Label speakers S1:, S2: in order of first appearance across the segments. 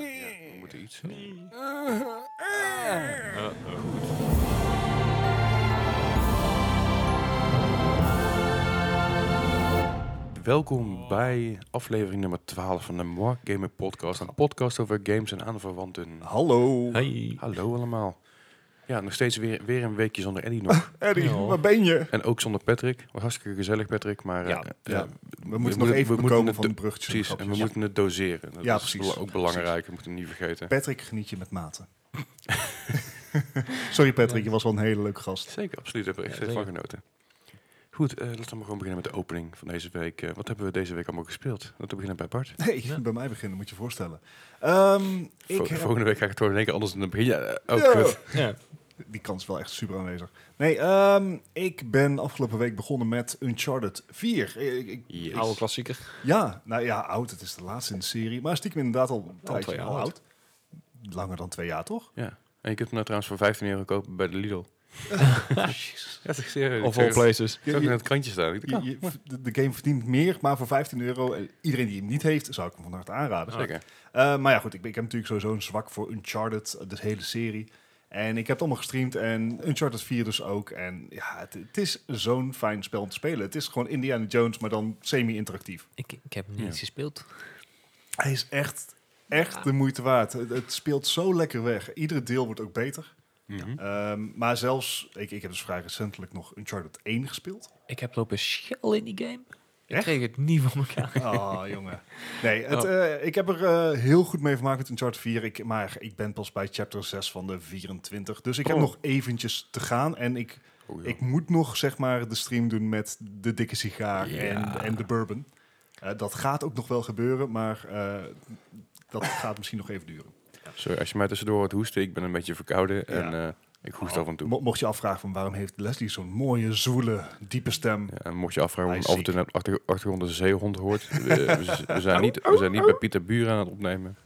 S1: we moeten iets. eh,
S2: Eh.
S1: Welkom bij aflevering nummer 12 van de Moi Gamer Podcast. Een podcast over games en aanverwanten.
S2: Hallo.
S3: Hey.
S1: Hallo allemaal. Ja, nog steeds weer, weer een weekje zonder Eddie nog.
S2: Eddie,
S3: Ja.
S2: waar ben je?
S1: En ook zonder Patrick. Was hartstikke gezellig, Patrick. Maar
S3: Ja,
S1: eh,
S2: ja.
S1: eh,
S2: We moeten nog even
S1: we
S2: bekomen
S1: het
S2: van de
S1: do-
S2: bruggetjes.
S1: Precies, en we
S2: grapjes.
S1: moeten het doseren. Dat
S2: Ja,
S1: is
S2: precies.
S1: ook belangrijk, we moeten het niet vergeten.
S2: Patrick, geniet je met mate. Sorry Patrick, je was wel een hele leuke gast.
S1: Zeker, absoluut. Daar heb ik
S3: Ja,
S1: echt eh, van
S3: zeker.
S1: genoten. Goed, eh, laten we maar gewoon beginnen met de opening van deze week. Eh, wat hebben we deze week allemaal gespeeld? Laten we beginnen bij Bart.
S2: Nee,
S3: Ja.
S2: bij mij beginnen, moet je je voorstellen. Ehm, ik
S1: Vol-
S2: heb-
S1: Volgende week ga ik het gewoon in één keer anders dan begin. Ja, eh, oh,
S2: Ja.
S1: kut.
S3: Ja.
S2: Die kans is wel echt super aanwezig. Nee, ehm, ik ben afgelopen week begonnen met Uncharted 4. Ik- ik-
S1: Yes.
S3: Oude klassieker.
S2: ja, nou ja, oud. Het is de laatste in de serie. Maar stiekem inderdaad al een tijdje
S3: twee jaar
S2: al
S3: oud.
S2: oud. Langer dan twee jaar, toch?
S1: Ja. En je kunt hem nou trouwens voor 15 euro kopen bij de Lidl. Ja, dat is serieus.
S3: Of all places.
S1: Ik zag het in het krantje staan. Ik
S2: Je-
S1: dacht, oh,
S2: je- de- de game verdient meer, maar voor 15 euro, eh, iedereen die hem niet heeft, zou ik hem van harte aanraden.
S1: ah, zeker.
S2: Eh, maar ja, goed, ik, ben- ik heb natuurlijk sowieso een zwak voor Uncharted, eh, de hele serie. En ik heb het allemaal gestreamd en Uncharted 4 dus ook. En ja, het, het is zo'n fijn spel om te spelen. Het is gewoon Indiana Jones, maar dan semi-interactief.
S3: Ik, ik heb hem niet
S1: Ja.
S3: eens gespeeld.
S2: Hij is echt, echt de moeite waard. Het, het speelt zo lekker weg. Iedere deel wordt ook beter.
S1: Mhm.
S2: Ehm, maar zelfs, ik, ik heb dus vrij recentelijk nog Uncharted 1 gespeeld.
S3: Ik heb lopen schel in die game. Ik
S2: Echt?
S3: kreeg het niet voor elkaar.
S2: Ah, jongen. Nee, het,
S3: Oh.
S2: eh, ik heb er eh, heel goed mee vermaakt met Uncharted 4. Ik, maar ik ben pas bij chapter 6 van de 24. Dus ik heb
S1: Oh.
S2: nog eventjes te gaan. En ik,
S1: Oh, ja.
S2: ik moet nog, zeg maar, de stream doen met de dikke sigaar
S1: Ja.
S2: en, en de bourbon. Eh, dat gaat ook nog wel gebeuren, maar eh, dat gaat misschien nog even duren.
S1: Sorry, als je mij tussendoor hoort hoesten, ik ben een beetje verkouden. En eh, ik hoest af en toe.
S2: Mo- mocht je afvragen van waarom heeft Leslie zo'n mooie, zoele, diepe stem.
S1: Ja, en mocht je afvragen
S2: Hij
S1: of
S2: is
S1: af en toe op de achter- achtergrond een zeehond hoort. eh, we, z- we
S2: Oh,
S1: zijn niet, we zijn niet bij Pieter Buren aan het opnemen.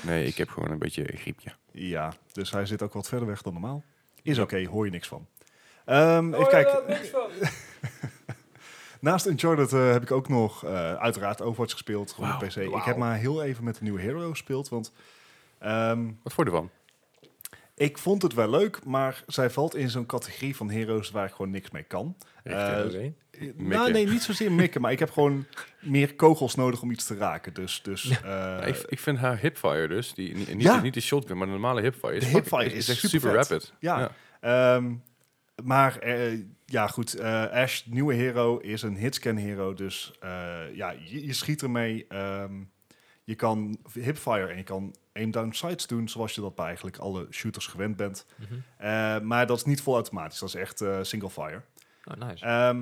S1: Nee, ik heb gewoon een beetje een griepje.
S2: Ja, dus hij zit ook wat verder weg dan normaal. Is oké, hoor je niks van. Ehm even kijken. Naast Uncharted eh, heb ik ook nog eh, uiteraard Overwatch gespeeld gewoon op
S1: Wauw,
S2: PC. Ik
S1: wauw.
S2: heb maar heel even met de nieuwe Hero gespeeld, want ehm,
S1: Wat voor de van?
S2: ik vond het wel leuk, maar zij valt in zo'n categorie van heroes waar ik gewoon niks mee kan. Eh,
S3: Oké.
S2: nou, nee, niet zozeer mikken, maar ik heb gewoon meer kogels nodig om iets te raken. Dus, dus eh,
S1: ik, ik vind haar hipfire dus, die, niet, niet,
S2: Ja.
S1: niet de shotgun, maar de normale hipfire.
S2: De
S1: is fucking-
S2: hipfire is
S1: echt super,
S2: supervet.
S1: rapid.
S2: Ja. Ehm, maar eh, ja, goed. eh, Ash, nieuwe hero, is een hitscan hero. Dus eh, ja, je, je schiet ermee. ehm, je kan hipfire en je kan aim down sights doen, zoals je dat bij eigenlijk alle shooters gewend bent.
S3: Mhm.
S2: Eh, maar dat is niet vol automatisch, dat is echt eh, single fire.
S3: Oh, nice.
S2: Ehm,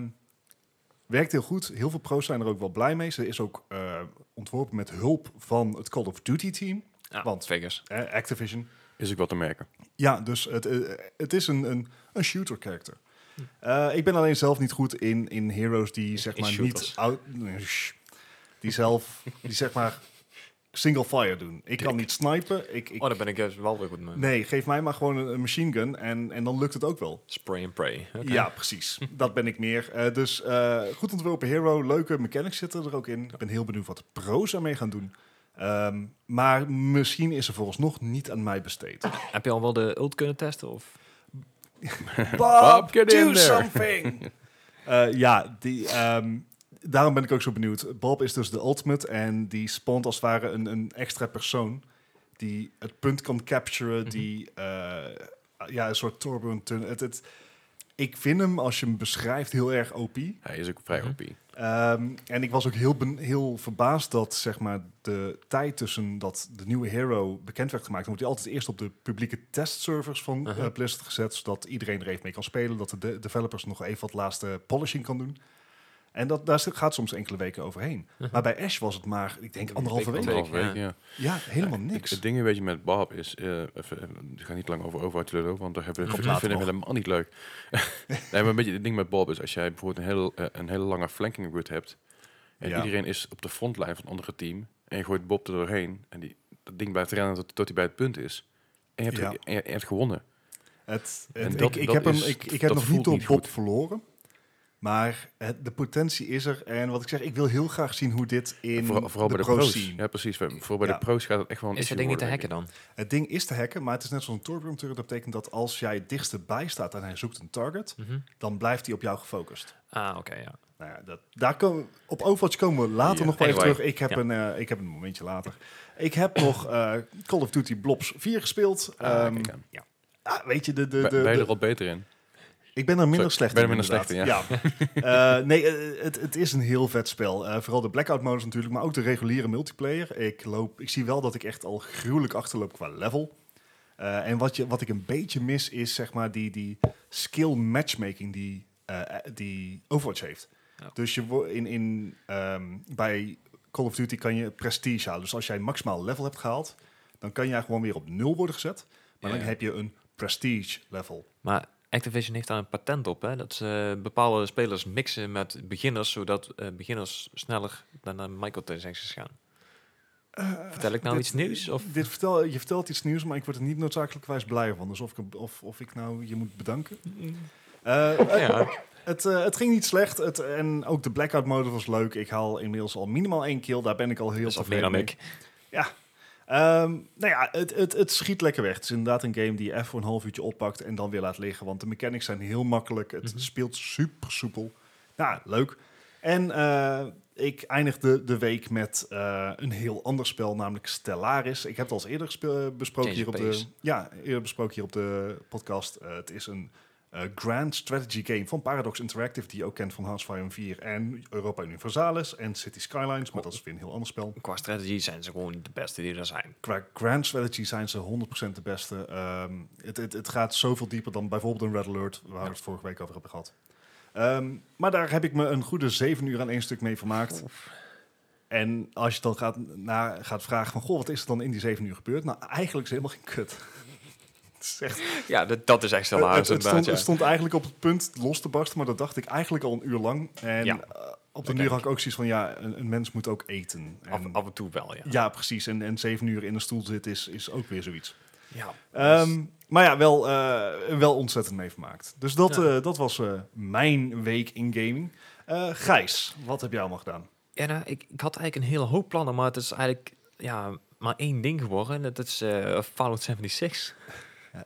S2: werkt heel goed. Heel veel pro's zijn er ook wel blij mee. Ze is ook eh, ontworpen met hulp van het Call of Duty team,
S3: Ah,
S2: want-
S3: Vegas.
S2: eh, Activision.
S1: Is ook wat te merken.
S2: Ja, dus het, eh, het is een, een, een shooter character. Eh, ik ben alleen zelf niet goed in, in heroes die zeg
S3: in
S2: maar niet
S3: shooters.
S2: out, nee, shh. die zelf die zeg maar single fire doen. Ik kan niet snipen. Ik, ik,
S3: Oh, daar ben ik dus wel weer goed mee.
S2: nee, geef mij maar gewoon een, een machine gun en, en dan lukt het ook wel.
S3: Spray and pray. Oké.
S2: Ja, precies. Dat ben ik meer. Eh, dus eh, goed ontworpen hero, leuke mechanics zitten er ook in. Ik ben heel benieuwd wat de pro's daarmee gaan doen. Ehm, maar misschien is er vooralsnog niet aan mij besteed.
S3: Heb je al wel de ult kunnen testen? Of?
S1: Bob, get in there.
S2: something. Eh, ja, die, ehm, daarom ben ik ook zo benieuwd. Bob is dus de ultimate en die spant als het ware een, een extra persoon die het punt kan capturen, die eh, ja, een soort turbulent tun- Het, het, ik vind hem, als je hem beschrijft, heel erg OP.
S1: Hij is ook vrij
S3: Mhm.
S1: OP.
S2: Ehm, en ik was ook heel, ben- heel verbaasd dat zeg maar, de tijd tussen dat de nieuwe hero bekend werd gemaakt, dan wordt hij altijd eerst op de publieke testservers van eh
S3: Uh-huh.
S2: Blizzard gezet, zodat iedereen er even mee kan spelen, dat de, de- developers nog even wat laatste polishing kan doen. En dat, daar zit- gaat soms enkele weken overheen.
S3: Uh-huh.
S2: Maar bij Ash was het maar, ik denk, anderhalve
S3: week
S2: week.
S3: of
S1: Anderhalve
S3: ja.
S1: week, ja.
S2: Ja, helemaal
S1: Het,
S2: niks.
S1: het ding een beetje met Bob is, eh even, eh, ik ga niet lang over Overwatch lullen, want daar hebben we
S2: Komt
S1: vind ik
S2: later nog.
S1: helemaal niet leuk. nee, maar een beetje het ding met Bob is, als jij bijvoorbeeld een hele, eh, een hele lange flanking route hebt, en
S2: Ja.
S1: iedereen is op de frontlijn van het andere team, en je gooit Bob er doorheen, en die, dat ding blijft rennen tot, tot hij bij het punt is, en je hebt,
S2: Ja.
S1: en je- en je hebt gewonnen.
S2: Het,
S1: En
S2: het,
S1: dat-
S2: ik, ik
S1: dat
S2: heb, hem,
S1: is-
S2: ik, ik heb
S1: dat
S2: nog niet
S1: voelt
S2: door
S1: niet
S2: Bob
S1: goed.
S2: verloren. Maar het- de potentie is er. En wat ik zeg, ik wil heel graag zien hoe dit in
S1: vooral vooral
S2: de,
S1: bij de
S2: pro
S1: pro's.
S2: scene.
S1: Ja, precies. Vooral bij
S2: Ja.
S1: de pro's gaat het echt wel een
S3: Is dat
S1: issue
S3: ding niet te hacken
S1: worden,
S3: dan?
S2: Het ding is te hacken, maar het is net zoals een Torbjorn turret. Dat betekent dat als jij het dichtst bij staat en hij zoekt een target,
S3: Mhm.
S2: dan blijft hij op jou gefocust.
S3: Ah, oké, ja.
S2: Nou ja, dat, daar komen, op Overwatch komen we later
S1: Ja,
S2: nog wel even
S3: anyway.
S2: terug. Ik heb,
S3: Ja.
S2: een, eh, ik heb een momentje later. Ik heb nog eh, Call of Duty Blobs 4 gespeeld.
S1: denk ik. Ah,
S2: Ehm,
S1: kijk aan.
S2: ah, weet je, de, de, de,
S1: Ben- Ben je
S2: de-
S1: er al beter in?
S2: ik ben er minder
S1: Zo,
S2: slecht
S1: ben
S2: in.
S1: je minder
S2: inderdaad. Ja. Eh, nee, eh, het, het is een heel vet spel. Eh, vooral de blackout-modus natuurlijk, maar ook de reguliere multiplayer. Ik, loop, ik zie wel dat ik echt al gruwelijk achterloop qua level. Eh, en wat, je, wat ik een beetje mis is, zeg maar, die, die skill matchmaking die, eh, die Overwatch heeft.
S3: Ja.
S2: Dus je wo- in, in, ehm, bij Call of Duty kan je prestige halen. Dus als jij maximaal level hebt gehaald, dan kan jij gewoon weer op nul worden gezet. Maar
S3: Ja,
S2: dan
S3: ja.
S2: heb je een prestige level.
S3: Maar Activision heeft daar een patent op, hè? Dat ze eh, bepaalde spelers mixen met beginners, zodat eh, beginners sneller naar de microtransactions gaan. Vertel ik nou
S2: Eh, dit-
S3: iets nieuws? Of?
S2: Dit vertel, je vertelt iets nieuws, maar ik word er niet noodzakelijkerwijs blij van. Dus of ik, of, of ik nou je moet bedanken. Eh,
S3: Mm. Ja,
S2: het, eh, het ging niet slecht. Het, en ook de blackout mode was leuk. Ik haal inmiddels al minimaal één kill. Daar ben ik al heel
S3: dat is al meer
S2: tevreden
S3: dan
S2: mee.
S3: ik.
S2: Ehm, nou ja, het, het, het schiet lekker weg. Het is inderdaad een game die je even voor een half uurtje oppakt en dan weer laat liggen. Want de mechanics zijn heel makkelijk. Het
S3: Mhm.
S2: speelt super soepel. Nou, leuk. En eh, ik eindigde de week met eh, een heel ander spel, namelijk Stellaris. Ik heb het al eens eerder gespe- eh, besproken
S3: Change
S2: hier
S3: of
S2: op de,
S3: pace.
S2: ja, eerder besproken hier op de podcast. Eh, het is een eh, grand strategy game van Paradox Interactive, die je ook kent van Hearthstone 4 en Europa Universalis en City Skylines. Maar dat is weer een heel ander spel
S3: Qua strategie zijn ze gewoon de beste die er zijn.
S2: qua grand strategy zijn ze 100% de beste. Ehm, het, het, het gaat zoveel dieper dan bijvoorbeeld een Red Alert, waar we het vorige week over hebben gehad. Ehm, maar daar heb ik me een goede zeven uur aan één stuk mee vermaakt. En als je dan gaat, na, gaat vragen van, goh, wat is er dan in die zeven uur gebeurd? Nou, eigenlijk is het helemaal geen kut. het is echt
S3: Ja, dat, dat is echt zo
S2: het,
S3: waar.
S2: Eh, het- het stond, het
S3: inderdaad,
S2: stond eigenlijk op het punt los te barsten, maar dat dacht ik eigenlijk al een uur lang. En eh,
S3: Ja,
S2: op de
S3: dat
S2: duur
S3: denk
S2: had ik ook zoiets van, ja, een, een mens moet ook eten.
S3: ja.
S2: En-
S3: af, af en toe wel, ja.
S2: ja, precies. En, en zeven uur in een stoel zitten is, is ook weer zoiets.
S3: Ja, Dus,
S2: Ehm, maar ja, wel, eh, wel ontzettend mee vermaakt. Dus dat,
S3: Ja.
S2: eh, dat was eh, mijn week in gaming. Eh, Gijs, wat heb jij allemaal gedaan?
S3: Ja, nou, ik, ik had eigenlijk een hele hoop plannen, maar het is eigenlijk ja, maar één ding geworden. En dat is eh, Fallout 76.
S2: Ja,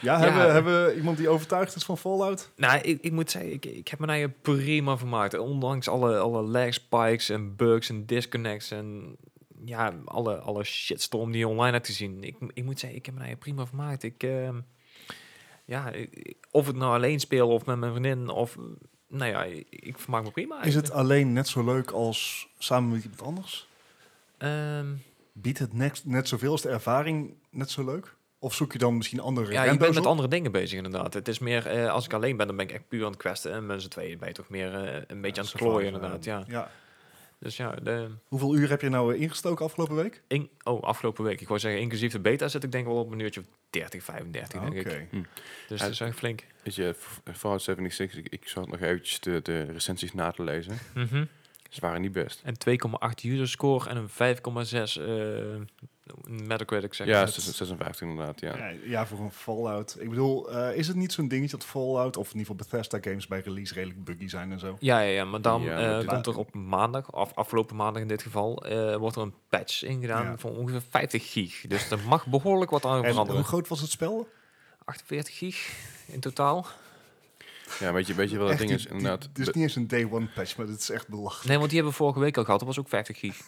S3: Ja.
S2: Hebben, hebben we iemand die overtuigd is van Fallout?
S3: Nou, ik, ik moet zeggen, ik, ik heb mijn eigen prima vermaakt. Ondanks alle, alle lag spikes en bugs en disconnects en ja, alle, alle shitstorm die je online hebt gezien. Ik, ik moet zeggen, ik heb mijn eigen prima vermaakt. Ik, ehm, ja, ik- of het nou alleen speel of met mijn vriendin of... Nou ja, ik, ik vermaak me prima.
S2: Is het alleen net zo leuk als samen met iemand anders?
S3: Ehm,
S2: Biedt het net, net zoveel als de ervaring net zo leuk? Of zoek je dan misschien andere
S3: Ja, je
S2: rando's
S3: bent met
S2: op?
S3: andere dingen bezig inderdaad. Het is meer, eh, als ik alleen ben, dan ben ik echt puur aan het questen. En mensen tweeën ben je toch meer eh, een beetje aan het klooien
S2: survival,
S3: inderdaad,
S2: eh,
S3: ja. Dus ja, de,
S2: Hoeveel uur heb je nou eh, ingestoken afgelopen week?
S3: in, oh, afgelopen week, ik wou zeggen, inclusief de beta zit ik denk wel op een uurtje of 30, 35
S2: Ah,
S3: denk ik.
S2: oké.
S3: Dus
S1: Ja,
S3: dat is echt flink.
S1: Weet je, F- Fallout 76, ik, ik zat nog eventjes de, de recensies na te lezen.
S3: Mhm.
S1: Ze waren niet best.
S3: En 2,8 user score en een 5,6 eh Metacritic zeg
S1: Ja,
S3: ze.
S1: 6- 56 inderdaad, ja.
S2: Ja. ja, voor een Fallout. Ik bedoel, eh, is het niet zo'n dingetje dat Fallout of in ieder geval Bethesda games bij release redelijk buggy zijn en zo?
S3: Ja, ja, ja, maar dan
S1: Ja, maar
S3: eh,
S1: dit-
S3: komt er op maandag, of afgelopen maandag in dit geval, eh, wordt er een patch ingedaan
S2: Ja.
S3: van ongeveer 50 gig. Dus er mag behoorlijk wat aan
S2: En
S3: veranderen.
S2: hoe groot was het spel?
S3: 48 gig in totaal.
S1: Ja, weet je, weet je wel, het
S2: Echt
S1: ding
S2: die-
S1: is
S2: die-
S1: inderdaad...
S2: Het is niet eens een day one patch, maar het is echt belachelijk.
S3: Nee, want die hebben we vorige week al gehad. Dat was ook 50 gig.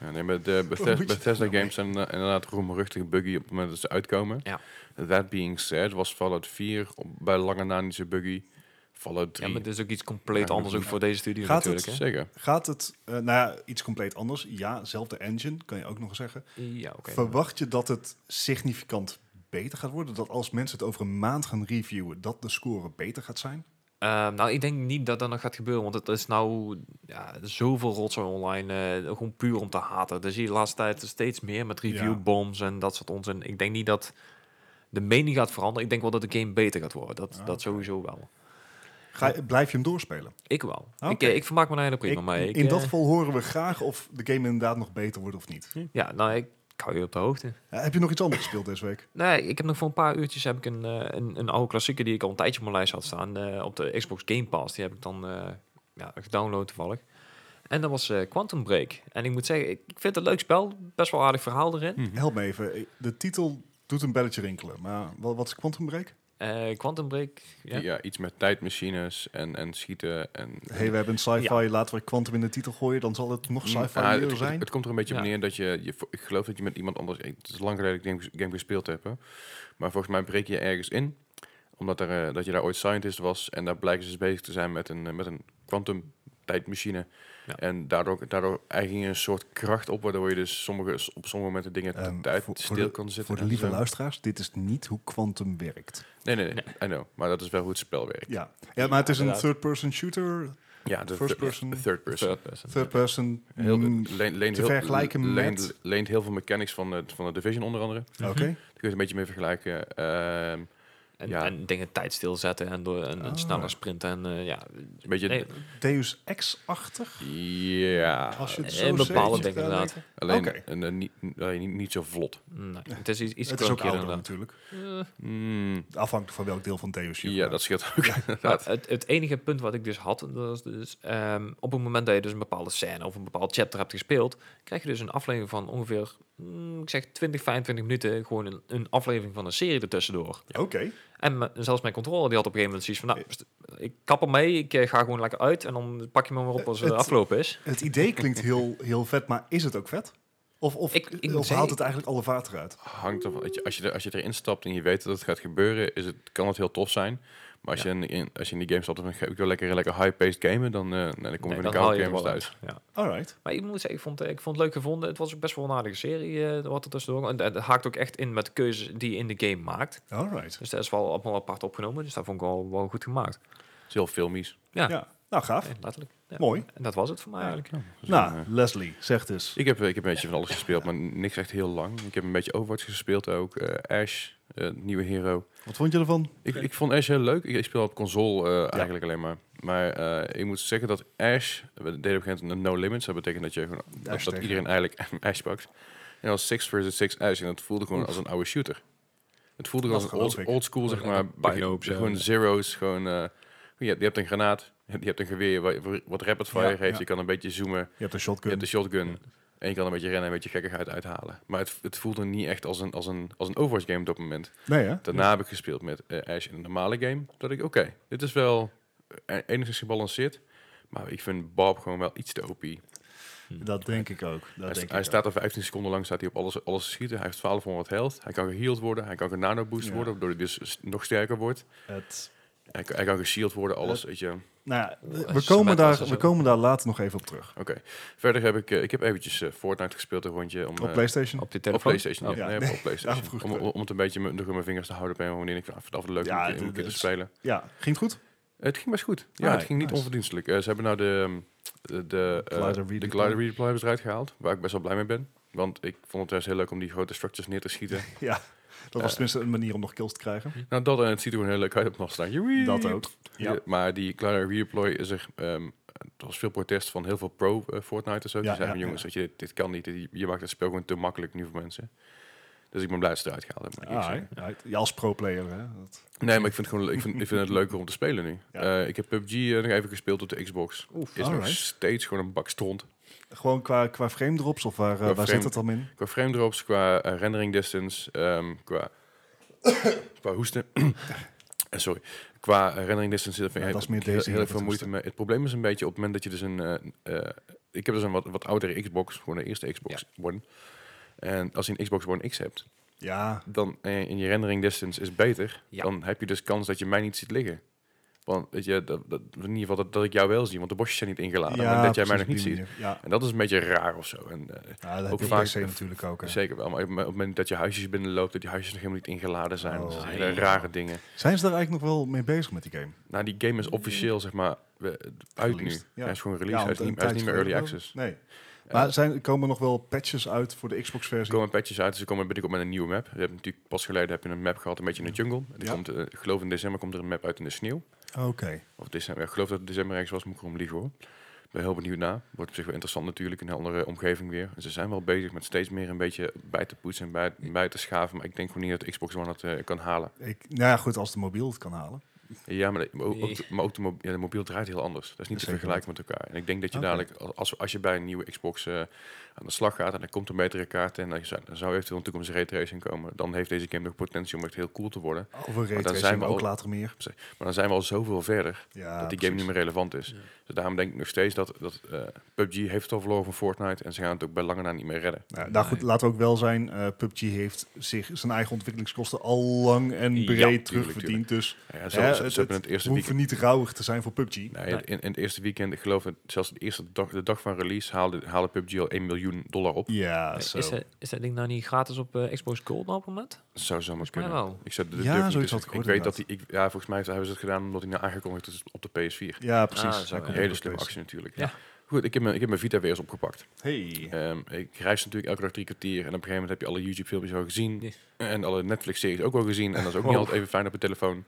S1: Ja, nee, maar de Bethes-
S2: moet je
S1: Bethesda
S2: daar nou
S1: games zijn eh, inderdaad roemruchtige buggy op het moment dat ze uitkomen.
S3: Ja.
S1: That being said, was Fallout 4 op, bij lange na niet zo buggy. Fallout
S3: Ja,
S1: 3.
S3: maar dat is ook iets compleet
S1: Ja,
S3: anders ook
S1: ja.
S3: voor deze studio
S2: Gaat het
S3: natuurlijk. hè?
S1: Zeker.
S2: Gaat het, eh, nou ja, iets compleet anders. Ja, zelfde engine, kan je ook nog zeggen.
S3: Ja, oké.
S2: Verwacht je dat het significant beter gaat worden? Dat als mensen het over een maand gaan reviewen, dat de score beter gaat zijn?
S3: Ehm, nou, ik denk niet dat dat nog gaat gebeuren. Want het is nou ja, zoveel rotzooi online. eh, gewoon puur om te haten. Dat zie je de laatste tijd steeds meer met reviewbombs en dat soort onzin. Ik denk niet dat de mening gaat veranderen. Ik denk wel dat de game beter gaat worden. Dat,
S2: Ah,
S3: dat sowieso wel.
S2: Ga, je- blijf je hem doorspelen?
S3: Ik wel.
S2: Ah,
S3: Ik,
S2: oké.
S3: eh, ik vermaak me daar helemaal prima
S2: Ik-
S3: mee. Ik,
S2: in dat
S3: eh,
S2: geval horen we graag of de game inderdaad nog beter wordt of niet.
S3: Ja, nou, ik hou je op de hoogte.
S2: Eh, heb je nog iets anders gespeeld deze week?
S3: Nee, ik heb nog voor een paar uurtjes heb ik een, eh, een, een oude klassieker die ik al een tijdje op mijn lijst had staan. eh, op de Xbox Game Pass. Die heb ik dan eh, ja, gedownload toevallig. En dat was eh, Quantum Break. En ik moet zeggen, ik ik vind het een leuk spel. Best wel aardig verhaal erin.
S1: Mhm.
S2: Help me even. Eh, De titel doet een belletje rinkelen. Maar wat, wat is Quantum Break?
S3: Eh, Quantum Break, ja.
S1: Ja. iets met tijdmachines en, en schieten. En,
S2: Hey, we hebben een sci-fi. Laten we Quantum in de titel gooien. Dan zal het nog
S1: Mm,
S2: sci-fi
S1: ah, het,
S2: meer
S1: het-
S2: zijn.
S1: het komt er een beetje op
S3: Ja.
S1: neer dat je, je... Ik geloof dat je met iemand anders... e-, Het is lang geleden dat ik game, game gespeeld heb, hè. Maar volgens mij breek je ergens in. Omdat er, eh, dat je daar ooit scientist was. En daar blijken ze dus bezig te zijn met een, eh, met een quantum tijdmachine.
S3: Ja.
S1: En daardoor, daardoor eigenlijk een soort kracht op... waardoor je dus sommige, op sommige momenten dingen
S2: Ehm,
S1: tijd
S2: voor- voor
S1: stil
S2: de-
S1: kan zitten.
S2: Voor de
S1: en
S2: lieve
S1: zo.
S2: luisteraars, dit is niet hoe Quantum werkt.
S1: Nee, nee, nee, I know. Maar dat is wel hoe het spel werkt.
S2: Ja, ja maar het is een
S3: inderdaad.
S2: third-person shooter.
S1: Ja, de
S2: First
S1: thir-
S2: person.
S1: de Third person.
S3: Third person.
S2: Third-person.
S1: Heel,
S2: mm,
S1: leent, leent
S2: te
S1: heel,
S2: vergelijken
S1: leent,
S2: met-
S1: leent heel veel mechanics van de, van de Division onder andere. Daar
S2: Oké.
S1: kun je het een beetje mee vergelijken. Ehm,
S3: En,
S1: Ja.
S3: en dingen tijd stilzetten en, door, en, en
S2: Ah.
S3: sneller sprinten. En eh, ja,
S1: een beetje...
S3: nee,
S2: Deus Ex-achtig.
S1: Ja.
S2: Als je het
S3: eh,
S2: zo
S3: bepaalde
S2: zegt,
S3: dingen
S2: eh,
S3: inderdaad.
S1: Alleen
S2: Oké.
S1: en, eh, niet, alleen niet, niet zo vlot.
S3: nee, het is iets, iets
S2: Het is ook
S3: clunkier
S2: ouder
S3: inderdaad.
S2: natuurlijk.
S3: Eh,
S1: Mm,
S2: Afhankelijk van welk deel van Deus je
S1: ja, dat scheelt ook.
S3: Maar het, het enige punt wat ik dus had, dat was dus, ehm, op het moment dat je dus een bepaalde scène of een bepaald chapter hebt gespeeld, krijg je dus een aflevering van ongeveer, mm, ik zeg 20, 25 minuten, gewoon een, een aflevering van een serie ertussendoor.
S2: Oké.
S3: En me- zelfs mijn controller die had op een gegeven moment zoiets van, nou, pst, ik kap ermee, ik eh, ga gewoon lekker uit en dan pak je me maar op als het
S2: Het-
S3: afgelopen is.
S2: Het idee klinkt heel, heel vet, maar is het ook vet? Of, of,
S3: Ik- ik moet
S2: of
S3: zeggen,
S2: haalt
S3: ik-
S2: het eigenlijk alle vaart eruit?
S1: hangt ervan. weet je, Als je, er- als je erin stapt en je weet dat het gaat gebeuren, is het, kan het heel tof zijn. Maar als,
S3: Ja.
S1: je in, in- als je in die game stapt en dan ga ik wil lekker, lekker high-paced gamen, dan, eh, nee, dan kom je
S3: Nee,
S1: in de
S3: dan haal
S1: koude
S3: je het
S1: gamers
S3: wel
S1: thuis.
S3: uit. Ja.
S2: Alright.
S3: Maar ik moet zeggen, ik vond, eh, ik vond het leuk gevonden. Het was ook best wel een aardige serie eh wat er tussendoor. En dat haakt ook echt in met de keuzes die je in de game maakt.
S2: Alright.
S3: Dus dat is wel allemaal apart opgenomen. Dus dat vond ik wel, wel goed gemaakt.
S1: Het is heel filmisch.
S3: Ja,
S2: Ja. Nou, gaaf.
S3: Nee, letterlijk. Ja.
S2: Mooi.
S3: En dat was het voor mij eigenlijk.
S1: Dus, eh,
S2: Nou, Leslie, zeg dus.
S1: Ik heb, ik heb een beetje van alles gespeeld, maar niks echt heel lang. Ik heb een beetje Overwatch gespeeld ook. eh, Ash, eh, nieuwe hero.
S2: Wat vond je ervan?
S1: Ik, ik vond Ash heel leuk. Ik, ik speel op console eh, eigenlijk alleen maar. Maar eh, ik moet zeggen dat Ash... We deden op een gegeven moment een no limits. Dat betekent dat, je gewoon, dat,
S2: Ash
S1: dat
S2: tegen.
S1: iedereen eigenlijk Ash pakt. En als 6 versus 6 Ash. En dat voelde gewoon als een oude shooter. Het voelde gewoon
S2: Dat
S1: als een old,
S2: geloof ik.
S1: old school, zeg
S3: Lekker
S1: maar.
S3: pijn
S1: begin-
S3: op, zo.
S1: Gewoon zeros. Gewoon, eh, je, hebt- je hebt een granaat. Je hebt een geweer wa- wat rapid fire
S2: Ja,
S1: heeft.
S2: ja.
S1: Je kan een beetje zoomen.
S2: Je hebt een shotgun.
S1: Je hebt de shotgun. En je kan een beetje rennen en een beetje gekkigheid uithalen. Maar het, het voelde niet echt als een, als, een, als een Overwatch game op dat moment.
S2: Nee, hè?
S1: Daarna heb ik gespeeld met eh, Ash in een normale game. Dat ik, oké, dit is wel eh, enigszins gebalanceerd. Maar ik vind Bob gewoon wel iets te OP. Hij,
S2: Dat denk ik ook. Dat
S1: sta-
S2: denk
S1: Hmm. hij
S2: ik
S1: staat er 15 seconden lang staat hij op alles, alles te schieten. Hij heeft 1200 health. Hij kan geheeld worden. Hij kan een nano boost
S2: Ja.
S1: worden, waardoor hij dus s- nog sterker wordt.
S2: ook. Het,
S1: Hij, kan- hij kan geshield worden, alles, weet je.
S2: nou ja,
S3: Oeh,
S2: we,
S3: cement
S2: komen
S3: was
S2: daar,
S3: er
S2: we
S3: zo.
S2: komen daar later nog even op terug.
S1: Oké. Verder heb ik, eh, ik heb eventjes eh, Fortnite gespeeld een rondje. Om,
S2: Op
S1: eh,
S2: PlayStation?
S3: Op de
S1: Op
S3: telefoon.
S1: PlayStation, ja.
S2: Ja,
S1: Nee,
S2: nee,
S1: op PlayStation.
S2: daarom vroeg ik
S1: Om,
S2: het.
S1: om om het een beetje m- nog in mijn vingers te houden op een wanneer ik vind het leuk
S2: Ja, dus.
S1: om een keer- om
S2: dit
S1: een keer te
S2: is-
S1: spelen.
S2: Ja, ging het goed?
S1: Eh, Het ging best goed. Ja,
S2: Ah,
S1: het ging niet
S2: nice.
S1: onverdienstelijk. Eh, ze hebben nou de, ehm, de, de, eh,
S2: Glider
S1: de
S2: redeploy.
S1: glider redeployers eruit gehaald, waar ik best wel blij mee ben. Want ik vond het juist heel leuk om die grote structures neer te schieten.
S2: Ja, dat was tenminste een manier om nog kills te krijgen.
S1: nou, dat en het ziet er gewoon heel leuk uit op nog staan. Joeie!
S2: Dat ook.
S1: Ja, maar die glider redeploy is er... ehm, er was veel protest van heel veel pro-Fortnite en zo.
S2: Ja,
S1: die zeiden,
S2: ja,
S1: jongens,
S2: ja.
S1: Weet je, dit, dit kan niet. Dit- je maakt het spel gewoon te makkelijk nu voor mensen. Dus ik ben blij dat ze het eruit gehaald hebben. moet ik eerlijk
S2: Ah,
S1: zeggen.
S2: right. ja, als pro-player. Hè? Dat,
S1: Nee, maar ik vind, het gewoon, ik vind, ik vind het leuker om te spelen nu.
S2: Ja.
S1: Eh, ik heb PUBG eh, nog even gespeeld op de Xbox.
S3: Oef.
S1: is nog
S2: alright.
S1: steeds gewoon een bak stront.
S2: gewoon qua, qua frame drops of waar, eh,
S1: Qua
S2: waar zit
S1: frame-
S2: het dan in?
S1: Qua frame drops, qua eh, rendering distance, ehm, qua, qua hoesten. Eh, Sorry. Qua eh, rendering distance dat vind
S2: Ja,
S1: ik
S2: dat is
S1: heel,
S2: meer deze
S1: heel
S2: hier,
S1: veel
S2: dat
S1: moeite
S2: hoesten.
S1: mee. Het probleem is een beetje op het moment dat je dus een... eh, eh, ik heb dus een wat, wat oudere Xbox, gewoon de eerste Xbox One. En als je een Xbox One X hebt,
S2: Ja,
S1: dan eh, in je rendering distance is beter,
S3: Ja.
S1: dan heb je dus kans dat je mij niet ziet liggen. Want weet je, dat, dat, in ieder geval dat, dat ik jou wel zie, want de bosjes zijn niet ingeladen.
S2: ja,
S1: en dat jij mij
S2: precies
S1: nog
S2: op
S1: niet
S2: die
S1: ziet.
S2: manier. Ja,
S1: En dat is een beetje raar of zo. En, eh,
S2: ja dat
S1: Ook
S2: ook heb je
S1: vaak-
S2: op PC natuurlijk ook. hè.
S1: Zeker wel, maar op het moment dat je huisjes binnenloopt, dat die huisjes nog helemaal niet ingeladen zijn.
S2: Oh.
S1: dat zijn hele rare dingen.
S2: Zijn ze daar eigenlijk nog wel mee bezig met die game?
S1: Nou, die game is officieel, zeg maar, we- uit nu.
S2: Released, Mm-hmm. ja.
S1: Hij is gewoon released, hij,
S2: want
S1: is niet,
S2: een
S1: hij is niet
S2: tijd
S1: meer early
S2: geleden
S1: access.
S2: wel. Nee. Maar zijn, komen er nog wel patches uit voor de
S1: Er
S2: Xbox-versie?
S1: komen patches uit, ze komen binnenkort met een nieuwe map. Je hebt natuurlijk pas geleden heb je een map gehad, een beetje in de jungle. En die
S2: Ja.
S1: komt, eh, ik geloof in december komt er een map uit in de sneeuw.
S2: Oké.
S1: Of december, ja, ik geloof dat het december ergens was, moet ik erom liegen hoor. ben heel benieuwd naar. Wordt op zich wel interessant natuurlijk, in een andere omgeving weer. En ze zijn wel bezig met steeds meer een beetje bij te poetsen en bij, bij te schaven. Maar ik denk gewoon niet dat Xbox One het eh, kan halen.
S2: Ik, nou ja, goed, als de mobiel het kan halen.
S1: Ja, maar, de- maar ook, ook de- maar ook de, mob- ja, de mobiel draait heel anders. Dat is niet
S2: Dat
S1: te
S2: zeker
S1: vergelijken met elkaar. En ik denk dat je
S2: Oké.
S1: dadelijk, als- als, als je bij een nieuwe Xbox eh, aan de slag gaat en er komt een betere kaart en dan zou, dan zou eventueel een toekomst ray tracing komen, dan heeft deze game nog potentie om echt heel cool te worden.
S2: Over
S1: dan
S2: raytracing,
S1: zijn we
S2: maar ook
S1: al-
S2: later meer.
S1: Maar dan zijn we al zoveel verder
S2: Ja,
S1: dat die
S2: precies.
S1: game niet meer relevant is.
S4: Ja.
S1: Dus daarom denk ik nog steeds dat, dat eh, PUBG heeft het al verloren van Fortnite en ze gaan het ook bij lange na niet meer redden.
S2: Nou, nou goed,
S3: Nee.
S2: laten we ook wel zijn. eh, PUBG heeft zich zijn eigen ontwikkelingskosten al lang en
S1: Ja,
S2: breed
S1: tuurlijk,
S2: terugverdiend. Dus
S1: Ja, en zo,
S2: hè,
S1: zo- zo
S2: het-
S1: hebben het
S2: we
S1: eerste weekend.
S2: hoeven niet rauwig te zijn voor PUBG.
S1: Nee, In, in het eerste weekend, ik geloof dat zelfs de eerste dag, de dag van release haalde, haalde PUBG al 1 miljoen dollar op.
S2: Ja,
S3: Is
S2: zo.
S3: dat, is dat ding nou niet gratis op eh, Xbox Gold nou op het moment?
S1: Dat zou zomaar
S3: mij
S1: kunnen.
S3: wel.
S1: Ik zou de, de
S2: Ja,
S1: durf niet
S2: zoiets
S1: te
S2: had ik
S1: zeggen.
S2: gehoord
S1: ik weet dat die, ik, ja, volgens mij hebben ze het gedaan omdat hij nou aangekondigd is op de PS4.
S2: Ja, precies.
S3: Ah, zo,
S2: Daar
S3: ja.
S2: komt
S1: Hele
S2: ook
S1: slimme
S2: deze.
S1: actie natuurlijk.
S3: Ja.
S1: Goed, ik heb, mijn, ik heb mijn Vita weer eens opgepakt.
S2: Hey.
S1: Ehm, ik reis natuurlijk elke dag drie kwartier. En op een gegeven moment heb je alle YouTube-filmpjes al gezien.
S3: Nee.
S1: En alle Netflix-series ook al gezien. En dat is ook
S3: Oh.
S1: niet altijd even fijn op je telefoon.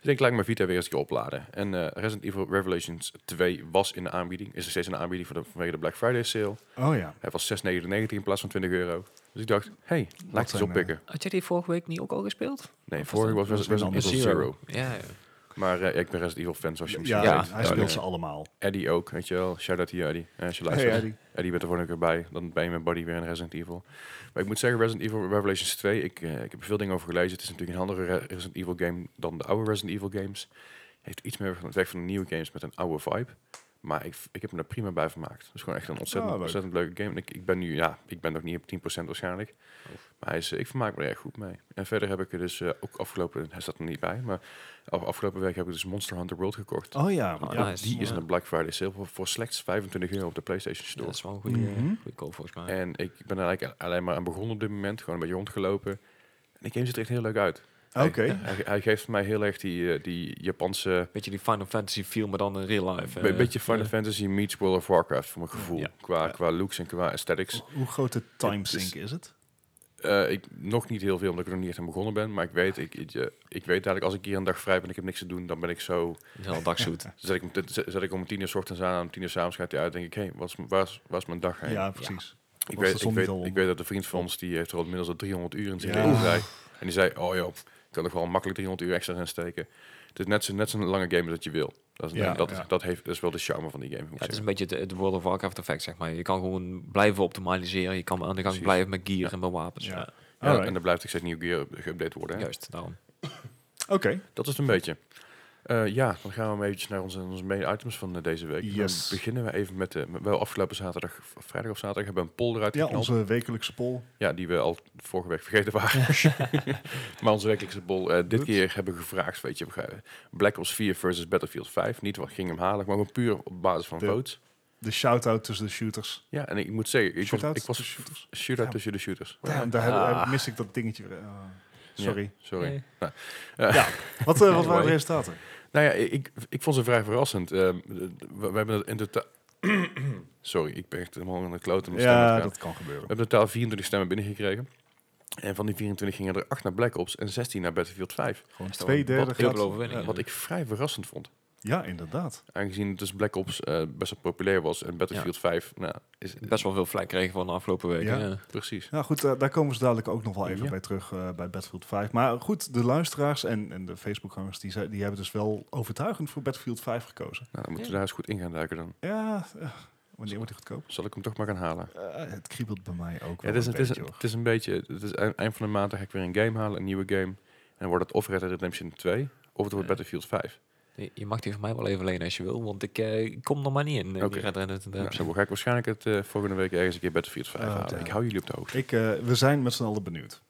S1: Dus ik laat ik mijn Vita weer eens een keer opladen. En eh, Resident Evil Revelations 2 was in de aanbieding. Is er steeds in de aanbieding voor de, vanwege de Black Friday sale.
S2: Oh ja.
S1: Hij was 6,99 in plaats van 20 euro. Dus ik dacht, hey, laat ik het
S2: zijn,
S1: eens oppikken.
S3: Had jij die vorige week niet ook al gespeeld?
S1: Nee,
S3: was
S1: vorige was
S3: dat-
S2: was een
S1: Resident Evil
S2: ander
S1: Zero.
S3: Ja, ja.
S1: Maar eh, ja, ik ben Resident Evil fan, zoals je misschien
S2: Ja,
S3: Ja,
S2: hij speelt
S1: duidelijk.
S2: ze allemaal.
S1: Eddie ook, weet je wel. Shout-out hier, Eddie. Eh, als je luistert.
S2: Hey, Eddie.
S1: Eddie bent er volgende keer bij. Dan ben je mijn buddy weer in Resident Evil. Maar ik moet zeggen, Resident Evil Revelations 2, ik, eh, ik heb er veel dingen over gelezen. Het is natuurlijk een andere Re- Resident Evil game dan de oude Resident Evil games. Heeft iets meer van het weg van de nieuwe games met een oude vibe. Maar ik, ik heb me er prima bij vermaakt. Het is gewoon echt een ontzettend,
S2: Ah, leuk.
S1: ontzettend leuke game. En ik, ik ben nu, ja, ik ben nog niet op 10% waarschijnlijk. Maar hij is, eh, ik vermaak me er erg goed mee. En verder heb ik er dus eh, ook afgelopen, hij staat er niet bij, maar af- afgelopen week heb ik dus Monster Hunter World gekocht.
S2: Oh ja.
S3: Oh,
S2: ja.
S3: nice.
S1: Die is
S3: Ja.
S1: een Black Friday sale voor, voor slechts 25 euro op de PlayStation
S3: Ja,
S1: Store.
S3: dat is wel een goede, eh,
S2: Mhm.
S3: goede koop volgens mij.
S1: En ik ben er eigenlijk alleen maar aan begonnen op dit moment. Gewoon een beetje rondgelopen. En die game ziet er echt heel leuk uit.
S2: Oké.
S1: Hij, hij geeft mij heel erg die, eh, die Japanse...
S3: Beetje die Final Fantasy feel, maar dan in real life.
S1: Een
S3: eh.
S1: beetje Final
S3: Ja.
S1: Fantasy meets World of Warcraft, voor mijn gevoel.
S3: Ja.
S1: Qua,
S2: Ja.
S1: qua looks en qua aesthetics.
S2: Hoe groot de time
S1: Het is-
S2: sink is het?
S1: Eh, ik, nog niet heel veel, omdat ik er nog niet echt aan begonnen ben. Maar ik weet, ik, ik, eh, ik weet dadelijk, als ik hier een dag vrij ben en ik heb niks te doen, dan ben ik zo...
S3: Een hele dag zoet.
S1: Zet ik, om t- zet ik om tien uur 's ochtends aan, om tien uur 's avonds gaat hij uit. denk ik, hé, hey, wat is m- waar, is- waar is mijn dag heen?
S2: Ja, precies.
S1: Ik
S2: Was de
S1: weet,
S2: zon
S1: ik,
S2: niet
S1: weet,
S2: al
S1: ik
S2: onder?
S1: weet dat een vriend van ons, die heeft er al inmiddels al 300 uur in zijn
S2: Ja.
S1: leven vrij. En die zei, oh joh, ik kan er gewoon makkelijk 300 uur extra in steken. Het is net zo'n net zo'n lange game als dat je wil. Dat is,
S2: Ja,
S1: dat,
S2: ja.
S1: Dat, heeft, dat is wel de charme van die game. moet ik
S3: Ja, het is
S1: zeggen.
S3: een beetje het, het World of Warcraft effect, zeg maar. Je kan gewoon blijven optimaliseren. Je kan aan de gang
S1: Precies.
S3: blijven met gear en met wapens.
S2: Ja.
S3: Ja.
S1: Ja,
S2: Alright.
S1: en dan blijft ik steeds nieuw gear geüpdate worden. Hè?
S3: Juist, daarom.
S2: Oké.
S1: Dat is het een beetje. Eh, ja, dan gaan we maar eventjes naar onze, onze main items van eh, deze week.
S2: Yes.
S1: Dan beginnen we even met, de, met- wel afgelopen zaterdag, v- vrijdag of zaterdag, hebben we een poll eruit
S2: Ja,
S1: geknald.
S2: onze wekelijkse poll.
S1: Ja, die we al vorige week vergeten waren. maar onze wekelijkse bol. eh, dit keer hebben we gevraagd, weet je, we gaan- Black Ops 4 versus Battlefield 5. Niet wat ging hem halen, maar gewoon puur op basis van
S2: De-
S1: votes.
S2: De shout-out tussen de shooters.
S1: Ja, en ik moet zeggen, ik was,
S2: Shootouts
S1: ik was
S2: tussen shooters?
S1: shootout
S2: Ja.
S1: tussen de shooters.
S2: Damn, daar heb-
S3: Ah.
S2: eh, mis ik dat dingetje weer. eh, sorry.
S1: Ja, sorry.
S3: Nee.
S1: Nou, eh,
S2: Ja. Wat, eh, wat waren
S1: Anyway.
S2: de resultaten?
S1: Nou ja, ik, ik vond ze vrij verrassend. Ehm, we, we hebben het in totaal... Sorry, ik ben echt helemaal aan de kloten. met mijn stem
S2: Ja,
S1: uitgaan.
S2: dat kan
S1: We
S2: gebeuren.
S1: hebben in totaal 24 stemmen binnengekregen. En van die 24 gingen er 8 naar Black Ops en 16 naar Battlefield 5.
S2: Gewoon
S3: Is dat
S2: twee
S3: wel-
S2: derde
S3: wat heel
S2: gaat-
S3: veel overwinningen.
S1: Wat ik vrij verrassend vond.
S2: Ja, inderdaad.
S1: Aangezien dus Black Ops eh, best wel populair was en Battlefield 5, nou, is
S3: Best wel veel vlek kregen van de afgelopen week.
S2: Ja.
S3: Ja.
S1: precies.
S2: Nou goed, eh, daar komen ze dadelijk ook nog wel even
S1: Ja.
S2: bij terug eh, bij Battlefield 5. Maar goed, de luisteraars en, en de Facebookgangers, die, zei- die hebben dus wel overtuigend voor Battlefield 5 gekozen.
S1: Nou, dan moeten we
S3: Ja.
S1: daar eens goed in gaan duiken dan.
S2: Ja, eh, wanneer wordt die goedkoop?
S1: Zal ik hem toch maar gaan halen?
S2: Eh, het kriebelt bij mij ook
S1: Ja,
S2: wel
S1: het, is,
S2: een
S1: het, is,
S2: beetje. hoor.
S1: het is een beetje, het is eind eind van de maand dan ga ik weer een game halen, een nieuwe game. En dan wordt het of Red Dead Redemption 2, of het wordt
S3: Ja.
S1: Battlefield 5.
S3: Je- Je mag die van mij wel even lenen als je wil, want ik eh, kom er maar niet in. eh,
S1: Oké.
S3: die Red Dead Redemption.
S1: Nou, dan ga ik waarschijnlijk het eh, volgende week ergens een keer Battlefield 5
S2: Oh,
S1: halen.
S2: damn.
S1: Ik hou jullie op de hoogte.
S2: Ik, eh, we zijn met z'n allen benieuwd.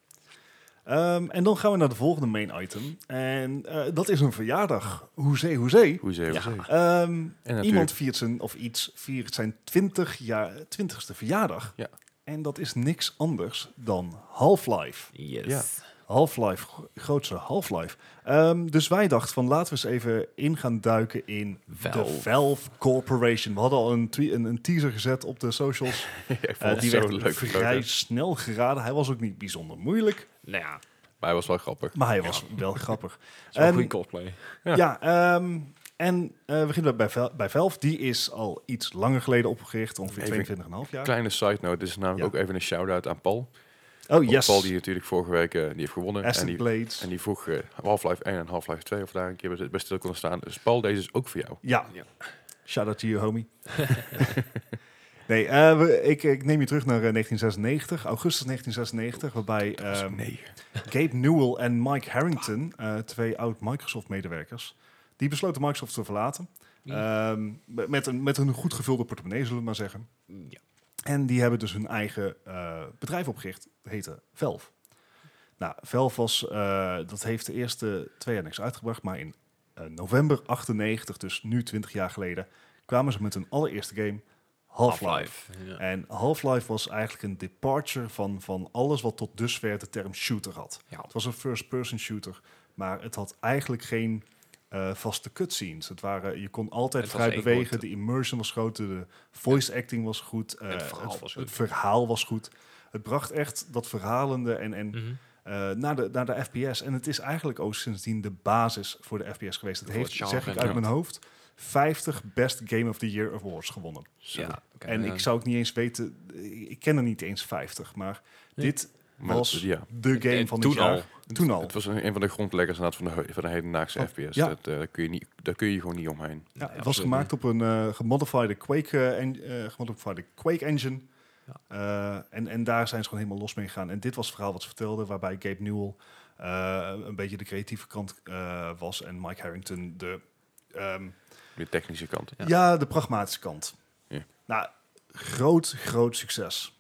S2: Ehm, en dan gaan we naar de volgende main item. En eh, dat is een verjaardag. Hoezee, hoezee.
S1: Hoezee,
S3: Ja.
S1: hoezee.
S2: Ehm
S1: En natuurlijk,
S2: iemand viert zijn, of iets, viert zijn 20 jaar, 20ste verjaardag.
S1: Ja.
S2: En dat is niks anders dan Half-Life.
S3: Yes.
S2: Half-Life, gro- grootste Half-Life. Ehm, dus wij dachten van laten we eens even in gaan duiken in de
S3: Valve.
S2: Valve Corporation. We hadden al een, twe- een, een teaser gezet op de socials.
S1: ik vond
S2: Eh,
S1: het
S2: die
S1: zo
S2: werd
S1: leuk.
S2: vrij
S1: gesloten.
S2: snel geraden. Hij was ook niet bijzonder moeilijk,
S3: Nou ja,
S1: Maar hij was wel grappig.
S2: maar hij was wel grappig.
S3: dat is wel
S2: En-
S3: een goede cosplay.
S2: Ja, ehm, En eh, we beginnen bij, Vel- bij Valve. Die is al iets langer geleden opgericht, ongeveer
S1: Even
S2: 22,5 jaar.
S1: Kleine side note, dit is namelijk
S2: Ja.
S1: ook even een shout-out aan Paul.
S2: Oh,
S1: Want
S2: yes.
S1: Paul die natuurlijk vorige week eh, die heeft gewonnen. En
S2: Ascent
S1: die,
S2: Blades.
S1: en die vroeg eh, Half-Life 1 en Half-Life 2 of daar een keer best- best stil konden staan. Dus Paul, deze is ook voor jou.
S2: Ja.
S3: Ja.
S2: Shout out to you, homie. nee, eh, we- ik, ik neem je terug naar eh, 1996, augustus 1996, waarbij ehm,
S1: nee.
S2: Gabe Newell en Mike Harrington, eh, twee oud Microsoft-medewerkers, die besloten Microsoft te verlaten.
S3: Mm.
S2: Ehm, met- met, een, met een goed gevulde portemonnee, zullen we maar zeggen.
S3: Mm, Ja.
S2: En die hebben dus hun eigen eh, bedrijf opgericht. Dat heette Valve. Nou, Valve was, eh, dat heeft de eerste twee jaar niks uitgebracht. Maar in eh, november 98, dus nu 20 jaar geleden, kwamen ze met hun allereerste game, Half-Life. Eh,
S3: Ja.
S2: En Half-Life was eigenlijk een departure van, van alles wat tot dusver de term shooter had.
S3: Ja.
S2: Het was een first-person shooter, maar het had eigenlijk geen eh, vaste cutscenes. Het waren, je kon altijd
S3: Het was
S2: vrij
S3: één
S2: bewegen,
S3: grote-
S2: de immersion was groot, de voice acting was goed, eh,
S3: Het verhaal
S2: het,
S3: was
S2: het
S3: goed.
S2: verhaal was goed. Het bracht echt dat verhalende en, en
S3: Mhm.
S2: eh, naar, de, naar de FPS. En het is eigenlijk ook sindsdien de basis voor de FPS geweest. Het
S3: Voor het
S2: heeft,
S3: genre,
S2: zeg ik uit
S3: inderdaad.
S2: mijn hoofd, 50 Best Game of the Year Awards gewonnen.
S3: Ja, oké.
S2: En
S3: Ja.
S2: ik zou ook niet eens weten, ik ken er niet eens 50, maar
S3: Nee.
S2: dit
S1: Maar
S2: was
S1: dat- ja.
S2: de game
S3: En
S2: van
S3: toen
S2: dit jaar.
S3: al.
S2: Toen al.
S1: Het was een, een van de grondleggers inderdaad van de, he- van de hedendaagse
S2: Oh,
S1: FPS.
S2: ja.
S1: Dat, eh, daar, kun je niet, daar kun je gewoon niet omheen.
S2: Ja,
S3: Nee,
S2: het was
S3: absoluut
S2: gemaakt op een eh gemodified Quake, eh, en, eh, gemodified Quake engine.
S3: Ja.
S2: Eh, en, en daar zijn ze gewoon helemaal los mee gegaan. En dit was het verhaal wat ze vertelden, waarbij Gabe Newell eh, een beetje de creatieve kant eh, was en Mike Harrington de, ehm,
S1: De technische kant.
S3: Ja.
S2: ja. de pragmatische kant.
S1: Ja.
S2: Nou, groot, groot succes.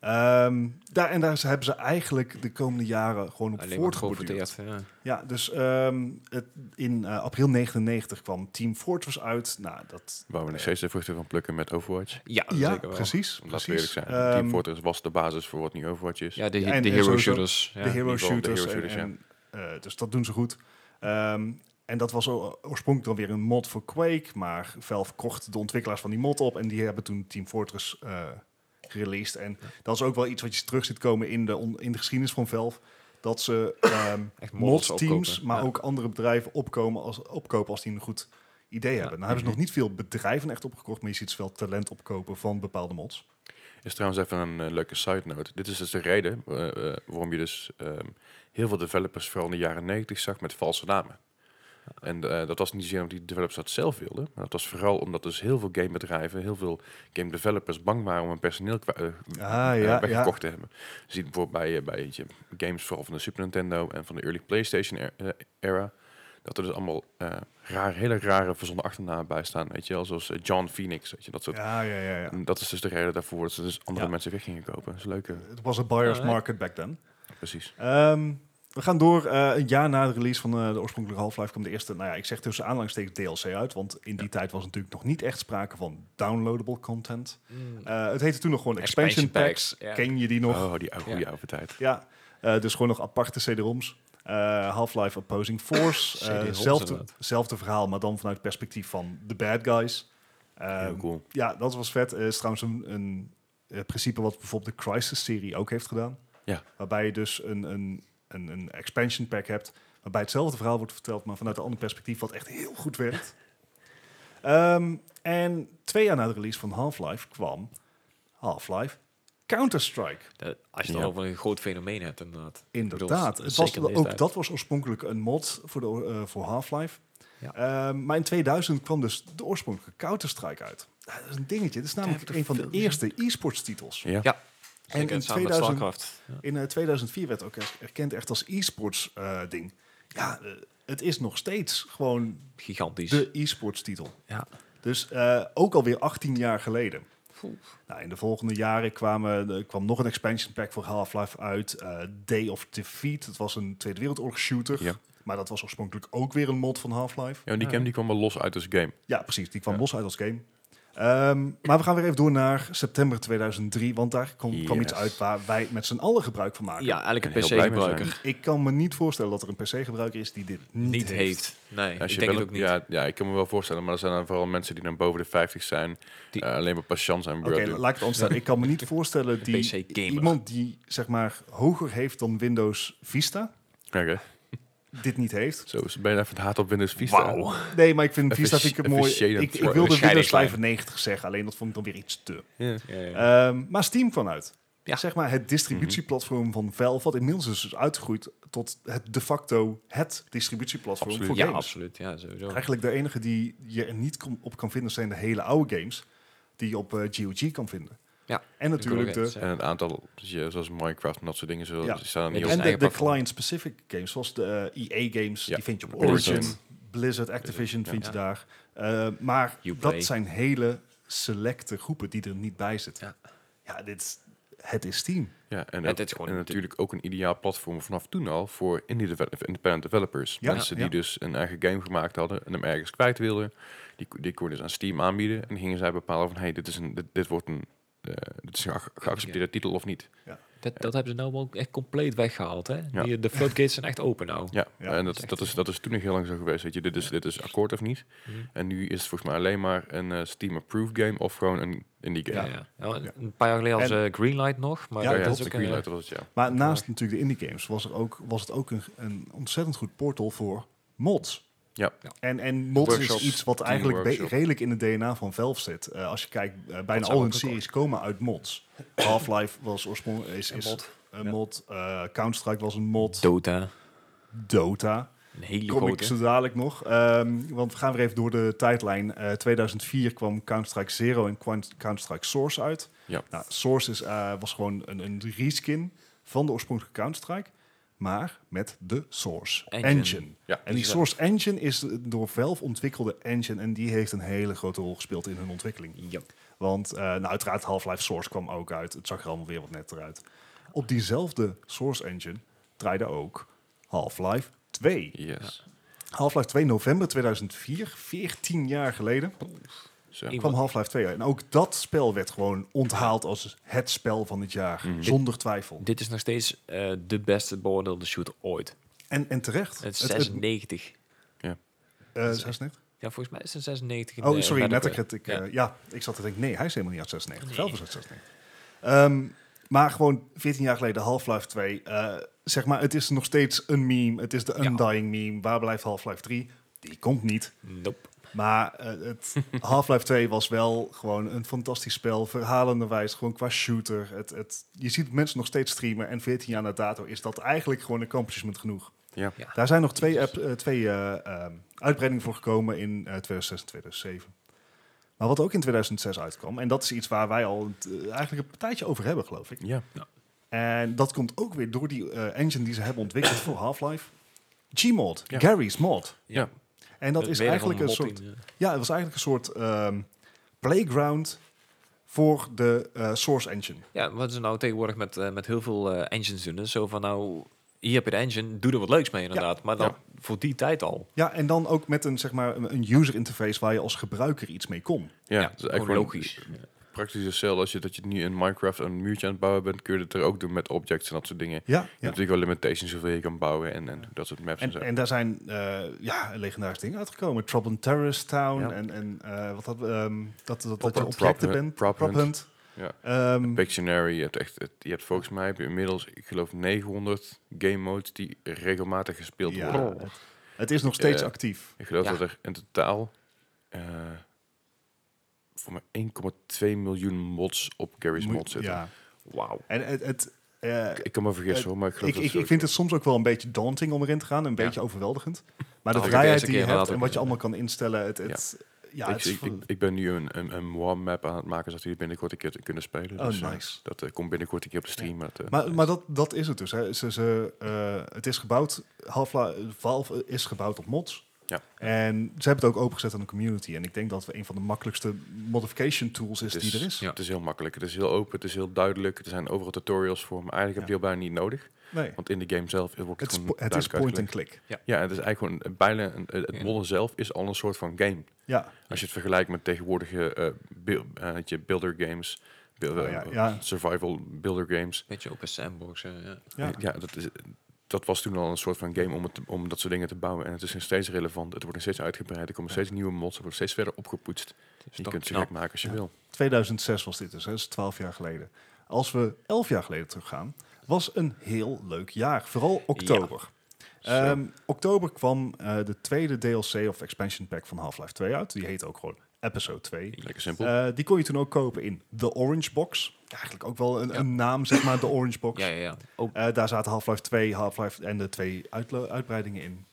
S2: Ehm, daar, en daar ze- hebben ze eigenlijk de komende jaren gewoon op
S3: Alleen maar
S2: voortgeborduurd.
S3: geprofiteerd. Ja.
S2: Ja, dus ehm, het, in eh, april 99 kwam Team Fortress uit. Nou, dat...
S1: Waar we nog steeds de vruchten van plukken met Overwatch.
S3: Ja,
S2: Ja,
S3: zeker wel.
S2: precies.
S1: Om dat
S2: precies.
S1: eerlijk te zijn.
S2: Ehm,
S1: Team Fortress was de basis voor wat nu Overwatch is.
S3: Ja, de,
S2: Ja, en-
S3: de
S2: en
S3: hero
S2: sowieso
S3: shooters. Ja.
S2: de
S1: in
S2: hero
S1: ieder geval de
S2: shooters.
S1: hero shooters,
S2: en, en, eh, dus dat doen ze goed. Ehm, en dat was o- oorspronkelijk dan weer een mod voor Quake. Maar Valve kocht de ontwikkelaars van die mod op. En die hebben toen Team Fortress eh gereleased. En dat is ook wel iets wat je terug ziet komen in de, on- in de geschiedenis van Valve. Dat ze ehm
S3: Echt mods
S2: mod-teams,
S3: opkopen,
S2: maar
S3: ja.
S2: ook andere bedrijven opkomen als, opkopen als die een goed idee
S3: Ja.
S2: hebben. Nou hebben ze nog niet veel bedrijven echt opgekocht. Maar je ziet ze wel talent opkopen van bepaalde mods.
S1: Is trouwens even een eh, leuke side note. Dit is dus de reden eh, eh, waarom je dus ehm, heel veel developers vooral in de jaren 90 zag met valse namen. En eh, dat was niet zozeer omdat die developers dat zelf wilden, maar dat was vooral omdat dus heel veel gamebedrijven, heel veel game developers bang waren om hun personeel kwa- eh,
S2: ja,
S1: eh,
S2: Ah, ja.
S1: weggekocht te hebben. Je ziet bijvoorbeeld bij, eh, bij weet je, games vooral van de Super Nintendo en van de early PlayStation er- eh, era, dat er dus allemaal eh, raar, hele rare verzonnen achternamen bij staan, weet je wel, zoals eh, John Phoenix, weet je, dat soort
S2: Ja, ja, ja. ja.
S1: en dat is dus de reden daarvoor dat ze dus andere
S2: Ja.
S1: mensen weg gingen kopen. Dat is leuk, eh,
S2: Het was een buyer's
S3: Alright.
S2: market back then.
S1: precies.
S2: Ehm, we gaan door. Eh, een jaar na de release van eh, de oorspronkelijke Half-Life kwam de eerste, nou ja, ik zeg tussen aanhalingstekens DLC uit, want in die tijd was natuurlijk nog niet echt sprake van downloadable content.
S3: Mm.
S2: Eh, het heette toen nog gewoon expansion, packs.
S3: ja.
S2: Ken je die nog?
S1: Oh, die oude, goede
S3: Ja.
S1: oude tijd.
S2: Ja, Eh, dus gewoon nog aparte CD-ROMs. Eh, Half-Life Opposing Force. Eh,
S3: CD-ROMs
S2: zelfde,
S3: inderdaad.
S2: zelfde verhaal, maar dan vanuit het perspectief van de bad guys.
S1: Heel
S2: Ehm,
S1: cool.
S2: Ja, dat was vet. Eh is trouwens een, een eh, principe wat bijvoorbeeld de Crisis-serie ook heeft gedaan.
S1: Ja.
S2: Waarbij je dus een, een, een, een expansion pack hebt, waarbij hetzelfde verhaal wordt verteld, maar vanuit een ander perspectief, wat echt heel goed werkt. Ehm, en twee jaar na de release van Half-Life kwam Half-Life Counter-Strike.
S3: Dat- Als je het
S1: Ja.
S3: over een groot fenomeen hebt, inderdaad.
S2: Inderdaad.
S3: bedoel,
S2: het was,
S3: zeker in deze
S2: ook
S3: tijd.
S2: dat was oorspronkelijk een mod voor, de, o- eh, voor Half-Life.
S3: Ja.
S2: Ehm, maar in 2000 kwam dus de oorspronkelijke Counter-Strike uit. Ja, dat is een dingetje. Dat is namelijk een van de eerste e-sports titels.
S1: Ja.
S3: Ja.
S2: En
S3: Zeker
S2: in
S3: samen
S2: 2000
S3: met Starcraft. Ja.
S2: In eh, 2004 werd ook er- erkend echt als e-sports eh, ding. Ja, eh, het is nog steeds gewoon
S3: Gigantisch.
S2: de e-sports titel.
S3: Ja.
S2: Dus eh, ook alweer 18 jaar geleden.
S3: Oeh.
S2: Nou, in de volgende jaren kwamen, er kwam nog een expansion pack voor Half-Life uit. eh, Day of Defeat. Dat was een Tweede Wereldoorlog shooter.
S1: Ja.
S2: Maar dat was oorspronkelijk ook weer een mod van Half-Life.
S1: Ja, want die game die kwam wel los uit als game.
S2: Ja, precies. Die kwam
S1: Ja.
S2: los uit als game. Ehm, maar we gaan weer even door naar september 2003. Want daar kwam, kwam iets
S1: Yes.
S2: uit waar wij met z'n allen gebruik van maken.
S3: ja, eigenlijk een
S1: Ik ben heel blij mee
S3: PC-gebruiker
S2: Ik kan me niet voorstellen dat er een PC-gebruiker is die dit niet,
S3: niet
S2: heeft.
S3: heeft. Nee,
S1: Als
S3: ik
S1: je
S3: denk
S1: wel-
S3: het ook niet.
S1: Ja, ja, ik kan me wel voorstellen, maar er zijn dan vooral mensen die dan boven de 50 zijn,
S3: Die-
S1: eh, alleen maar patiënt zijn.
S2: Oké, laat ik het anders stellen. Ik kan me niet voorstellen die
S3: PC gamer.
S2: iemand die zeg maar hoger heeft dan Windows Vista, dit niet heeft.
S1: Zo is het bijna even het haat op Windows Vista.
S2: Nee, maar ik vind
S1: Even
S2: Vista
S1: sh-
S2: vind ik het
S1: even
S2: mooi.
S1: shaden
S2: Ik, ik
S1: voor-
S2: wilde
S3: scheiding
S2: Windows
S3: klein.
S2: 95 zeggen, alleen dat vond ik dan weer iets te.
S1: Ja.
S3: Ja, ja.
S2: Ehm, maar Steam kwam uit.
S3: Ja. Mhm.
S2: Zeg maar het distributieplatform van Valve, wat inmiddels is dus uitgegroeid tot het de facto het distributieplatform
S1: Absoluut.
S2: voor
S3: ja,
S2: games.
S3: absoluut. Ja, sowieso.
S2: Eigenlijk de enige die je er niet kom- op kan vinden zijn de hele oude games die je op eh, GOG kan vinden.
S3: Ja,
S2: en natuurlijk de,
S1: En een aantal, dus je- zoals Minecraft en dat soort dingen, zullen,
S2: Ja.
S1: die staan er
S3: Ja,
S1: niet
S3: die
S1: op.
S2: en
S3: zijn
S2: de, de
S3: eigen platform.
S2: client-specific games, zoals de eh, EA-games,
S1: Ja.
S2: die vind je op
S1: Origin.
S2: Origin, Blizzard, Activision
S1: ja.
S2: vind je
S3: Ja.
S2: daar. Eh, maar
S3: Uplay.
S2: dat zijn hele selecte groepen die er niet bij zitten.
S3: Ja.
S2: Ja, dit is, het is Steam.
S1: Ja, en,
S3: Het
S1: ook-
S3: is gewoon-
S1: en natuurlijk ook een ideaal platform vanaf toen al voor indie deve- independent developers.
S2: Ja,
S1: Mensen
S2: ja.
S1: die dus een eigen game gemaakt hadden en hem ergens kwijt wilden. Die, ko- die konden ze aan Steam aanbieden en gingen zij bepalen van hey, dit, is een, dit, dit wordt een, eh, dit is een ge- geaccepteerde titel of niet.
S3: Dat, dat hebben ze nou ook echt compleet weggehaald. Hè?
S1: Ja.
S3: Die, de floodgates zijn echt open nou.
S1: Ja,
S2: Ja,
S1: en
S3: dat
S1: dat,
S3: is echt
S1: dat, is, dat is toen nog heel lang zo geweest. Weet je, dit is, dit is akkoord of niet.
S3: Mhm.
S1: En nu is het volgens mij alleen maar een eh, Steam-approved game of gewoon een indie
S3: Ja.
S1: game.
S3: ja. Nou,
S2: Ja.
S3: Een paar jaar geleden hadden ze Greenlight nog, maar
S2: Ja,
S3: dat
S2: ja,
S3: is
S1: de
S3: ook eh, een,
S1: Greenlight was het, ja.
S2: Maar naast natuurlijk de indie games was, er ook, was het ook een, een ontzettend goed portal voor mods.
S1: Ja.
S3: Ja.
S2: En, en mods
S1: Workshops,
S2: is iets wat
S1: Steam
S2: eigenlijk be-
S1: workshop.
S2: redelijk in het DNA van Valve zit. Eh, als je kijkt, eh, bijna
S3: zou
S2: al hun
S3: ook
S2: series komen uit mods. Half-Life was oorspronkelijk is,
S3: een
S2: is
S3: mod.
S2: een
S3: Ja.
S2: mod. eh, Counter-Strike was een mod.
S3: Dota.
S2: Dota.
S3: Een hele
S2: Kom ik
S3: grote.
S2: zo dadelijk nog. Ehm, want we gaan weer even door de tijdlijn. Eh, 2004 kwam Counter-Strike Zero en Quan- Counter-Strike Source uit.
S1: Ja.
S2: Nou, Source is, eh, was gewoon een, een reskin van de oorspronkelijke Counter-Strike. Maar met de Source
S3: Engine.
S2: Engine.
S1: Ja.
S2: En die
S3: Ja.
S2: Source Engine is de door Valve ontwikkelde engine. En die heeft een hele grote rol gespeeld in hun ontwikkeling.
S3: Ja.
S2: Want eh, nou, uiteraard Half-Life Source kwam ook uit. Het zag er allemaal weer wat netter uit. Op diezelfde Source Engine draaide ook Half-Life 2.
S1: Yes.
S2: Half-Life 2 november 2004, 14 jaar geleden,
S1: Zo.
S3: Ik-
S2: kwam Half-Life 2 uit. En ook dat spel werd gewoon onthaald als het spel van het jaar,
S1: Mhm.
S2: zonder twijfel.
S3: Mm. Dit is nog steeds eh, de beste beoordeelde shooter ooit.
S2: En, en terecht.
S3: Het is
S2: Het- het-
S3: 96.
S2: eh, 96?
S3: ja, volgens mij is het 96. in
S2: Oh,
S3: de
S2: sorry,
S3: Metacritic.
S2: Metacritic. eh,
S3: Ja.
S2: Ja. ik zat te denken, nee, hij is helemaal niet uit 96.
S3: Nee.
S2: Zelf is uit 96. Ehm, maar gewoon 14 jaar geleden Half-Life 2. eh, zeg maar, het is nog steeds een meme. Het is de
S3: Ja.
S2: undying meme. Waar blijft Half-Life 3? Die komt niet.
S3: Nope.
S2: Maar eh, het Half-Life 2 was wel gewoon een fantastisch spel. Verhalenderwijs, gewoon qua shooter. Het, het, je ziet mensen nog steeds streamen. En 14 jaar na dato is dat eigenlijk gewoon een accomplishment genoeg.
S1: Ja.
S3: Ja.
S2: Daar zijn nog twee, app- eh, twee eh, ehm, uitbreidingen voor gekomen in eh, 2006 en 2007. Maar wat ook in 2006 uitkwam, en dat is iets waar wij al een t- eh, eigenlijk een partijtje over hebben, geloof ik.
S1: Ja.
S2: En dat komt ook weer door die eh, engine die ze hebben ontwikkeld voor Half-Life. Gmod,
S1: Ja.
S2: Gary's Mod.
S1: Ja.
S2: En dat
S3: Het
S2: is
S3: weder
S2: eigenlijk een
S3: mod
S2: soort
S3: in, eh,
S2: ja, het was eigenlijk een soort ehm, playground voor de eh, Source Engine.
S3: Ja, wat ze nou tegenwoordig met, eh, met heel veel eh, engines doen. is Zo van nou, hier heb je de engine, doe er wat leuks mee inderdaad. Maar dan voor die tijd al.
S2: Ja, en dan ook met een, zeg maar, een een user interface waar je als gebruiker iets mee kon.
S1: Ja,
S3: Ja,
S1: het is eigenlijk
S3: gewoon
S1: gewoon
S3: logisch.
S1: Praktisch hetzelfde als je, dat je nu in Minecraft een muurtje aan het bouwen bent, kun je het er ook doen met objects en dat soort dingen.
S2: Ja,
S1: Je
S2: ja.
S1: hebt natuurlijk wel limitations hoeveel je kan bouwen en, en dat soort maps en,
S2: En,
S1: zo.
S2: en daar zijn eh, ja, legendarische dingen uitgekomen. Trouble in Terrorist Town
S1: Ja.
S2: en, en eh, wat dat, ehm, dat, dat, dat je
S1: Prop-
S2: objecten
S1: Prop-
S2: bent.
S1: Prop
S2: Hunt.
S1: Ja.
S2: Ehm,
S1: Pictionary, je hebt, echt, het- je hebt volgens mij heb je inmiddels, ik geloof, 900 game modes die regelmatig gespeeld
S2: Ja.
S1: worden.
S3: Brrr.
S2: het is nog steeds
S1: Eh,
S2: actief.
S1: Ik geloof
S3: Ja.
S1: dat er in totaal eh, voor maar 1,2 miljoen mods op Gary's
S2: Moet-
S1: Mod zitten.
S2: Ja.
S3: Wauw.
S2: En het, het, eh,
S1: Ik kan me vergissen hoor, maar ik geloof
S2: ik,
S1: dat Oh,
S2: ik,
S1: zo-
S2: ik vind het soms ook wel een beetje daunting om erin te gaan. Een
S3: Ja.
S2: beetje overweldigend. Maar de
S3: Had ik de
S2: vrijheid
S3: eerste
S2: die je
S3: keer
S2: hebt
S3: wel
S2: en
S3: ook,
S2: wat je
S3: eh,
S2: allemaal kan instellen. Het, het,
S1: Ik-
S2: ja. het is
S1: ik, ik, ik ben nu een, een, een warm map aan het maken, zodat jullie binnenkort een keer te kunnen spelen.
S2: Oh,
S1: Dus, eh,
S2: nice.
S1: dat eh, komt binnenkort een keer op de stream. Maar, dat, eh,
S2: Maar, maar dat, dat is het dus. Hè. Ze, ze, eh, het is gebouwd, Half-Life Valve is gebouwd op mods.
S1: Ja.
S2: En ze hebben het ook opengezet aan de community. En ik denk dat we een van de makkelijkste modification tools is
S1: het
S2: die er is.
S3: ja.
S1: eh, Het is heel makkelijk, het is heel open, het is heel duidelijk. Er zijn overal tutorials voor, maar eigenlijk heb je die al bijna niet nodig.
S2: Nee.
S1: Want in de game zelf wordt het
S2: Het is,
S1: gewoon
S2: po- het is
S1: duidelijk
S2: point and
S1: uitgelegd.
S2: click.
S1: Ja, het is eigenlijk gewoon een- bijna... een- eh, het
S3: Ja.
S1: modden zelf is al een soort van game.
S2: Ja,
S1: Als je het vergelijkt met tegenwoordige eh, beel- eh, weet je, builder games... beel-
S2: Oh, ja,
S1: eh,
S2: ja.
S1: Survival builder games.
S3: Beetje op een sandbox. eh, ja.
S2: ja.
S1: Ja, dat, is, dat was toen al een soort van game om, het, om dat soort dingen te bouwen. En het is nog steeds relevant. Het wordt nog steeds uitgebreid. Er komen steeds nieuwe mods. Er wordt steeds verder opgepoetst.
S3: Het is
S1: Je
S3: toch
S1: kunt ze
S3: knap.
S1: gek maken als je
S2: Ja.
S1: wil.
S2: 2006 was dit dus, hè. dat is 12 jaar geleden. Als we 11 jaar geleden teruggaan, was een heel leuk jaar. Vooral oktober. Ehm, oktober kwam eh, de tweede DLC of expansion pack van Half-Life 2 uit. Die heet ook gewoon Episode 2.
S1: Lekker simpel.
S2: Eh, die kon je toen ook kopen in The Orange Box. Eigenlijk ook wel een,
S3: Ja.
S2: een naam, zeg maar, The Orange Box.
S3: Ja, ja, ja. Ook,
S2: Eh, daar zaten Half-Life 2, Half-Life en de twee uitlo- uitbreidingen in.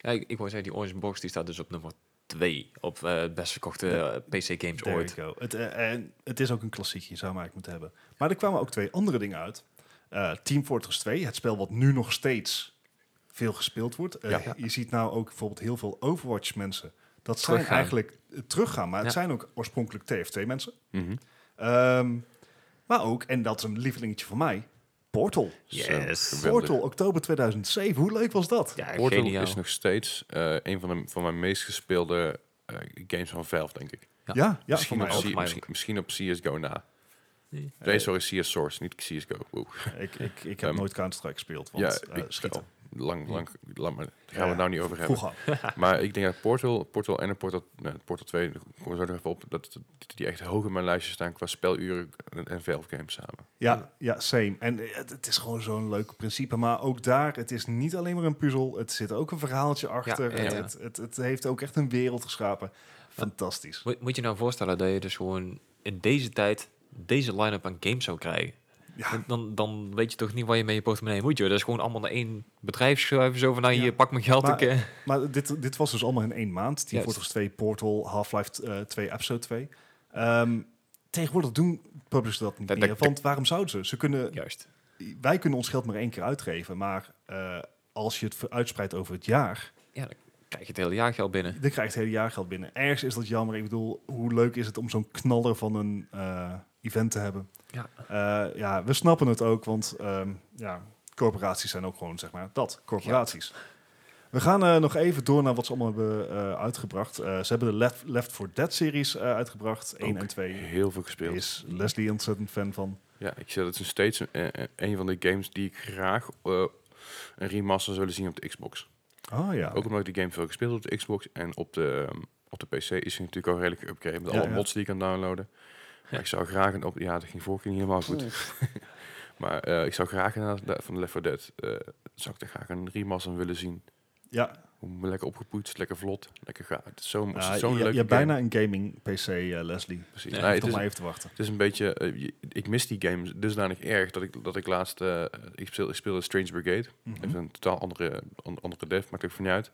S3: ja, ik, ik wou zeggen, die Orange Box die staat dus op nummer 2 op eh, het best verkochte eh, PC games
S2: There
S3: ooit.
S2: you go. Het, eh, en het is ook een klassiekje, zou maar ik moeten hebben. Maar er kwamen ook twee andere dingen uit. Eh, Team Fortress 2, het spel wat nu nog steeds veel gespeeld wordt. Eh,
S3: Ja. Ja.
S2: Je ziet nou ook bijvoorbeeld heel veel Overwatch mensen. Dat zijn
S3: Teruggaan.
S2: eigenlijk eh, teruggaan, maar het
S3: Ja.
S2: zijn ook oorspronkelijk TFT mensen.
S1: Mhm.
S2: Ehm, maar ook, en dat is een lievelingetje van mij, Portal.
S1: Zo,
S3: Yes.
S1: Dus, eh, geweldig.
S2: Portal, oktober 2007. Hoe leuk was dat?
S3: Ja,
S1: Portal
S3: geniaal.
S1: is nog steeds eh, een van, de, van mijn meest gespeelde eh, games van Valve, denk ik.
S3: Ja.
S2: ja, ja voor
S1: misschien,
S2: mij
S1: op
S3: ook.
S1: C-
S3: Voor mij
S1: misschien, misschien op CSGO na. Nee, sorry, CS Source, niet CSGO. Oeh.
S2: Ik, ik, ik heb
S1: Ehm,
S2: nooit Counter-Strike gespeeld,
S1: Ja,
S2: want eh,
S1: ik
S2: schieten.
S1: stel. Lang, lang, lang, maar daar gaan
S2: Ja.
S1: we het nou niet over hebben.
S2: Vroeger.
S1: Maar ik denk dat Portal, Portal en Portal, nee, Portal 2, daar komen we zo nog even op, dat dat die echt hoog in mijn lijstje staan qua speluren en, en Valve games samen.
S2: Ja, ja, same. En eh, het, het is gewoon zo'n leuk principe. Maar ook daar, het is niet alleen maar een puzzel. Het zit ook een verhaaltje achter.
S3: ja,
S2: Het,
S3: ja.
S2: het, het, het heeft ook echt een wereld geschapen. Fantastisch.
S3: Moet, moet je nou voorstellen dat je dus gewoon in deze tijd deze line-up aan games zou krijgen?
S2: Ja,
S3: Dan, dan, dan weet je toch niet waar je mee je portemonnee moet, joh. Dat is gewoon allemaal naar één bedrijf schuiven, zo van, nou,
S2: Ja.
S3: hier, pak mijn geld.
S2: Maar-
S3: ik, eh.
S2: maar dit, dit was dus allemaal in één maand. Team
S3: Juist.
S2: Fortress 2, Portal, Half-Life eh, 2, Episode 2. Ehm, tegenwoordig doen publishers dat niet
S3: Dat-
S2: meer.
S3: dat-
S2: Want waarom zouden ze? ze kunnen,
S3: Juist.
S2: wij kunnen ons geld maar één keer uitgeven. Maar eh, als je het ver- uitspreidt over het jaar...
S3: Ja, dan krijg je het hele jaar geld binnen.
S2: Dan krijgt het hele jaar geld binnen. Ergens is dat jammer. Ik bedoel, hoe leuk is het om zo'n knaller van een eh, event te hebben?
S3: Ja.
S2: Eh, ja, we snappen het ook, want ehm, ja, corporaties zijn ook gewoon, zeg maar, dat, corporaties. We gaan eh, nog even door naar wat ze allemaal hebben eh, uitgebracht. Eh, ze hebben de Left, Left 4 Dead-series eh, uitgebracht, 1
S1: Ook
S2: en 2.
S1: Heel veel gespeeld.
S2: Daar is Leslie ontzettend fan van.
S1: Ja, ik zeg dat is nog steeds een, een- een van de games die ik graag eh, een remaster zou willen zien op de Xbox.
S2: Oh ja.
S1: Ook omdat ik die game veel gespeeld heb op de Xbox en op de, ehm, op de PC is hij natuurlijk al redelijk geüpgrade met
S2: Ja,
S1: alle
S2: ja.
S1: mods die ik kan downloaden. Maar ik zou graag een op, ja, dat ging vorige keer niet helemaal goed. maar eh, ik zou graag inderdaad da- van Left 4 Dead eh, zou ik daar graag een remaster willen zien.
S2: ja,
S1: Hoe Lekker opgepoetst, lekker vlot, lekker gaaf. Het is zo'n
S2: Ah,
S1: zo zo'n
S2: je,
S1: leuke
S2: je hebt bijna
S1: game.
S2: een gaming-PC, eh, Leslie.
S1: Precies.
S3: Ja,
S1: Nee, het
S2: Toch
S1: is
S2: maar even te wachten.
S1: het is een beetje, eh, je- ik mis die games dusdanig erg dat ik, dat ik laatst, eh, ik, speel, ik speelde Strange Brigade.
S2: Mhm.
S1: Even een totaal andere, an- andere dev, maakt ook van niet uit.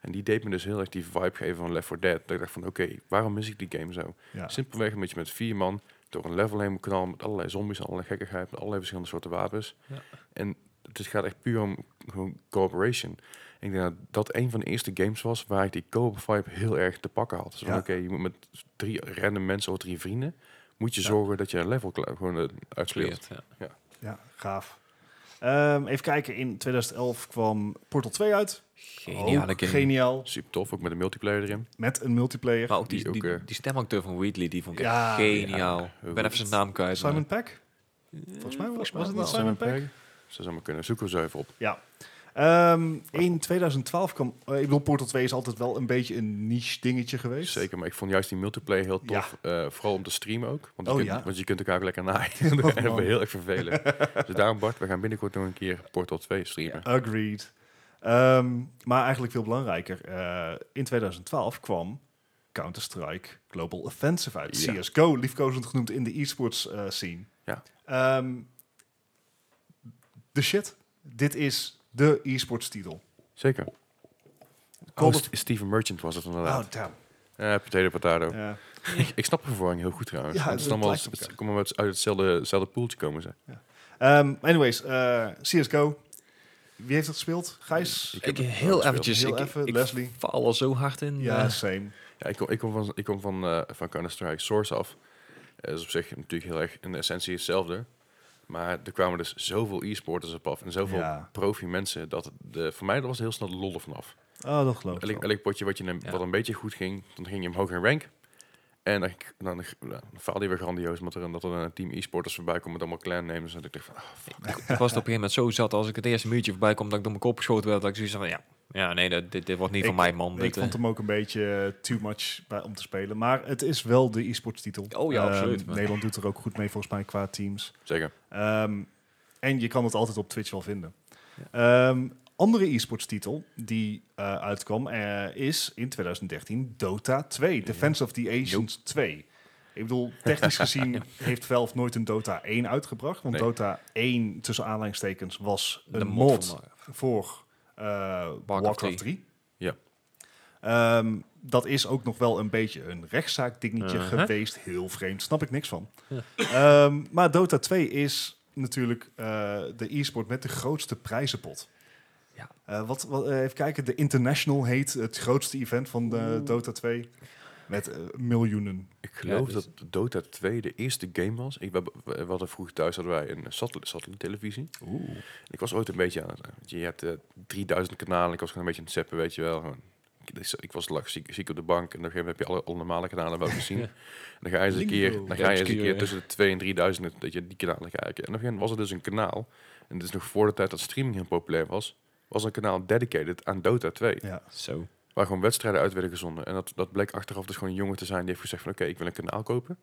S1: En die deed me dus heel erg die vibe geven van Left 4 Dead. Dat ik dacht van, oké, waarom mis ik die game zo?
S2: Ja.
S1: Simpelweg omdat je met vier man door een level heen moet knallen met allerlei zombies, allerlei gekkigheid, met allerlei verschillende soorten wapens.
S3: Ja.
S1: En het is- gaat echt puur om gewoon cooperation. En ik denk dat dat een van de eerste games was waar ik die co-op vibe heel erg te pakken had. Dus van,
S2: Ja.
S1: oké, je moet met drie random mensen of drie vrienden, moet je zorgen dat je een level kla- gewoon eh, uitspeelt.
S3: Ja.
S2: Ja, gaaf. Ehm, even kijken, in 2011 kwam Portal 2 uit.
S3: Geniale
S2: Ook
S3: game.
S2: Geniaal.
S1: Super tof, ook met een multiplayer erin.
S2: Met een multiplayer.
S3: Maar ook die,
S1: Die
S3: die,
S1: ook,
S3: die,
S1: eh,
S3: stemacteur van Wheatley, die vond ik
S2: Ja,
S3: echt geniaal.
S1: ja, heel
S3: ik ben
S1: goed.
S3: even zijn naam kwijt. maar-
S2: Simon Peck? Volgens mij was,
S3: volgens mij
S2: was het niet
S3: wel.
S2: Simon Peck.
S1: Ze zouden kunnen, zoeken we zo even op.
S2: Ja. Ehm, in 2012 kwam... eh, ik bedoel, Portal 2 is altijd wel een beetje een niche dingetje geweest.
S1: Zeker, maar ik vond juist die multiplayer heel tof. eh, vooral om te streamen ook. Want je,
S2: Oh,
S1: kunt,
S2: ja.
S1: want je kunt elkaar ook lekker naaien.
S2: Oh,
S1: dat hebben we
S2: man.
S1: heel erg vervelen. dus daarom Bart, we gaan binnenkort nog een keer Portal 2 streamen.
S2: Agreed. Ehm, maar eigenlijk veel belangrijker. eh, in 2012 kwam Counter-Strike Global Offensive uit.
S1: Ja.
S2: CSGO, liefkozend genoemd in de e-sports eh, scene.
S1: Ja.
S2: Ehm, de shit. Dit is de e-sports titel.
S1: Zeker.
S2: Call
S1: Oh,
S2: of-
S1: St- Steven Merchant was het
S2: Oh,
S1: inderdaad.
S2: damn.
S1: Eh potato, potato.
S2: Ja.
S1: ik, ik snap de verwarring heel goed trouwens.
S2: Ja,
S1: Want het is
S2: het
S1: allemaal
S2: lijkt op
S1: het
S2: elkaar.
S1: komen uit uit hetzelfde, hetzelfde poeltje komen ze.
S2: Ehm, anyways, eh, CSGO. Wie heeft dat gespeeld? Gijs?
S1: Ik
S3: Ik
S1: heb het
S3: heel
S1: gespeeld.
S3: eventjes,
S2: Heel
S3: ik,
S2: even,
S3: ik
S2: Leslie.
S3: faal al zo hard in.
S2: Ja,
S3: eh,
S2: same.
S1: Ja, ik kom, ik kom van, ik kom van, eh, van Counter-Strike Source af. Eh, Dat is op zich natuurlijk heel erg in de essentie hetzelfde. Maar er kwamen dus zoveel e-sporters op af en zoveel
S2: Ja.
S1: profi mensen dat het de, voor mij er was heel snel de lol er vanaf.
S2: Oh, dat geloof ik
S1: Elk,
S2: wel.
S1: elk potje wat, je een,
S3: Ja.
S1: wat een beetje goed ging, dan ging je omhoog in rank. En dan, dan, dan, faalde je weer grandioos omdat er, een- dat er een team e-sporters voorbij komt met allemaal clannemers. En ik dacht van, ah, fuck.
S3: ik, ik was er op een gegeven moment zo zat als ik het eerste muurtje voorbij kom dat ik door mijn kop geschoten werd. Dat ik zoiets van, ja, ja nee, dat, dit, dit wordt niet
S2: Ik-
S3: van mij, man.
S2: Ik
S3: Dit, eh,
S2: vond hem ook een beetje eh, too much bij, om te spelen. Maar het is wel de e-sports titel.
S3: Oh ja,
S2: Ehm,
S3: absoluut, maar-
S2: Nederland doet er ook goed mee volgens mij qua teams.
S1: Zeker.
S2: Ehm, en je kan het altijd op Twitch wel vinden. Ehm, andere e-sports titel die eh, uitkwam eh, is in 2013 Dota 2, Defense of the Ancients 2. Ik bedoel, technisch gezien heeft Valve nooit een Dota 1 uitgebracht. Want
S1: Nee.
S2: Dota 1, tussen aanleidingstekens, was een
S3: de
S2: mod,
S3: mod van, eh,
S2: voor eh, Warcraft 3.
S3: 3.
S1: Ja.
S2: Ehm, dat is ook nog wel een beetje een rechtszaak dingetje
S3: Uh-huh.
S2: geweest. Heel vreemd, snap ik niks van.
S3: Ja.
S2: Ehm, maar Dota 2 is natuurlijk eh, de e-sport met de grootste prijzenpot.
S3: Ja.
S2: Eh, wat, wat, eh, even kijken, de International heet het grootste event van de
S3: Oeh.
S2: Dota 2. Met eh, miljoenen.
S1: Ik geloof
S3: Ja, dus-
S1: dat Dota 2 de eerste game was. Ik, we, we hadden vroeg thuis hadden wij een satelliet, satelliettelevisie. Ik was ooit een beetje aan het... weet Je, je hebt eh, 3000 kanalen. Ik was gewoon een beetje aan het zappen, weet je wel. Gewoon, ik, ik was lag ziek, ziek op de bank. En op een gegeven moment heb je alle, alle normale kanalen wel gezien. En dan ga je eens een keer,
S2: Lingo.
S1: dan ga je eens een
S3: Obscure,
S1: keer
S3: hè?
S1: tussen de 2 en 3000 dat je die kanalen kijken. En op een gegeven moment was er dus een kanaal. En dit is nog voor de tijd dat streaming heel populair was. Was een kanaal dedicated aan Dota 2.
S2: Ja.
S3: Zo.
S1: Waar gewoon wedstrijden uit werden gezonden. En dat, dat bleek achteraf dus gewoon een jongen te zijn die heeft gezegd van... oké, ik wil een kanaal kopen.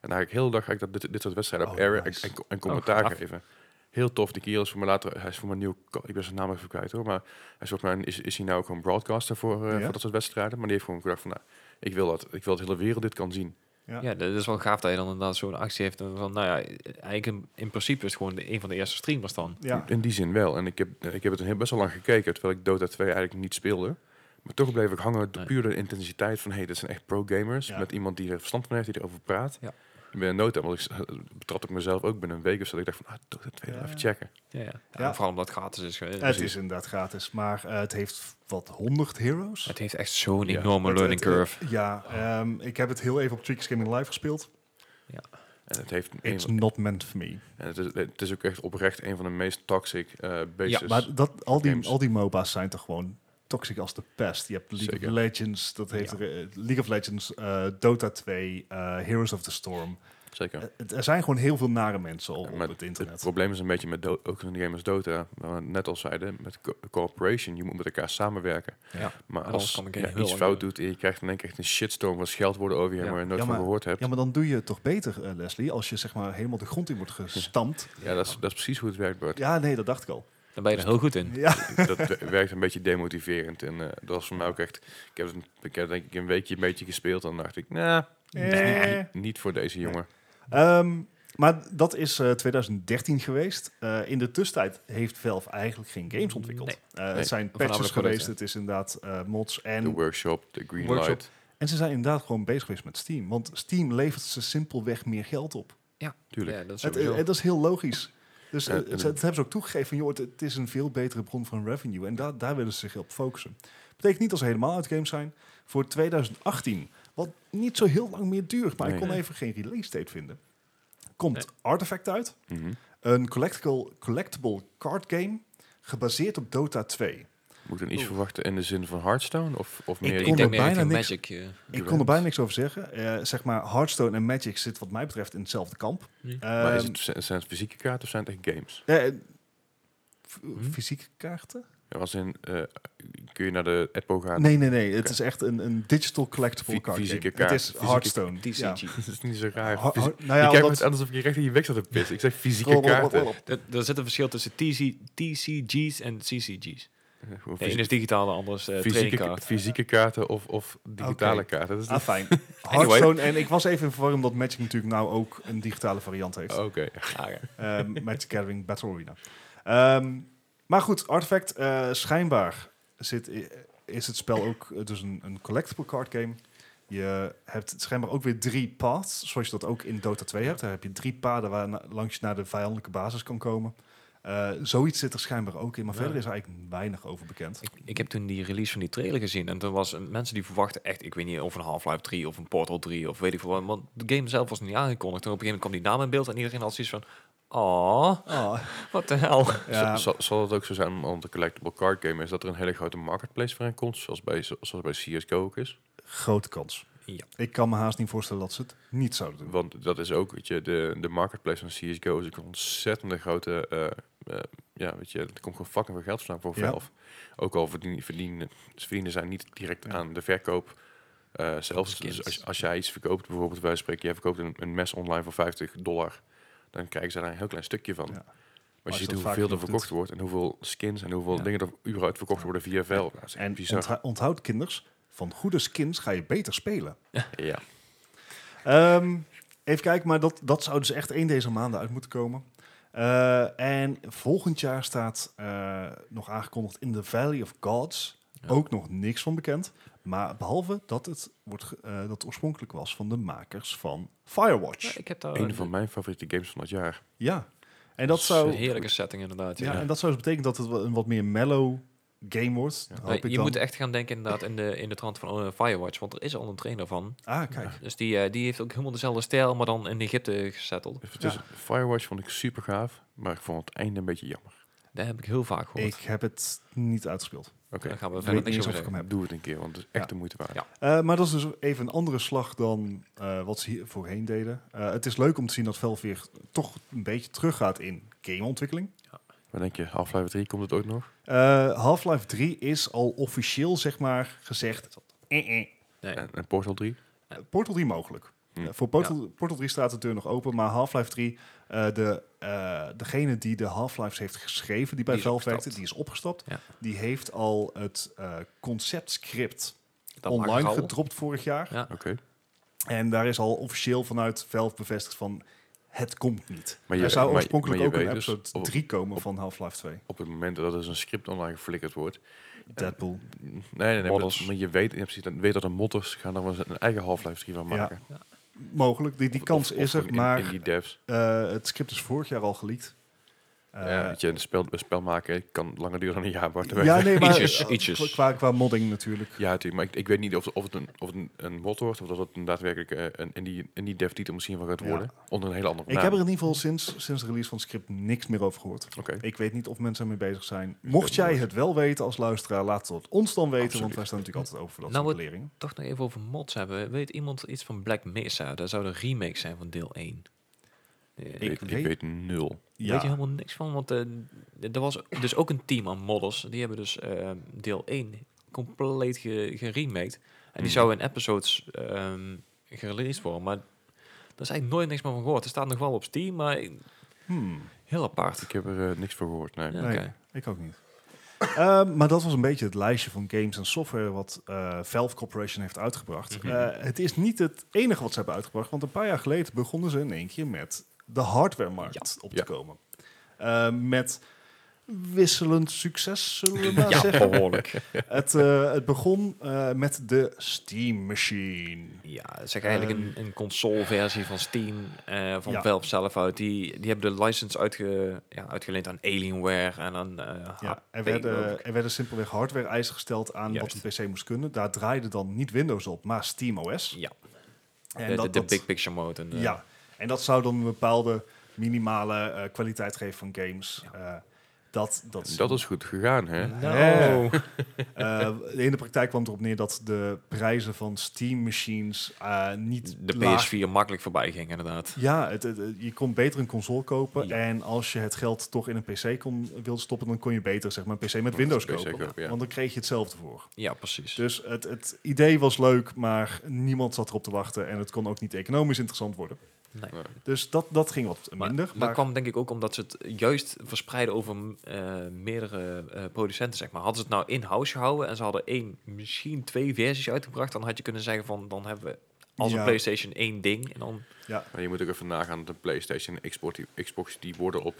S1: En dan ga ik heel de dag ga ik dat, dit, dit soort wedstrijden op
S2: Oh,
S1: air
S2: nice.
S1: en, en, en commentaar
S3: gaaf.
S1: geven. Heel tof. Die kerel is voor me later... Hij is voor mijn nieuw... Ik ben zijn naam even kwijt hoor. Maar hij is, voor mij, is, is hij nou ook gewoon broadcaster voor, eh,
S2: Ja?
S1: voor dat soort wedstrijden. Maar die heeft gewoon gedacht van... Nou, ik wil dat. Ik wil dat de hele wereld dit kan zien.
S2: Ja.
S3: Ja. dat is wel gaaf dat je dan inderdaad zo'n actie heeft. En van, nou ja, eigenlijk in, in principe is het gewoon de, een van de eerste streamers dan.
S2: Ja.
S1: In die zin wel. En ik heb, ik heb het heel- best wel lang gekeken, terwijl ik Dota 2 eigenlijk niet speelde. Maar toch bleef ik hangen door
S3: Nee.
S1: puur de intensiteit van... hé, hey, dit zijn echt pro-gamers.
S2: Ja.
S1: Met iemand die er verstand van heeft, die erover praat.
S3: Ja.
S1: Ik ben in nood aan, want ik s- betrad ik mezelf ook binnen een week of zo. dat Ik dacht van, ah, Dota 2,
S2: Ja.
S1: even checken.
S3: Ja, ja.
S2: Ja.
S3: En Vooral omdat het gratis is. eh,
S2: Het
S3: precies.
S2: is inderdaad gratis, maar eh, het heeft wat 100 heroes.
S3: Het heeft echt zo'n
S1: Ja.
S3: enorme
S2: Het-
S3: learning
S2: het-
S3: curve.
S2: Ja, ehm, ik heb het heel even op Trick Gaming Live gespeeld.
S1: En het, heeft een,
S2: It's not meant for me.
S1: en het, is, het is ook echt oprecht een van de meest toxic eh bases.
S3: Ja,
S2: Maar dat, al,
S1: games.
S2: die, al die MOBA's zijn toch gewoon toxic als de pest. Je hebt League
S1: Zeker.
S2: of Legends, dat heeft
S3: Ja.
S2: er, eh, League of Legends, eh, Dota 2, eh, Heroes of the Storm.
S1: Zeker.
S2: Eh, het- er zijn gewoon heel veel nare mensen op,
S1: Ja,
S2: op
S1: maar
S2: het
S1: Het
S2: internet.
S1: probleem is een beetje met Do- ook in de game als Dota, waar we het net al zeiden, met co- cooperation. Je moet met elkaar samenwerken.
S3: Ja.
S1: Maar als
S3: En anders kan ik
S1: je
S3: heel
S1: iets
S3: lang
S1: fout
S3: doen.
S1: doet en je krijgt in één keer echt een shitstorm van scheldwoorden over je,
S3: Ja.
S1: waar je nooit
S2: Ja,
S1: van
S2: maar-
S1: gehoord hebt.
S2: Ja, maar dan doe je het toch beter, eh, Leslie, als je zeg maar helemaal de grond in wordt gestampt.
S1: Ja, dat is, dat is precies hoe het werkt, Bart.
S2: Ja, nee, dat dacht ik al.
S3: Daar ben je er heel goed in.
S2: Ja,
S1: Dat we- werkt een beetje demotiverend. En eh, dat was voor mij ook echt... Ik heb, het een, ik heb denk ik een weekje een beetje gespeeld. En dacht ik, nou,
S2: Eh.
S1: niet voor deze jongen.
S2: Ehm, maar dat is eh, 2013 geweest. Eh, in de tussentijd heeft Valve eigenlijk geen games ontwikkeld.
S3: Nee.
S2: Eh,
S1: Nee.
S2: Het zijn
S3: Voornamelijk
S2: patches
S3: producten.
S2: geweest, het is inderdaad eh, mods.
S1: De
S2: En,
S1: workshop, de green
S3: Workshop.
S1: light.
S2: en ze zijn inderdaad gewoon bezig geweest met Steam. Want Steam levert ze simpelweg meer geld op.
S1: Tuurlijk.
S3: Ja, dat is
S2: Het,
S3: sowieso.
S2: eh, dat is heel logisch. Dus eh,
S1: En-
S2: het, het hebben ze ook toegegeven. van, Joh, het, het is een veel betere bron van revenue. En daar daar willen ze zich op focussen. Betekent niet dat ze helemaal uit games zijn. Voor 2018, wat niet zo heel lang meer duurt. Maar ik
S1: Nee.
S2: kon even geen release date vinden. Komt Artifact uit.
S1: Mhm.
S2: Een collectible, collectible card game gebaseerd op Dota 2.
S1: Moet ik dan iets verwachten in de zin van Hearthstone? Of, of meer...
S2: kon
S3: ik
S2: er
S3: denk meer
S2: bijna
S3: richting
S2: niks-
S3: Magic. eh.
S2: Ik kon er bijna niks over zeggen. Eh, zeg maar, Hearthstone en Magic zitten wat mij betreft in hetzelfde kamp.
S3: Ja.
S1: maar is
S2: Ehm,
S1: het, zijn- zijn het fysieke kaarten of zijn het echt games?
S2: eh, f-
S3: Hm?
S2: Fysieke kaarten?
S1: Ja, als in, eh, kun je naar de Apple gaan?
S2: Nee, nee, nee. Het
S1: Oké.
S2: is echt een, een digital collectible
S1: Fy-
S2: card
S1: fysieke
S2: game.
S1: kaart.
S2: Het is
S1: Fysieke-
S2: Hearthstone.
S3: DCG.
S2: Ja.
S1: dat is niet zo raar.
S2: Ho-
S1: Fysi-
S2: ho-
S1: je
S2: nou ja,
S1: kijkt me
S2: omdat-
S1: net alsof ik je recht in je weg zat te pissen. Ik zeg fysieke
S2: Rob, Rob, Rob,
S1: kaarten.
S2: Rob.
S3: Er, er zit een verschil tussen TC, TCG's en CCG's.
S1: Eh, gewoon
S3: De
S1: fysi-
S3: ene is digitaal, de andere is dus, eh
S1: fysieke,
S3: tradingkaart.
S1: fysieke kaarten of, of digitale kaarten. Dat is
S2: Ah,
S1: niet-
S2: fijn. Hearthstone. En ik was even in verwarring dat Magic natuurlijk nou ook een digitale variant heeft.
S1: Oké.
S3: Ah, ja.
S2: Ehm, met de Gathering Battle Arena. Ehm, maar goed, Artifact, eh, schijnbaar zit, i- is het spel ook eh, dus een, een collectible card game. Je hebt schijnbaar ook weer drie paths, zoals je dat ook in Dota 2 hebt. Daar heb je drie paden waar na- langs je naar de vijandelijke basis kan komen. Eh, zoiets zit er schijnbaar ook in, maar
S3: Ja.
S2: verder is er eigenlijk weinig over bekend.
S3: Ik, ik heb toen die release van die trailer gezien. En toen was eh, mensen die verwachten echt, ik weet niet, of een Half-Life 3 of een Portal 3 of weet ik veel wat. Want de game zelf was niet aangekondigd. En op een gegeven moment kwam die naam in beeld en iedereen had zoiets van, ah, wat de hel.
S2: Ja,
S1: Z- Zal, zal het ook zo zijn, omdat de collectible card game is, dat er een hele grote marketplace voor aankomt, zoals bij, zoals bij CSGO ook is?
S2: grote kans.
S3: Ja.
S2: Ik kan me haast niet voorstellen dat ze het niet zouden doen.
S1: Want dat is ook, weet je, de, de marketplace van CSGO is een ontzettende grote, eh, eh, ja, weet je, er komt gewoon fucking veel geld vandaan voor
S2: Ja.
S1: Valve. Ook al verdienen, verdienen, ze verdienen zij niet direct
S2: Ja.
S1: aan de verkoop. eh zelfs
S3: skins.
S1: dus als, als jij iets verkoopt, bijvoorbeeld wij spreken, jij verkoopt een, een mes online voor 50 dollar, dan krijgen ze daar een heel klein stukje van.
S2: Ja.
S1: Maar Als je
S2: je
S1: ziet
S2: dat vaak
S1: hoeveel er
S2: genoeg
S1: verkocht wordt en hoeveel skins en hoeveel
S3: Ja.
S1: dingen er überhaupt verkocht worden via VL. Dat is echt
S2: En
S1: bizar.
S2: ontha- onthoud kinders, van goede skins ga je beter spelen.
S1: Ja.
S2: Ehm, even kijken, maar dat, dat zou dus echt één deze maanden uit moeten komen. Eh, en volgend jaar staat eh, nog aangekondigd in The Valley of Gods.
S3: Ja.
S2: Ook nog niks van bekend. Maar behalve dat het wordt, ge- eh, dat het oorspronkelijk was van de makers van Firewatch.
S3: ik heb daar
S1: Een van mijn favoriete games van het jaar.
S2: Ja, en dat
S1: is
S3: Een
S2: zou,
S3: heerlijke setting inderdaad. Ja.
S2: ja, en dat zou dus betekenen dat het wel een wat meer mellow game wordt.
S1: Ja.
S2: Hoop
S3: Nee,
S2: ik
S3: je
S2: dan.
S3: moet echt gaan denken inderdaad in de, in de trant van eh, Firewatch, want er is al een trainer van.
S2: Ah, kijk.
S3: Dus die, eh, die heeft ook helemaal dezelfde stijl, maar dan in Egypte gezetteld.
S1: Even tussen- Firewatch vond ik super gaaf, maar ik vond het einde een beetje jammer.
S3: Daar heb ik heel vaak gehoord.
S2: Ik heb het niet uitgespeeld.
S1: Oké,
S3: Daar gaan we
S2: Ik
S3: verder
S2: weet niet
S3: niks
S2: eens
S3: over
S2: of ik hem
S3: zeggen.
S2: heb.
S1: doe het een keer, want het is echt
S2: Ja.
S1: de moeite waard.
S3: Ja.
S2: Eh, maar dat is dus even een andere slag dan eh, wat ze hier voorheen deden. Eh, het is leuk om te zien dat Velveer toch een beetje teruggaat in gameontwikkeling.
S1: Wat denk je, Half-Life 3, komt het ooit nog?
S2: Eh, Half-Life 3 is al officieel, zeg maar, gezegd... eh, eh.
S3: Nee.
S1: En, en Portal 3?
S2: Portal 3 mogelijk.
S1: Hm.
S2: Eh, voor Portal, Portal 3 staat de deur nog open, maar Half-Life 3... eh, de, eh, degene die de Half-Lives heeft geschreven, die bij
S3: Die is
S2: Valve werkte,
S3: opgestapt.
S2: die is opgestapt.
S3: Ja.
S2: Die heeft al het eh, conceptscript
S3: Dat mag
S2: online
S3: al.
S2: gedropt vorig jaar.
S3: Ja.
S1: Oké.
S2: En daar is al officieel vanuit Valve bevestigd van het komt niet.
S1: Maar je-
S2: er zou
S1: maar-
S2: oorspronkelijk
S1: maar je
S2: ook een
S1: weet dus
S2: episode
S1: op-
S2: 3 komen
S1: op-
S2: van Half-Life 2.
S1: Op het moment dat er een script online geflikkerd wordt.
S2: Deadpool.
S1: Nee, nee, nee.
S3: Modders.
S1: Maar, maar je weet in principe weet dat er modders gaan dan wel eens een eigen Half-Life 3 van
S2: Ja,
S1: maken.
S2: Mogelijk, die, die
S1: Of-
S2: kans
S1: of- of
S2: is er,
S1: gewoon in-
S2: maar
S1: In, die devs.
S2: eh, het script is vorig jaar al geleakt. Eh,
S1: ja, weet je, een spel, een spel maken kan langer duren dan een jaar. Maar
S2: ja, nee, maar
S3: Ietsjes,
S2: eh,
S3: ietsjes.
S2: Qua, qua modding natuurlijk.
S1: Ja, natuurlijk. Maar ik, ik weet niet of, of het, een, of het een, een mod wordt. Of dat het een daadwerkelijk eh, een, in die, in die dev titel misschien wel gaat
S2: Ja.
S1: worden. Onder een hele andere
S2: Ik
S1: naam.
S2: heb er in ieder geval sinds, sinds de release van het script niks meer over gehoord.
S1: Oké.
S2: Ik weet niet of mensen ermee bezig zijn.
S1: Ik
S2: Mocht
S1: weet
S2: jij
S1: nooit.
S2: het wel weten als luisteraar, laat het ons dan weten. Want
S1: Absoluut.
S2: wij staan natuurlijk altijd over voor dat
S3: Nou,
S2: soort
S3: het-
S2: leringen.
S3: Toch nog even over mods hebben. Weet iemand iets van Black Mesa? Daar zou de remake zijn van deel 1.
S1: Ik, weet- ik
S2: weet-
S1: weet nul.
S3: Daar weet je helemaal niks van, want eh, d- er was dus ook een team aan modders. Die hebben dus eh, deel 1 compleet ge- geremaked. En
S2: Hmm.
S3: die
S1: Mhm.
S3: zou in episodes ehm gereleased worden, maar daar is eigenlijk nooit niks meer van gehoord. Er staat nog wel op Steam, maar ik-
S2: Hmm.
S3: heel apart.
S1: Ik heb er eh, niks voor gehoord. Nee.
S3: Ja.
S2: Nee,
S3: Oké.
S2: ik ook niet. Ehm, maar dat was een beetje het lijstje van games en software wat eh, Valve Corporation heeft uitgebracht.
S1: Mhm.
S2: Eh, het is niet het enige wat ze hebben uitgebracht, want een paar jaar geleden begonnen ze in één keer met de hardwaremarkt op te
S1: Ja.
S2: komen. Eh, met wisselend succes, zullen we maar
S3: Ja,
S2: zeggen.
S3: behoorlijk.
S2: Het, eh, het begon eh, met de Steam Machine.
S3: Ja, het is eigenlijk een, een console-versie van Steam, eh, van
S2: Ehm. Ja.
S3: Valve zelf uit. Die, die hebben de license uitge, ja, uitgeleend aan Alienware en aan... eh,
S2: Ja, er,
S3: HP,
S2: werden,
S3: geloof ik.
S2: er werden simpelweg hardware-eisen gesteld aan
S3: Juist.
S2: wat een PC moest kunnen. Daar draaide dan niet Windows op, maar Steam OS.
S3: Ja,
S2: En
S3: de, de, de big picture mode. En, eh,
S2: Ja, en dat zou dan een bepaalde minimale eh, kwaliteit geven van games. Eh, dat, dat,
S1: Dat is goed gegaan, hè?
S3: Nou.
S2: eh, in de praktijk kwam het erop neer dat de prijzen van Steam machines eh, niet
S3: de
S2: laag-
S3: PS4 makkelijk voorbij ging, inderdaad.
S2: Ja, het, het- het- je kon beter een console kopen.
S3: Ja.
S2: En als je het geld toch in een PC kon, wilde stoppen, dan kon je beter zeg maar, een PC met Windows
S1: PC
S2: kopen.
S1: kopen, ja.
S2: Want dan kreeg je hetzelfde voor.
S3: Ja, precies.
S2: Dus het, het idee was leuk, maar niemand zat erop te wachten. En het kon ook niet economisch interessant worden.
S3: Nee.
S1: Nee.
S2: Dus dat, dat ging wat
S3: Maar,
S2: minder.
S3: dat kwam denk ik ook omdat ze het juist verspreiden over eh, meerdere eh, producenten, zeg maar. Hadden ze het nou in-house gehouden en ze hadden één, misschien twee versies uitgebracht, dan had je kunnen zeggen van, dan hebben we als
S2: Ja.
S3: een PlayStation één ding. En dan,
S1: Maar je moet ook even nagaan dat een PlayStation en Xbox, die, Xbox die worden op,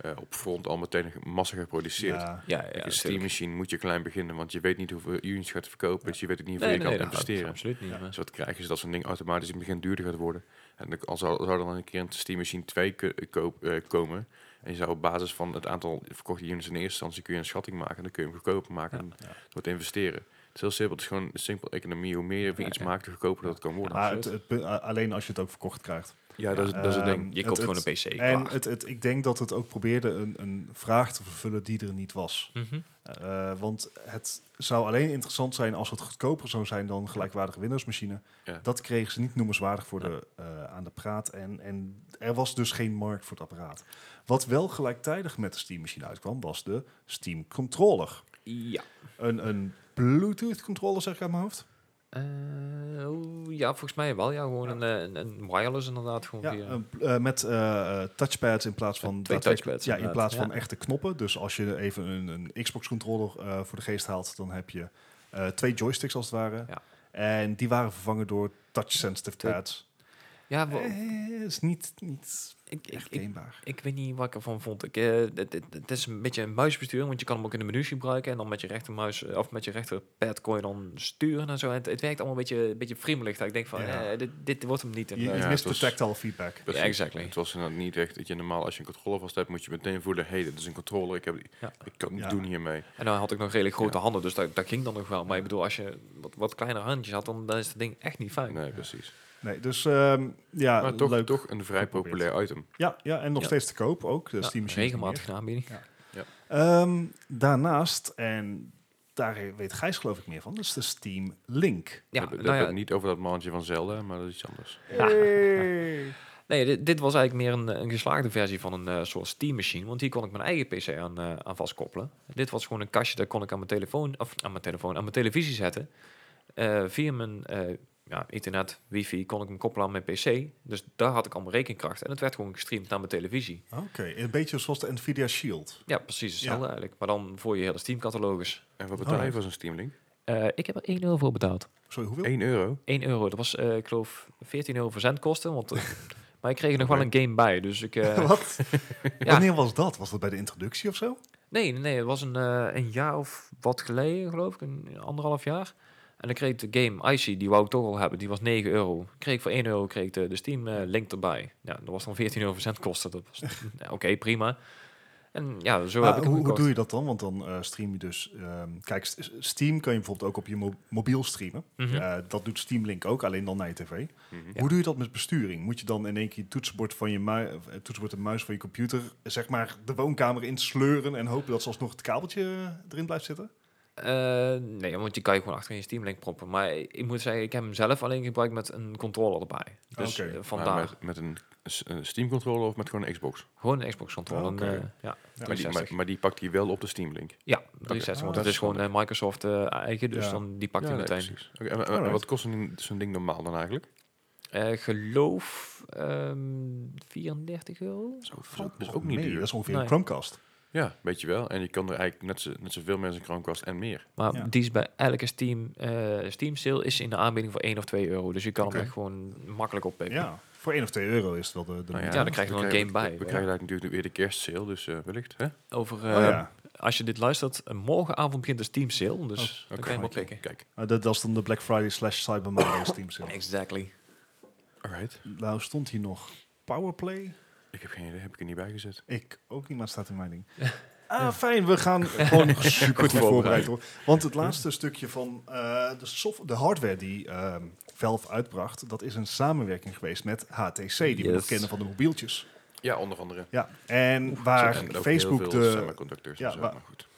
S1: eh, op front al meteen massa geproduceerd.
S2: Ja.
S3: ja, ja,
S1: Een
S3: natuurlijk.
S1: Steam machine moet je klein beginnen, want je weet niet hoeveel units je gaat verkopen. Dus je weet ook niet
S3: Nee,
S1: hoeveel
S3: nee,
S1: je
S3: dat
S1: kan investeren.
S3: absoluut niet.
S2: Ja.
S3: maar-
S1: Dus wat krijgen ze dat zo'n ding automatisch in het begin duurder gaat worden. En dan- al zou, zou er dan een keer een Steam Machine 2 ko- eh, koop, eh, komen. En je zou op basis van het aantal verkochte units in eerste instantie kun je een schatting maken. En dan kun je hem goedkoper maken en
S2: Ja.
S1: wordt investeren. Het is heel simpel. Het is gewoon een simpel economie. Hoe meer je van
S3: Ja,
S1: iets
S3: ja.
S1: maakt, hoe goedkoper dat kan worden.
S2: Maar het, het punt- a- alleen als je het ook verkocht krijgt.
S1: Ja, dat is, dat is het
S2: Ehm,
S1: ding.
S3: Je
S2: het-
S3: koopt gewoon
S2: het-
S3: een PC.
S2: En
S3: klaar.
S2: het, het, ik denk dat het ook probeerde een, een vraag te vervullen die er niet was.
S3: Mhm.
S2: Eh, want het zou alleen interessant zijn als het goedkoper zou zijn dan een gelijkwaardige Windows-machine.
S1: Ja.
S2: Dat kregen ze niet noemenswaardig voor de, eh, aan de praat. En, en er was dus geen markt voor het apparaat. Wat wel gelijktijdig met de Steam-machine uitkwam, was de Steam-controller.
S3: Ja.
S2: Een, een Bluetooth-controller, zeg ik uit mijn hoofd.
S3: Eh, oeh, ja, volgens mij wel. Ja, gewoon Een, eh, een, een wireless inderdaad. Gewoon
S2: Ja,
S3: via-
S2: eh, eh, met eh, eh, touchpads in plaats van
S3: Met twee
S2: daadwerkelijk-
S3: touchpads,
S2: Ja, in
S3: inderdaad,
S2: plaats van
S3: ja.
S2: echte knoppen. Dus als je even een, een Xbox controller eh, voor de geest haalt, dan heb je eh, twee joysticks als het ware.
S3: Ja.
S2: En die waren vervangen door touch sensitive
S3: Twee-
S2: pads.
S3: ja, wa-
S2: Dat is niet, niet
S3: Eh, ik, ik,
S2: Eh, echt
S3: ik,
S2: gamebaar.
S3: ik weet niet wat ik ervan vond. Ik, eh, het- het- het is een beetje een muisbesturing, want je kan hem ook in de menu gebruiken. En dan met je rechtermuis eh, of met je rechterpad kon je dan sturen en zo. En het, het werkt allemaal een beetje, een beetje friemelig. Dat ik denk van,
S2: Ja.
S3: eh, dit, dit wordt hem niet. En,
S2: Je,
S3: eh,
S2: je
S1: ja,
S2: mist
S1: het
S2: de
S1: was-
S2: tactile feedback.
S3: Ja, exactly.
S1: Het was inderdaad niet echt dat je normaal als je een controller vast hebt, moet je meteen voelen, hé, dit is een controller, ik, heb,
S3: Ja.
S1: ik kan het
S2: Ja.
S1: doen hiermee.
S3: en dan had ik nog redelijk grote
S1: Ja.
S3: handen, dus dat, dat ging dan nog wel. Maar ik bedoel, als je wat, wat kleinere handjes had, dan, dan is het ding echt niet fijn.
S1: Nee, precies.
S2: Nee, dus ehm, ja,
S1: maar toch,
S2: leuk.
S1: toch een vrij
S2: Geprobeerd.
S1: populair item.
S2: Ja, ja, en nog
S3: Ja.
S2: steeds te koop ook. dus De
S1: Dus
S3: Ja,
S2: Steam Machine.
S3: regelmatig een aanbieding.
S2: Ehm, daarnaast, en daar weet Gijs geloof ik meer van, dat is de Steam Link.
S1: Ja,
S3: Ja,
S1: dat
S3: nou ja,
S1: niet over dat mannetje van Zelda, maar dat is iets anders.
S3: Nee, dit, dit was eigenlijk meer een, een geslaagde versie van een eh, soort Steam machine. Want hier kon ik mijn eigen PC aan, eh, aan vastkoppelen. Dit was gewoon een kastje, daar kon ik aan mijn telefoon, of aan mijn telefoon, aan mijn televisie zetten. Eh, via mijn eh, ja, internet, wifi, kon ik hem koppelen aan mijn PC. Dus daar had ik al mijn rekenkracht. En het werd gewoon gestreamd naar mijn televisie.
S2: Oké, een beetje zoals de Nvidia Shield.
S3: Ja, precies hetzelfde
S2: Ja.
S3: eigenlijk. Maar dan voor je hele Steam-catalogus.
S1: En wat betaal je
S2: Alright.
S1: voor zo'n Steam Link?
S3: Eh, ik heb er 1 euro voor betaald.
S2: Sorry, hoeveel?
S1: 1 euro.
S3: 1 euro, dat was, eh, ik geloof, 14 euro verzendkosten. Want, eh, maar ik kreeg er nog wel een game bij. Dus ik, eh,
S2: Wat?
S3: Ja.
S2: Wanneer was dat? Was dat bij de introductie of zo?
S3: Nee, nee, nee, het was een, eh, een jaar of wat geleden, geloof ik, een anderhalf jaar. En dan kreeg ik de game Icy, die wou ik toch al hebben, die was 9 euro. Kreeg ik voor 1 euro kreeg ik de, de Steam eh, link erbij. Ja, dat was dan 14 euro verzendkosten. Dat was, ja, oké, prima. En ja, zo heb
S2: Maar Ah,
S3: ik
S2: hoe,
S3: hem
S2: hoe
S3: gekocht.
S2: doe je dat dan? Want dan eh, stream je dus... ehm, kijk, S- Steam kan je bijvoorbeeld ook op je mo- mobiel streamen.
S3: Mhm.
S2: Eh, dat doet Steam Link ook, alleen dan naar je tv.
S1: Mhm.
S2: Hoe doe je dat met besturing? Moet je dan in één keer het toetsenbord, van je mui- of het toetsenbord en muis van je computer... zeg maar de woonkamer insleuren en hopen dat ze alsnog het kabeltje erin blijft zitten?
S3: Eh, nee, want je kan je gewoon achter in je Steam link proppen. Maar ik moet zeggen, ik heb hem zelf alleen gebruikt met een controller erbij. Dus
S2: Oké.
S3: eh,
S1: Maar
S3: vandaar.
S1: Met, met een, s- een Steam controller of met gewoon een Xbox?
S3: Gewoon een Xbox controller.
S2: Ah, Oké.
S3: een, eh, ja,
S1: Maar die,
S3: 360.
S1: maar, maar die pakt hij wel op de Steam Link.
S3: Ja, 360,
S2: Ah, dat
S3: want het is
S1: is
S3: gewoon eh, Microsoft eh, eigen, dus
S2: Ja. Oh,
S3: dan die pakt hij
S1: nee,
S3: meteen.
S1: precies. Oké, en- en- en,
S2: Alright.
S1: wat kost een- zo'n ding normaal dan eigenlijk?
S3: Eh, geloof ehm 34 euro.
S1: Zo, dat is ook niet
S2: Nee,
S1: duur.
S2: Dat is ongeveer
S3: Nee.
S2: een Chromecast.
S1: Ja, weet je wel. En je kan er eigenlijk net, zo, net zoveel mensen een Chromecast en meer.
S3: Maar
S2: Ja.
S3: die is bij elke Steam, eh, Steam sale is in de aanbieding voor 1 of 2 euro. Dus je kan
S2: Oké.
S3: hem echt gewoon makkelijk oppikken.
S2: Ja, voor 1 of 2 euro is het wel de... de
S1: Nou
S3: Oh ja, dan krijg je
S1: we
S3: wel een
S1: krijgen-
S3: game bij,
S1: We
S3: ja.
S1: krijgen daar natuurlijk weer de kerstsale, dus eh, wellicht. Hè?
S3: Over,
S2: Oh
S3: eh,
S2: ja.
S3: Als je dit luistert, eh, morgenavond begint de Steam sale. Dus
S2: Oh,
S3: dan kan je hem oppikken.
S1: Kijk,
S2: Ah, dat was dan de Black Friday slash Cyber Monday Steam sale.
S3: Exactly.
S1: alright.
S2: Nou stond hier nog Powerplay.
S1: Ik heb geen idee, heb ik er niet bij gezet.
S2: Ik ook niet, maar het staat in mijn ding. Ah, fijn. We gaan gewoon nog super goed voorbereid hoor. Want het laatste stukje van eh, de, soft- de hardware die ehm, Valve uitbracht, dat is een samenwerking geweest met HTC, die we
S3: Yes.
S2: nog kennen van de mobieltjes.
S1: Ja, onder andere.
S2: Ja, en waar
S1: En ook
S2: Facebook
S1: heel veel
S2: de,
S1: semiconductors
S2: ja,
S1: en zo,
S2: waar-
S1: maar goed.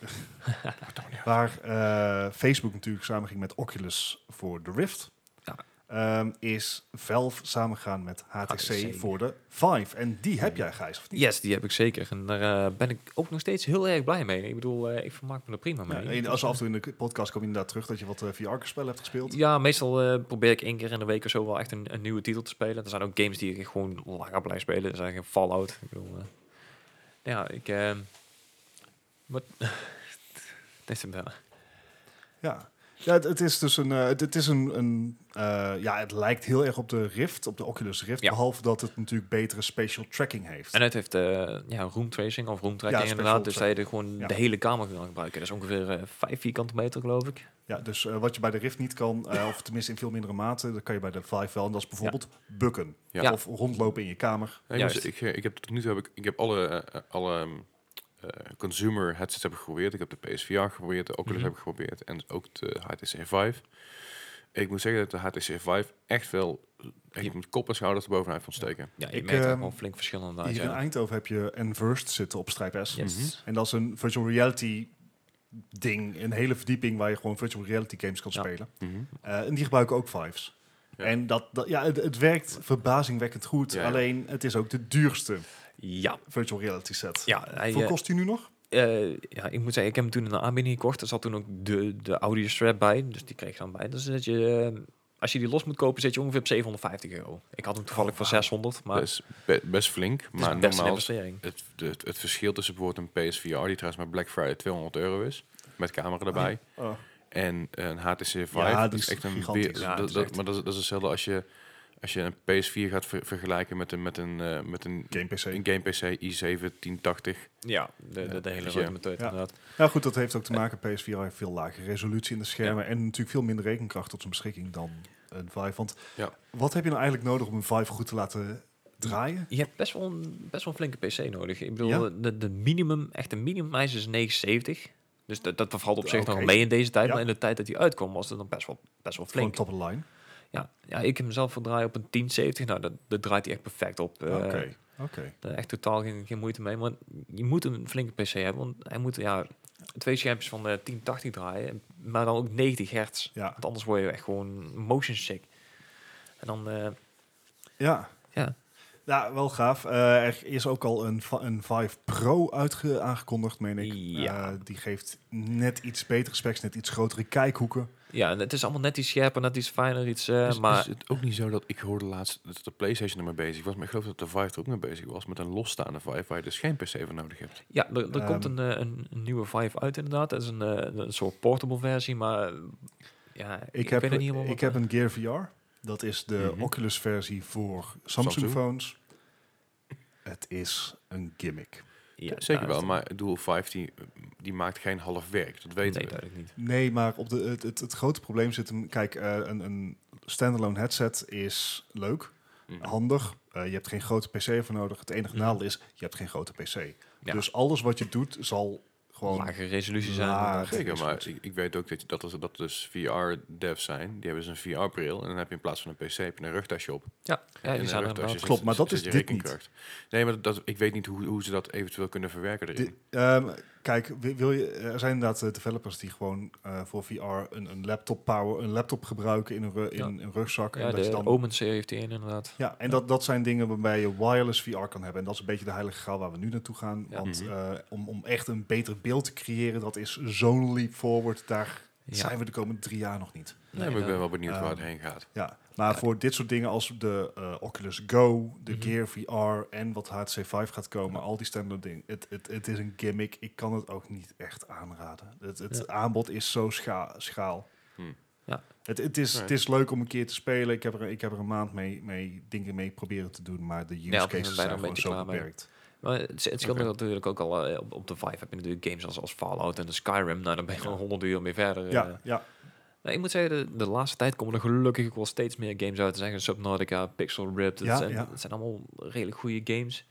S2: Waar eh, Facebook natuurlijk samenging met Oculus voor de Rift,
S3: Ja.
S2: ehm, is Valve samengegaan met HTC,
S3: HTC.
S2: voor de Vive. En die heb jij, Gijs, of niet?
S3: Yes, die heb ik zeker. En daar eh, ben ik ook nog steeds heel erg blij mee. Ik bedoel, eh, ik vermaak me er prima
S2: Ja,
S3: mee. Dus, eh,
S2: en als we af en toe in de podcast kom je inderdaad terug dat je wat VR-spellen hebt gespeeld.
S3: Ja, meestal eh, probeer ik één keer in de week of zo wel echt een, een nieuwe titel te spelen. Er zijn ook games die ik gewoon langer blijf spelen. Er zijn geen Fallout. Ik bedoel, eh, ja, ik... ehm wat... Dit is hem wel.
S2: Ja, ja het, het is dus een. eh, het, het is een, een eh, ja, het lijkt heel erg op de Rift, op de Oculus Rift.
S3: Ja.
S2: Behalve dat het natuurlijk betere spatial tracking heeft.
S3: En het heeft eh ja, room tracing of room tracking
S2: Ja,
S3: inderdaad. Dus
S2: special
S3: zij er gewoon
S2: Ja.
S3: de hele kamer kan gebruiken. Dat is ongeveer eh 5 vierkante meter, geloof ik.
S2: ja, dus eh, wat je bij de Rift niet kan, eh, of tenminste in veel mindere mate, dat kan je bij de Vive wel. En dat is bijvoorbeeld bukken.
S1: Ja.
S3: Ja.
S2: Of rondlopen in je kamer.
S1: Nee, maar
S3: Juist.
S1: ik, eh, ik heb tot nu toe heb ik, ik heb alle, eh, alle ehm, eh, consumer headsets heb ik geprobeerd. Ik heb de PSVR geprobeerd, de Oculus
S3: Mhm.
S1: heb ik geprobeerd en ook de HTC Vive. Ik moet zeggen dat de HTC Vive echt wel echt
S3: Ja.
S1: met kop en schouders erbovenuit van steken.
S3: Ja, je
S2: Ik,
S3: merkt daar
S2: ehm,
S3: gewoon flink verschil inderdaad.
S2: Hier in Mhm.
S3: Ja.
S2: Eindhoven heb je Enversed zitten op Strijp S.
S3: Yes.
S2: En dat is een virtual reality ding, een hele verdieping waar je gewoon virtual reality games kan
S3: Ja.
S2: spelen.
S1: Mhm.
S2: Eh, en die gebruiken ook Vives.
S1: Ja.
S2: En dat, dat, ja, het, het werkt verbazingwekkend goed.
S1: Ja, ja.
S2: Alleen het is ook de duurste
S3: Ja,
S2: virtual reality set.
S3: ja hij,
S2: Hoeveel
S3: eh,
S2: kost die nu nog?
S3: eh, ja, ik moet zeggen, ik heb hem toen in de aanbieding gekocht. Er zat toen ook de, de audio strap bij. Dus die kreeg je dan bij. Dus dat je, eh, als je die los moet kopen, zit je ongeveer op 750 euro. Ik had hem toevallig
S2: Ah.
S3: voor 600, maar
S1: dat
S2: Dus,
S1: is be- best flink.
S3: het is
S1: Maar
S3: best een
S1: normaal,
S3: investering.
S1: het, het, het verschil tussen bijvoorbeeld een PSVR, die trouwens met Black Friday 200 euro is, met
S3: Ah,
S1: camera erbij,
S2: Oh.
S1: en eh, een HTC Vive,
S2: Ja,
S1: dat
S2: die
S1: is
S2: is
S1: echt een
S2: gigantisch.
S1: wereld-
S3: Ja,
S1: dat,
S3: het is
S1: dat-
S3: echt-
S1: maar dat is, dat is hetzelfde als je, als je een PS4 gaat ver- vergelijken met een, met een, eh, met een,
S2: Game PC.
S1: een game PC i7 1080.
S3: Ja, de, de, de hele
S1: dus
S3: rode
S1: ja.
S3: meteut
S2: Ja.
S3: inderdaad.
S2: Nou goed, dat heeft ook te maken. PSVR heeft veel lagere resolutie in de schermen. En natuurlijk veel minder rekenkracht tot zijn beschikking dan een Vive. Want
S1: Ja.
S2: wat heb je nou eigenlijk nodig om een Vive goed te laten draaien?
S3: Je hebt best wel, een, best wel een flinke PC nodig. Ik bedoel,
S2: Ja?
S3: de, de minimum, echt de minimumprijs is 970. Dus dat, dat valt op zich nog
S2: Oké.
S3: mee in deze tijd.
S2: Ja.
S3: Maar in de tijd dat die uitkwam, was het dan best wel, best wel
S2: Gewoon
S3: flink.
S2: top of the line.
S3: Ja, ja, ik heb hem zelf gedraaid op een 1070. Nou, dat, dat draait hij echt perfect op. Eh,
S2: Oké. Oké.
S3: Daar echt totaal geen, geen moeite mee. Maar je moet een flinke PC hebben. Want hij moet ja, twee schermpjes van de 1080 draaien. Maar dan ook 90 hertz.
S2: Ja.
S3: Want anders word je echt gewoon motion sick. En dan, eh,
S2: Ja.
S3: ja.
S2: Ja, wel gaaf. Eh, er is ook al een, Va- een Vive Pro uitge- aangekondigd, meen ik.
S3: Ja.
S2: Eh, die geeft net iets betere specs, net iets grotere kijkhoeken.
S3: ja, en het is allemaal net iets scherper, net iets fijner. Iets, eh,
S1: is,
S3: maar
S1: is het ook niet zo dat ik hoorde laatst dat de PlayStation ermee bezig was, maar ik geloof dat de Vive er ook mee bezig was met een losstaande Vive waar je dus geen PC voor nodig hebt.
S3: Ja, er, er komt
S2: Ehm.
S3: een, eh, een, een nieuwe Vive uit inderdaad. Dat is een, eh, een soort portable versie, maar eh, ja, ik,
S2: Ik, heb,
S3: weet het niet helemaal.
S2: ik
S3: wat- eh,
S2: heb een Gear VR. Dat is de
S1: Mhm.
S2: Oculus versie voor Samsung,
S1: Samsung.
S2: phones. Het is een gimmick.
S3: ja,
S1: Zeker
S3: nou,
S1: wel,
S3: dat-
S1: maar ik bedoel, Vive die, die maakt geen half werk, dat weten
S3: Nee,
S1: we.
S3: duidelijk niet.
S2: Nee, maar op de, het, het, het grote probleem zit hem... Kijk, eh, een, een standalone headset is leuk,
S1: Mhm.
S3: mm.
S2: handig. Eh, je hebt geen grote PC voor nodig. Het enige
S3: Mhm.
S2: nadeel is, je hebt geen grote PC.
S3: Ja.
S2: Dus alles wat je doet zal gewoon...
S3: Lage resolutie zijn.
S2: laag.
S3: inderdaad.
S1: Zeker,
S2: is
S1: maar
S2: goed.
S1: ik, ik weet ook dat, je- dat, er- dat dus VR-devs zijn. Die hebben dus een VR-bril. En dan heb je in plaats van een PC heb je een rugtasje op.
S3: Ja, ja,
S1: En
S3: die
S1: in
S3: zijn
S1: een rugtasje
S3: er inderdaad.
S1: zit-
S2: Klopt, maar
S1: zit-
S2: dat
S1: zit
S2: is
S1: je
S2: dit niet.
S1: rekenkracht. Nee, maar dat, ik weet niet hoe, hoe ze dat eventueel kunnen verwerken erin.
S2: Di- ehm, kijk, wi- wil je, er zijn inderdaad eh, developers die gewoon eh, voor VR een, een laptop power, een laptop gebruiken in een, ru- in
S3: Ja.
S2: een rugzak.
S3: Ja,
S2: en dat je
S3: de
S2: dan
S3: Omen-serie heeft die in inderdaad.
S2: Ja, en dat, dat zijn dingen waarbij je wireless VR kan hebben. En dat is een beetje de heilige graal waar we nu naartoe gaan.
S3: Ja.
S2: Want
S1: Mhm.
S2: eh, om, om echt een beter beeld te creëren, dat is zo'n leap forward. Daar
S3: Ja.
S2: zijn we de komende drie jaar nog niet.
S1: Nee, maar
S3: eh,
S1: ik ben wel benieuwd waar het
S2: Ehm,
S1: heen gaat.
S2: Ja, maar voor dit soort dingen als de eh, Oculus Go, de
S3: Mhm.
S2: Gear VR en wat HTC Vive gaat komen, al die standaard dingen. Het, het, het is een gimmick. Ik kan het ook niet echt aanraden. Het, het
S3: Ja.
S2: aanbod is zo scha- schaal.
S3: Hm.
S1: Hmm.
S3: Ja.
S2: Het, het, is,
S1: Ja.
S2: het is leuk om een keer te spelen. Ik heb er, ik heb er een maand mee, mee dingen mee proberen te doen, maar de use
S3: Ja, op een
S2: cases
S3: moment ben
S2: zijn
S3: je er een
S2: gewoon
S3: beetje
S2: zo
S3: klaar mee.
S2: beperkt.
S3: Maar het, het scheelt
S1: Oké.
S3: natuurlijk ook al. eh, op, op de Vive heb je natuurlijk games als, als Fallout en de Skyrim. Nou, dan ben je gewoon 100 uur mee verder. eh.
S2: Ja, ja.
S3: Nou, ik moet zeggen, de, de laatste tijd komen er gelukkig ook wel steeds meer games uit. Er zijn Subnautica, Pixel Ripped.
S2: Ja,
S3: dat, zijn,
S2: ja.
S3: dat zijn allemaal redelijk goede games.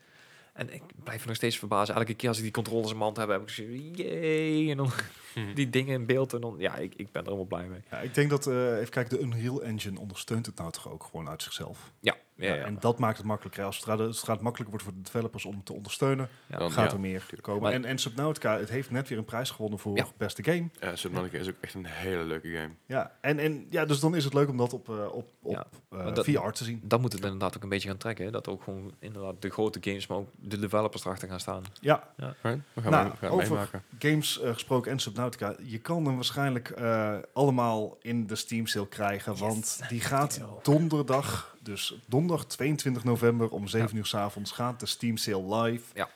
S3: En ik blijf me nog steeds verbazen. Elke keer als ik die controllers in mijn hand heb, heb ik zoiets jee. En dan
S1: Hmm.
S3: die dingen in beeld. En dan, ja, ik, ik ben er helemaal blij mee.
S2: ja, ik denk dat, eh, even kijken, de Unreal Engine ondersteunt het nou toch ook gewoon uit zichzelf.
S3: Ja, ja, ja.
S2: En dat maakt het makkelijker. Als het makkelijker wordt voor de developers om te ondersteunen,
S3: Ja.
S1: Dan,
S2: gaat
S1: ja,
S2: er meer komen.
S3: Maar-
S2: En, en Subnautica, het heeft net weer een prijs gewonnen voor
S3: Ja.
S2: beste game.
S1: eh, Subnautica is ook echt een hele leuke game.
S2: Ja, en, en ja, dus dan is het leuk om dat op, eh, op, op
S3: Ja,
S2: eh,
S3: maar dat-
S2: VR te zien.
S3: Dan moet het inderdaad ook een beetje gaan trekken. Hè? Dat ook gewoon inderdaad de grote games, maar ook de developers erachter gaan staan.
S2: Ja,
S1: Right? We gaan,
S2: Nou,
S1: mee- we gaan
S2: over-
S1: meemaken.
S2: games eh, gesproken en Subnautica. Je kan hem waarschijnlijk eh, allemaal in de Steam sale krijgen, want die gaat
S3: Yo.
S2: donderdag, dus donderdag 22 november om 7 uur s avonds gaat de Steam sale live.
S3: Ja.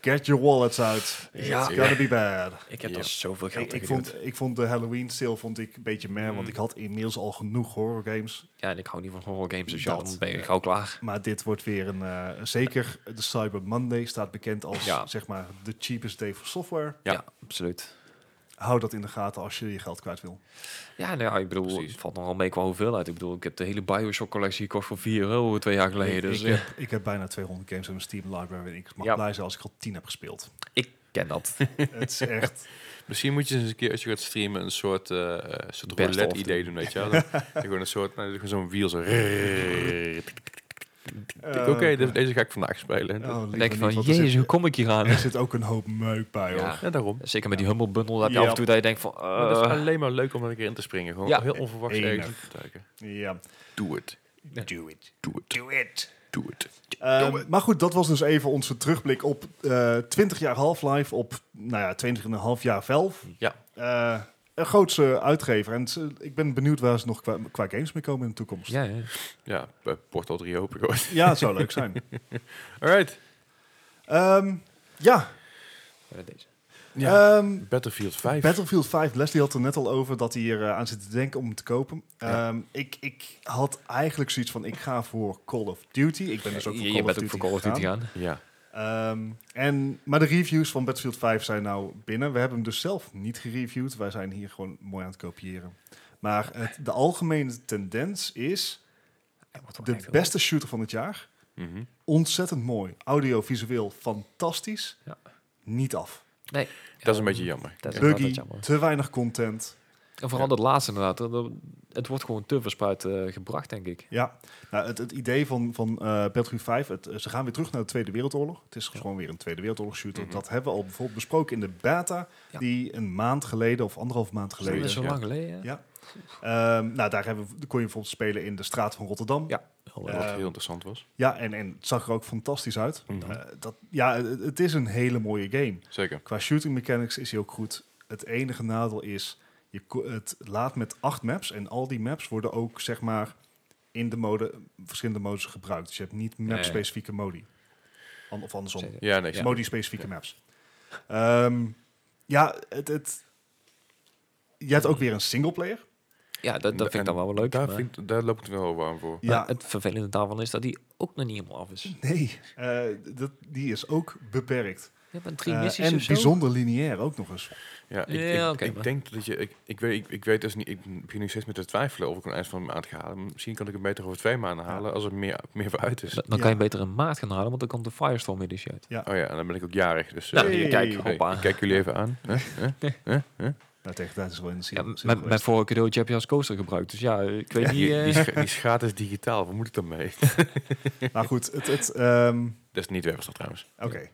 S2: Get your wallets out.
S3: Ja.
S2: It's gonna be bad.
S3: Ik heb
S1: Ja.
S3: er zoveel geld
S2: Ik,
S3: aan
S2: ik,
S3: geduwd.
S2: vond, ik vond de Halloween sale vond ik een beetje meh, want
S3: Mm.
S2: ik had inmiddels al genoeg horror games.
S3: Ja, en ik hou niet van horror games, dus ja,
S2: Dat.
S3: dan ben je gauw klaar.
S2: Maar dit wordt weer een... eh, zeker de Cyber Monday staat bekend als
S3: Ja.
S2: zeg maar de cheapest day for software.
S1: Ja.
S3: Ja, absoluut.
S2: Hou dat in de gaten als je je geld kwijt wil.
S3: Ja, nou ja, ik bedoel,
S1: Precies.
S3: het valt nogal mee qua hoeveelheid. Ik bedoel, ik heb de hele Bioshock collectie gekocht voor 4 euro twee jaar geleden.
S2: ik,
S3: dus
S2: ik,
S3: eh,
S2: heb, ik heb bijna 200 games in mijn Steam library. En ik mag
S3: Ja.
S2: blij zijn als ik al 10 heb gespeeld.
S3: ik ken dat.
S2: Het is echt...
S1: Misschien moet je eens een keer, als je gaat streamen, een soort, eh, eh, soort
S3: Best of
S1: roulette idee doen, weet je wel. Dan- dan Gewoon een soort, nou, gewoon zo'n wiel zo. Oké,
S2: Eh,
S1: de- deze ga ik vandaag spelen.
S2: oh,
S3: Dan
S2: liever
S3: denk je
S2: niet,
S3: van,
S2: want er
S3: jezus,
S2: zit-
S3: hoe kom ik hier aan?
S2: Er zit ook een hoop meuk bij, hoor.
S3: Ja.
S1: Ja, daarom.
S3: Zeker met die Humble Bundle heb je
S2: Ja.
S3: af en toe dat je denkt van...
S1: Maar het is
S3: eh,
S1: alleen maar leuk om er een keer in te springen. Gewoon
S3: Ja.
S1: heel onverwachts
S2: Enig.
S1: ergens in te duiken.
S2: Ja.
S1: Doe het.
S3: Ja.
S1: Doe het.
S2: Do it.
S1: Do it.
S2: Ehm, maar goed, dat was dus even onze terugblik op eh 20 jaar Half-Life, op nou ja, 20,5 jaar Valve.
S1: Ja.
S2: Eh, een grootse uitgever. En ze- ik ben benieuwd waar ze nog qua, qua games mee komen in de toekomst. Ja,
S3: Ja, ja.
S1: Ja, eh, Portal 3 hoop ik hoor.
S2: het zou leuk zijn.
S1: Alright.
S2: Ehm, ja,
S3: Deze.
S1: Ja.
S2: ehm,
S3: Eh,
S1: Battlefield 5.
S2: Battlefield 5, Leslie had er net al over dat hij er eh, aan zit te denken om hem te kopen.
S1: Ja.
S2: Ehm, ik, ik had eigenlijk zoiets van, ik ga voor Call of Duty. Ik ben dus ook voor
S3: Eh, je
S2: Call
S3: je
S2: of
S3: bent
S2: Duty
S3: ook voor Call of Duty
S2: gegaan.
S3: gaan.
S1: ja.
S2: Ehm, en, maar de reviews van Battlefield 5 zijn nou binnen. We hebben hem dus zelf niet gereviewd. Wij zijn hier gewoon mooi aan het kopiëren. Maar het- de algemene tendens is de beste shooter van het jaar.
S1: Mhm.
S2: Ontzettend mooi. Audio, visueel, fantastisch.
S3: Ja.
S2: Niet af.
S1: Dat is een beetje jammer.
S3: Dat is
S1: Ja.
S2: Buggy,
S3: altijd jammer.
S2: te weinig content.
S3: En vooral dat laatste inderdaad. dat- dat- Het wordt gewoon te verspuit eh, gebracht, denk ik.
S2: Ja, nou, het, het idee van, van eh, Battlefield 5, het, eh, ze gaan weer terug naar de Tweede Wereldoorlog. Het is gewoon weer een Tweede Wereldoorlog shooter.
S1: Mhm.
S2: Dat hebben we al bijvoorbeeld besproken in de beta,
S3: Ja.
S2: die een maand geleden of anderhalf maand
S3: Dat
S2: geleden.
S3: is zo
S1: ja.
S3: lang geleden.
S2: Ja. Ehm, nou, daar hebben we, kon je bijvoorbeeld spelen in de straat van Rotterdam.
S3: Ja. Heel erg.
S1: Wat
S2: Ehm,
S1: heel interessant was.
S2: Ja, en, en het zag er ook fantastisch uit.
S1: Mhm.
S2: Eh, dat, ja, het, het is een hele mooie game.
S1: Zeker.
S2: Qua shooting mechanics is hij ook goed. Het enige nadeel is, je, ko- het laat met acht maps. En al die maps worden ook, zeg maar, in de mode, verschillende modes gebruikt. Dus je hebt niet map-specifieke modi. An- Of andersom. Dus
S3: Zeker.
S1: Ja, nee.
S3: Ja.
S2: Modi-specifieke maps. Ehm, ja, het, het... Je hebt ook weer een singleplayer.
S3: Ja, dat, dat vind ik dan wel wel leuk.
S1: Daar,
S3: maar-
S1: vind, daar loop ik wel warm voor.
S2: Ja.
S3: maar Het vervelende daarvan is dat die ook nog niet helemaal af is.
S2: Nee, eh, dat, die is ook beperkt.
S3: Je hebt een drie
S2: Eh,
S3: missies
S2: en
S3: of zo.
S2: bijzonder lineair ook nog eens.
S1: Ja, ik,
S3: Ja,
S1: ik,
S3: oké,
S1: ik
S3: maar-
S1: denk dat je... Ik, ik, weet, ik, ik weet dus niet... Ik begin nu steeds met te twijfelen of ik een eind van de maand ga halen. Misschien kan ik het beter over twee maanden halen als er meer, meer voor uit is.
S3: Dan, dan kan je
S2: Ja.
S3: beter een maat gaan halen, want dan komt de Firestorm editie uit.
S1: Oh ja, en dan ben ik ook jarig. Dus eh,
S3: Nou,
S2: Hey.
S3: kijk,
S1: hey,
S3: hoppa.
S1: ik kijk jullie even aan. Hè? Hè?
S2: Nou, tegen tijd is wel in de
S3: Ja,
S2: zin.
S3: m- mijn, mijn vorige cadeautje heb je als coaster gebruikt. Dus ja, ik weet
S1: Ja,
S3: niet...
S1: die,
S3: eh,
S1: die, scha- die schaat is digitaal. Wat moet ik dan mee?
S2: Maar goed, het, het, ehm,
S1: Dat is niet Webster trouwens.
S2: oké.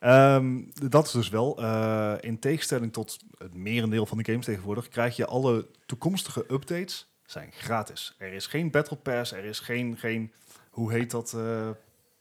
S2: Ehm, dat is dus wel, eh, in tegenstelling tot het merendeel van de games tegenwoordig, krijg je alle toekomstige updates zijn gratis. Er is geen Battle Pass, er is geen, geen hoe heet dat eh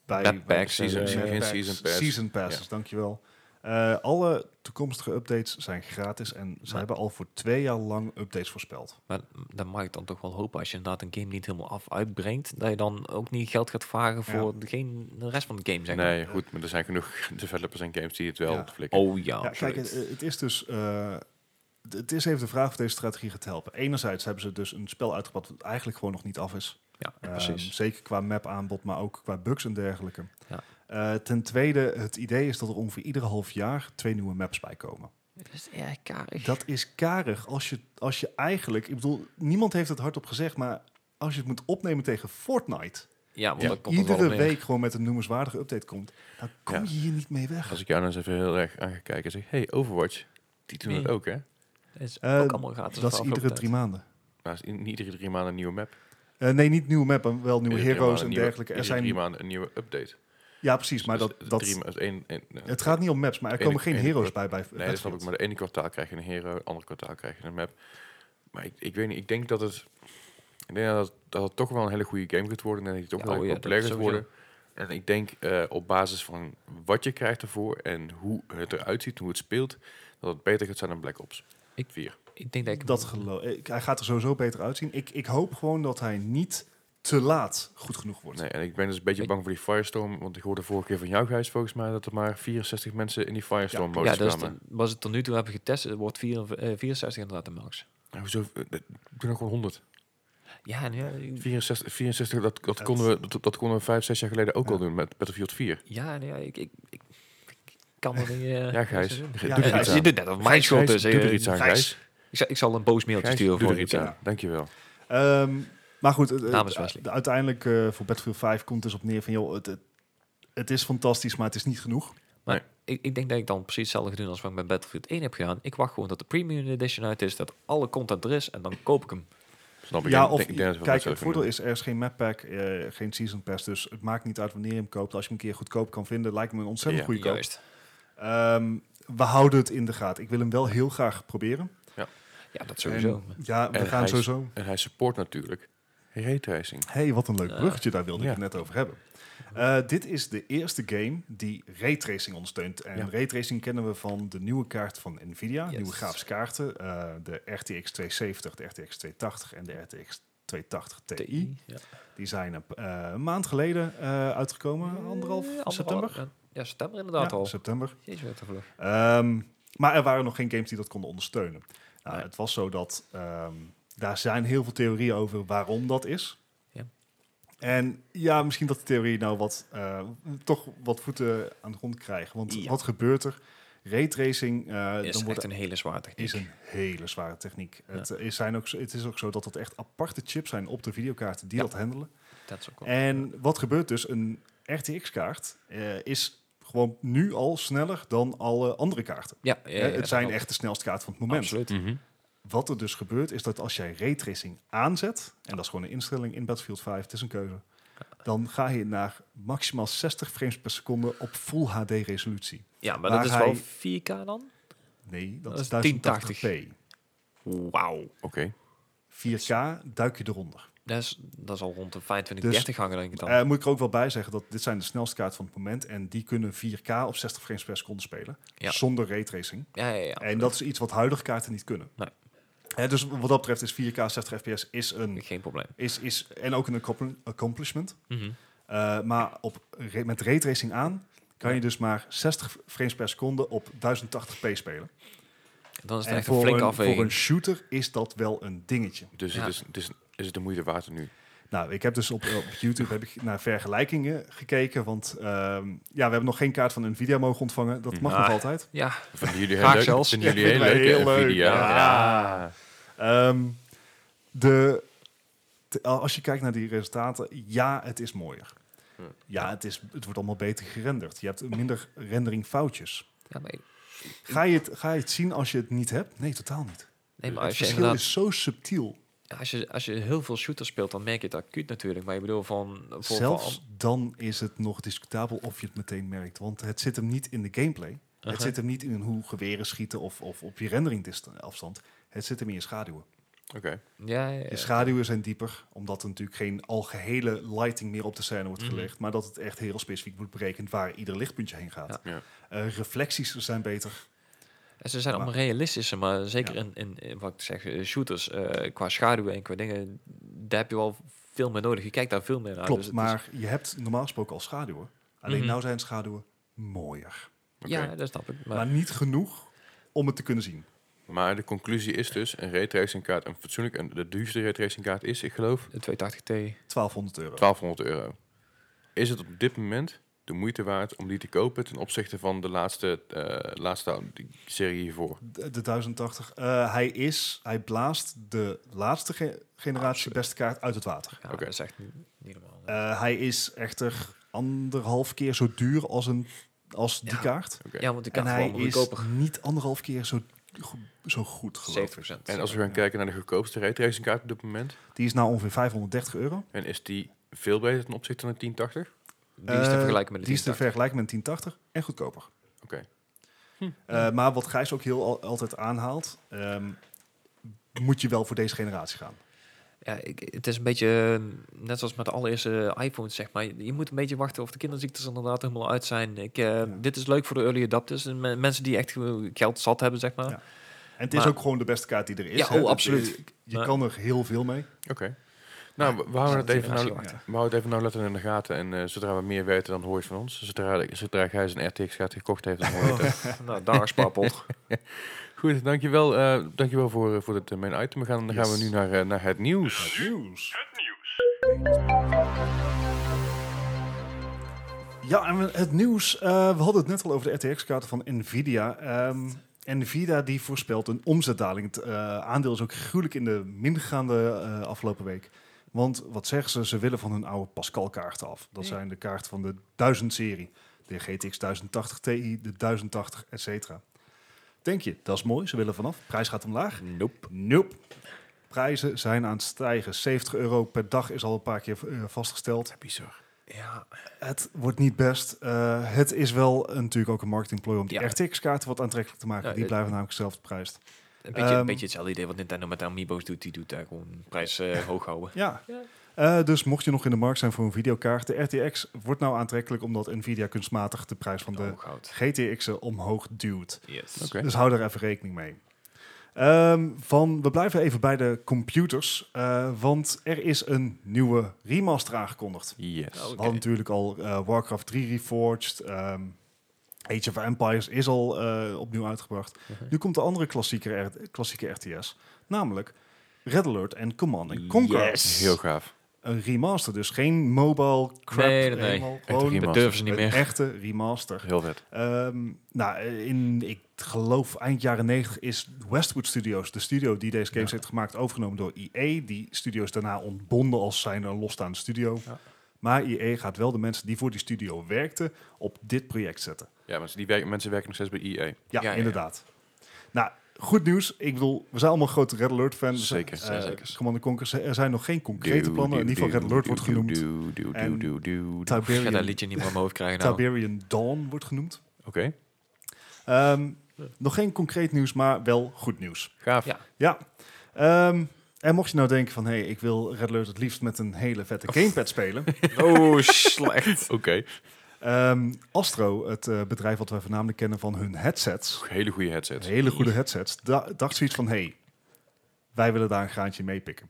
S2: bij...
S3: Netpack,
S2: bij-
S3: season-
S2: Netpack,
S1: geen season pass.
S2: Season passes, dankjewel. Eh, alle toekomstige updates zijn gratis en ze
S3: Maar-
S2: hebben al voor twee jaar lang updates voorspeld.
S3: Maar dan mag ik dan toch wel hopen, als je inderdaad een game niet helemaal af uitbrengt, dat je dan ook niet geld gaat vragen voor degene, de rest van de game, zeg maar.
S1: Nee, goed, maar er zijn genoeg developers en games die het wel
S2: Ja.
S1: flikken.
S3: Oh ja,
S2: Ja, kijk, het,
S3: absoluut.
S2: het is dus. eh, d- het is even de vraag of deze strategie gaat helpen. Enerzijds hebben ze dus een spel uitgebracht wat eigenlijk gewoon nog niet af is.
S3: ja,
S2: Ehm,
S3: precies.
S2: zeker qua map-aanbod, maar ook qua bugs en dergelijke.
S3: Ja.
S2: Eh, ten tweede, het idee is dat er ongeveer iedere half jaar twee nieuwe maps bij komen.
S3: Dat is erg karig.
S2: Dat is karig als je, als je eigenlijk. Ik bedoel, niemand heeft het hardop gezegd, maar als je het moet opnemen tegen Fortnite.
S3: ja, want
S1: Ja.
S3: dat komt er wel
S2: iedere
S3: op neer.
S2: week gewoon met een noemenswaardige update komt. dan kom
S1: Ja.
S2: je hier niet mee weg.
S1: Als ik jou nou eens even heel erg aan ga kijken en zeg... Hey, Overwatch, die doen het
S3: Nee.
S1: ook, hè?
S3: Dat is
S2: Eh,
S3: ook allemaal gratis.
S2: Dat is
S3: voor
S2: iedere
S3: afgelopen
S2: drie maanden.
S1: Maar is in iedere drie maanden een nieuwe map.
S2: Eh, nee, niet nieuwe map, maar wel nieuwe
S1: Iedere drie
S2: heroes
S1: maanden
S2: en
S1: een nieuwe-
S2: dergelijke. Er
S1: iedere drie
S2: zijn,
S1: maanden een nieuwe update.
S2: ja, precies, maar
S1: Dus
S2: dat,
S1: het
S2: dat,
S1: drie ma- het één- één- nee,
S2: het gaat niet om maps, maar er
S1: Eén-
S2: komen geen
S1: één-
S2: heroes bij. bij
S1: Nee, dat snap ik. Maar de ene kwartaal krijg je een hero, het andere kwartaal krijg je een map. Maar ik, ik weet niet, ik denk dat het... Ik denk dat het, dat het toch wel een hele goede game gaat worden. En dat het toch
S3: Ja,
S1: wel
S3: oh
S1: heel
S3: ja, dat
S1: populair gaat
S3: sowieso.
S1: worden. En ik denk eh, op basis van wat je krijgt ervoor en hoe het eruit ziet, hoe het speelt, dat het beter gaat zijn dan Black Ops
S3: Ik-
S1: 4.
S3: tijd. Ik denk dat ik...
S2: Dat geloof ik. Hij gaat er sowieso beter uitzien. Ik, ik hoop gewoon dat hij niet te laat goed genoeg wordt.
S1: Nee, en ik ben dus een beetje
S3: Ik-
S1: bang voor die Firestorm, want ik hoorde vorige keer van jou, Gijs, volgens mij, dat er maar 64 mensen in die Firestorm-modus
S3: ja, dus
S1: kwamen.
S3: dan- was het tot nu toe hebben getest, het wordt 4, eh, 64 inderdaad de max.
S1: Nou, hoezo? Eh, eh, Doe nog gewoon 100.
S3: Ja, en ja, ik-
S1: 64, 64 dat, dat, konden we, dat, dat konden we 5, 6 jaar geleden ook
S2: Ja.
S1: al doen met Battlefield 4.
S3: ja, en ja ik, ik, ik, ik kan er niet... eh,
S1: Ja, Gijs.
S3: niks aan doen.
S1: Doe
S2: Ja,
S1: er
S2: Gijs,
S1: iets
S3: Ja,
S1: aan.
S3: je doet net of mijn schuld
S1: Gijs,
S3: is.
S1: Doe
S3: eh,
S1: er iets aan,
S3: Gijs.
S1: Gijs.
S3: Ik zal, ik zal een boos mailtje
S1: Gijs,
S3: sturen
S1: doe
S3: voor
S1: er
S3: je.
S1: iets aan. Dankjewel.
S2: Ehm, maar goed, het- het-
S3: Namens Wesley.
S2: de- uiteindelijk eh, voor Battlefield 5 komt dus op neer van... joh, het, het, het is fantastisch, maar het is niet genoeg.
S1: Oh,
S3: Ik, ik denk dat ik dan precies hetzelfde ga doen als wat ik met Battlefield 1 heb gedaan. Ik wacht gewoon dat de premium edition uit is, dat alle content er is en dan koop ik hem.
S1: Snap ik.
S2: Ja,
S1: Ik
S2: of
S1: denk- ik denk dat we
S2: kijk,
S1: dat
S2: het
S1: zo
S2: voordeel
S1: doen.
S2: is, er is geen map pack, eh, geen season pass. Dus het maakt niet uit wanneer je hem koopt. Als je hem een keer goedkoop kan vinden, lijkt me een ontzettend
S1: Ja,
S2: goede koop.
S3: Juist.
S2: Ehm, we houden het in de gaten. Ik wil hem wel heel graag proberen.
S3: Ja, dat sowieso.
S2: En, ja, we
S1: En
S2: gaan
S1: hij-
S2: sowieso.
S1: En hij support natuurlijk. Raytracing.
S2: hey, wat een leuk
S3: Ja.
S2: bruggetje, daar wilde ik
S1: Ja.
S2: het net over hebben. Eh, dit is de eerste game die raytracing ondersteunt. En
S1: Ja.
S2: raytracing kennen we van de nieuwe kaart van Nvidia,
S3: Yes.
S2: nieuwe grafische kaarten. eh, de RTX 270, de RTX 280 en de RTX 280 Ti.
S3: Ja.
S2: Die zijn een, eh, een maand geleden eh, uitgekomen, anderhalf
S3: Eh,
S2: september.
S3: Ja, september inderdaad
S2: Ja,
S3: al.
S2: september.
S3: Jezus, wat een vlug.
S2: Ehm, maar er waren nog geen games die dat konden ondersteunen. Nou,
S3: Nee.
S2: Het was zo dat ehm, daar zijn heel veel theorieën over waarom dat is.
S3: Ja.
S2: En ja, misschien dat de theorie nou wat, eh, toch wat voeten aan de grond krijgen. Want
S3: Ja.
S2: wat gebeurt er? Raytracing eh
S3: Is
S2: dan wordt,
S3: echt een hele zwaar techniek.
S2: is een hele zware techniek.
S3: Ja.
S2: Het, eh, is zijn ook, zo- het is ook zo dat het echt aparte chips zijn op de videokaarten die
S3: Ja.
S2: dat handelen.
S3: Dat is ook wel.
S2: En wat gebeurt dus? Een RTX-kaart eh, is gewoon nu al sneller dan alle andere kaarten.
S3: ja, ja, ja,
S2: Hè,
S3: dat
S2: het zijn
S3: wel.
S2: echt de snelste kaart van het moment.
S3: Eh, Absoluut.
S2: Wat er dus gebeurt is dat als jij raytracing aanzet, en dat is gewoon een instelling in Battlefield 5, het is een keuze, dan ga je naar maximaal 60 frames per seconde op full HD resolutie.
S3: Ja, maar
S2: Waar
S3: dat is
S2: hij-
S3: wel 4K dan?
S2: Nee, dat,
S3: Dat
S2: is
S3: is 1080p.
S2: 1080p.
S3: Wauw.
S1: Oké.
S2: 4K duik je eronder.
S3: Dat is, dat is al rond de 25,
S2: Dus,
S3: 30 hangen denk ik dan.
S2: Eh, moet ik er ook wel bij zeggen dat dit zijn de snelste kaarten van het moment en die kunnen 4K op 60 frames per seconde spelen
S3: Ja.
S2: zonder raytracing.
S3: ja, ja, ja.
S2: En dat is iets wat huidige kaarten niet kunnen.
S3: Nee.
S2: Hè, dus wat dat betreft is 4K 60 fps is een,
S3: Geen probleem.
S2: is, is, en ook een accompli- accomplishment.
S3: Mhm.
S2: Eh, maar op, ra- met raytracing aan kan je dus maar 60 frames per seconde op 1080p spelen.
S3: Dan is het
S2: en
S3: echt een flinke
S2: een,
S3: afweging.
S2: voor een shooter is dat wel een dingetje.
S1: Dus
S3: Ja.
S1: het is, het is, is het de moeite waard nu?
S2: Nou, ik heb dus op, op YouTube heb ik naar vergelijkingen gekeken. Want ehm, ja, we hebben nog geen kaart van Nvidia mogen ontvangen. Dat mag
S3: Ah.
S2: nog altijd.
S3: Ja,
S1: Vinden jullie
S3: Graag
S1: heel leuk?
S3: zelfs.
S1: Vinden jullie heel
S2: Ja, vinden
S1: leuk?
S2: wij heel leuk,
S1: Nvidia?
S2: ja. Ehm, de, te- als je kijkt naar die resultaten, ja, het is mooier.
S1: Hm.
S2: Ja, het, is, het wordt allemaal beter gerenderd. Je hebt minder renderingfoutjes.
S3: ja maar, ik-
S2: Ga je, het, ga je het zien als je het niet hebt? Nee, totaal niet.
S3: nee, maar
S2: het
S3: als je
S2: verschil
S3: inderdaad
S2: is zo subtiel.
S3: Als je, als je heel veel shooters speelt, dan merk je het acuut natuurlijk. Maar ik bedoel, van... Voor,
S2: Zelfs dan is het nog discutabel of je het meteen merkt. Want het zit hem niet in de gameplay.
S3: Aha.
S2: Het zit hem niet in hoe geweren schieten of, of op je renderingafstand. Het zit hem in je schaduwen.
S1: Oké.
S3: van- ja, ja, ja.
S2: De schaduwen zijn dieper, omdat er natuurlijk geen algehele lighting meer op de scène wordt
S3: Mhm.
S2: gelegd, maar dat het echt heel specifiek wordt berekend waar ieder lichtpuntje heen gaat.
S1: Ja. Ja.
S2: Eh, reflecties zijn beter.
S3: Ah, En ze zijn allemaal realistischer, maar zeker in, in, in wat ik zeg, eh, shooters, eh, qua schaduwen en qua dingen, daar heb je wel veel meer nodig. Je kijkt daar veel meer naar.
S2: Klopt,
S3: dus het is-
S2: maar je hebt normaal gesproken al schaduwen. Alleen
S3: Mhm.
S2: nou zijn schaduwen mooier,
S1: oké.
S3: Ja, dat snap ik.
S2: maar,
S3: Maar,
S2: niet genoeg om het te kunnen zien.
S1: Maar de conclusie is dus, een raytracing kaart, een fatsoenlijk, en de duurste raytracing kaart is, ik geloof,
S3: de 280T,
S2: 1200 euro.
S1: 1200 euro. Is het op dit moment de moeite waard om die te kopen ten opzichte van de laatste, eh, laatste die serie hiervoor?
S2: De, de 1080. eh, hij is, hij blaast de laatste ge- generatie beste kaart uit het water.
S3: ja,
S1: Oké.
S3: dat is echt niet, niet normaal.
S2: Eh, hij is echter anderhalf keer zo duur als, een, als die
S3: Ja.
S2: kaart.
S1: Oké.
S3: Ja, want ik
S2: En
S3: kan
S2: hij
S3: gewoon
S2: is
S3: goedkoper.
S2: niet anderhalf keer zo, go- zo goed, geloof
S3: 70
S2: ik.
S1: En als we gaan kijken naar de goedkoopste raytracing kaart op dit moment,
S2: Die is nou ongeveer 530 euro.
S1: en is die veel beter ten opzichte van de 1080?
S3: Die is te
S2: Eh,
S3: vergelijken met de
S2: Die is te
S3: 1080.
S2: vergelijken met een 1080 en goedkoper.
S1: Oké.
S2: Eh, Maar wat Gijs ook heel al- altijd aanhaalt, ehm, moet je wel voor deze generatie gaan.
S3: Ja, ik, het is een beetje eh, net zoals met de allereerste iPhones, zeg maar. Je je moet een beetje wachten of de kinderziektes inderdaad helemaal uit zijn. Ik, eh, Dit is leuk voor de early adapters en me- mensen die echt eh, geld zat hebben, zeg maar.
S2: Ja. En het is
S3: Maar-
S2: ook gewoon de beste kaart die er is.
S3: Ja,
S2: hè.
S3: oh,
S2: Het-
S3: absoluut.
S2: eh, Je
S3: Maar-
S2: kan er heel veel mee.
S1: Oké. Nou, we- we houden het even nou,
S3: generatie
S1: we houden het even nou letten in de gaten. En eh, zodra we meer weten, dan hoor je het van ons. Zodra, zodra Gijs een RTX gaat gekocht heeft, dan hoor je het.
S3: nou, daar is Pappel.
S1: Oh. Goed, dankjewel, eh dankjewel voor, eh, voor dit eh, main item. We gaan, dan gaan we
S2: Yes.
S1: nu naar, eh, naar het nieuws.
S2: nieuws. Ja, en we- het nieuws. eh, we hadden het net al over de RTX-kaarten van Nvidia. Ehm, Nvidia die voorspelt een omzetdaling. Het eh, aandeel is ook gruwelijk in de min gegaan de eh, afgelopen week. Want wat zeggen ze? Ze willen van hun oude Pascal-kaarten af. Dat
S3: Ja.
S2: zijn de kaarten van de 1000-serie. De GTX 1080 Ti, de 1080, et cetera. Denk je, dat is mooi. Ze willen vanaf. Prijs gaat omlaag.
S3: Nope.
S2: Nope. Prijzen zijn aan het stijgen. 70 euro per dag is al een paar keer eh, vastgesteld.
S1: Bizar.
S3: Ja,
S2: Het wordt niet best. Eh, het is wel een- natuurlijk ook een marketingplooi om die
S3: Ja.
S2: RTX-kaarten wat aantrekkelijk te maken.
S3: Ja,
S2: die
S3: eh,
S2: blijven namelijk zelf geprijsd.
S3: Een beetje,
S2: Ehm,
S3: een beetje hetzelfde idee wat Nintendo met de Amiibo's doet. Die doet daar gewoon de prijs eh, hoog houden.
S2: Ja.
S3: Ja.
S2: Eh, dus mocht je nog in de markt zijn voor een videokaart, de RTX wordt nou aantrekkelijk omdat Nvidia kunstmatig de prijs van de
S3: Hoog houdt.
S2: GTX'en omhoog duwt.
S3: Yes.
S1: Oké.
S2: Dus hou daar even rekening mee. Ehm, van, we blijven even bij de computers, eh, want er is een nieuwe remaster aangekondigd.
S1: Yes.
S3: Oh.
S2: We hadden natuurlijk al eh, Warcraft 3 Reforged, ehm, Age of Empires is al eh, opnieuw uitgebracht.
S3: Mhm.
S2: Nu komt de andere klassieke, R- klassieke RTS, namelijk Red Alert en Command and Conquer.
S3: Yes.
S1: Heel gaaf.
S2: Een remaster, dus geen mobile crap.
S3: Nee, nee, nee.
S2: helemaal
S1: Echte
S2: gewoon
S1: remaster.
S3: Dat durven ze niet
S2: een
S3: meer.
S2: echte remaster.
S1: Heel vet.
S2: Ehm, nou, in, ik geloof eind jaren 90 is Westwood Studios, de studio die deze games
S1: Ja.
S2: heeft gemaakt, overgenomen door EA. Die studio's daarna ontbonden als zijn een losstaande studio.
S1: Ja.
S2: Maar EA gaat wel de mensen die voor die studio werkten op dit project zetten.
S1: Ja, mensen, die werken, mensen werken nog steeds bij E EA.
S2: Ja,
S3: Ja, ja,
S2: inderdaad. Nou, goed nieuws. Ik bedoel, we zijn allemaal grote Red Alert fans.
S1: Zeker,
S2: Eh,
S1: ja, zeker.
S2: Commander Conquer, ze- er zijn nog geen concrete
S1: Doe,
S2: plannen. In
S1: doe,
S2: ieder geval
S1: doe,
S2: Red Alert wordt
S1: doe,
S2: genoemd.
S1: doe, doe, doe,
S2: En
S1: doe, doe, doe.
S3: Ik ga dat
S2: Tiberian,
S3: liedje niet meer in mijn hoofd krijgen nou.
S2: Tiberian Dawn wordt genoemd.
S1: Oké,
S2: Ehm, Nog geen concreet nieuws, maar wel goed nieuws.
S1: gaaf.
S3: Ja.
S2: Ja. Ehm, en mocht je nou denken van, hé, hey, ik wil Red Alert het liefst met een hele vette gamepad spelen.
S3: Oh, slecht.
S1: Oké,
S2: Ehm, Astro, het eh, bedrijf wat wij voornamelijk kennen van hun headsets,
S1: hele goede headset.
S2: hele goede headsets, da- dacht zoiets van, hé, hey, wij willen daar een graantje mee pikken.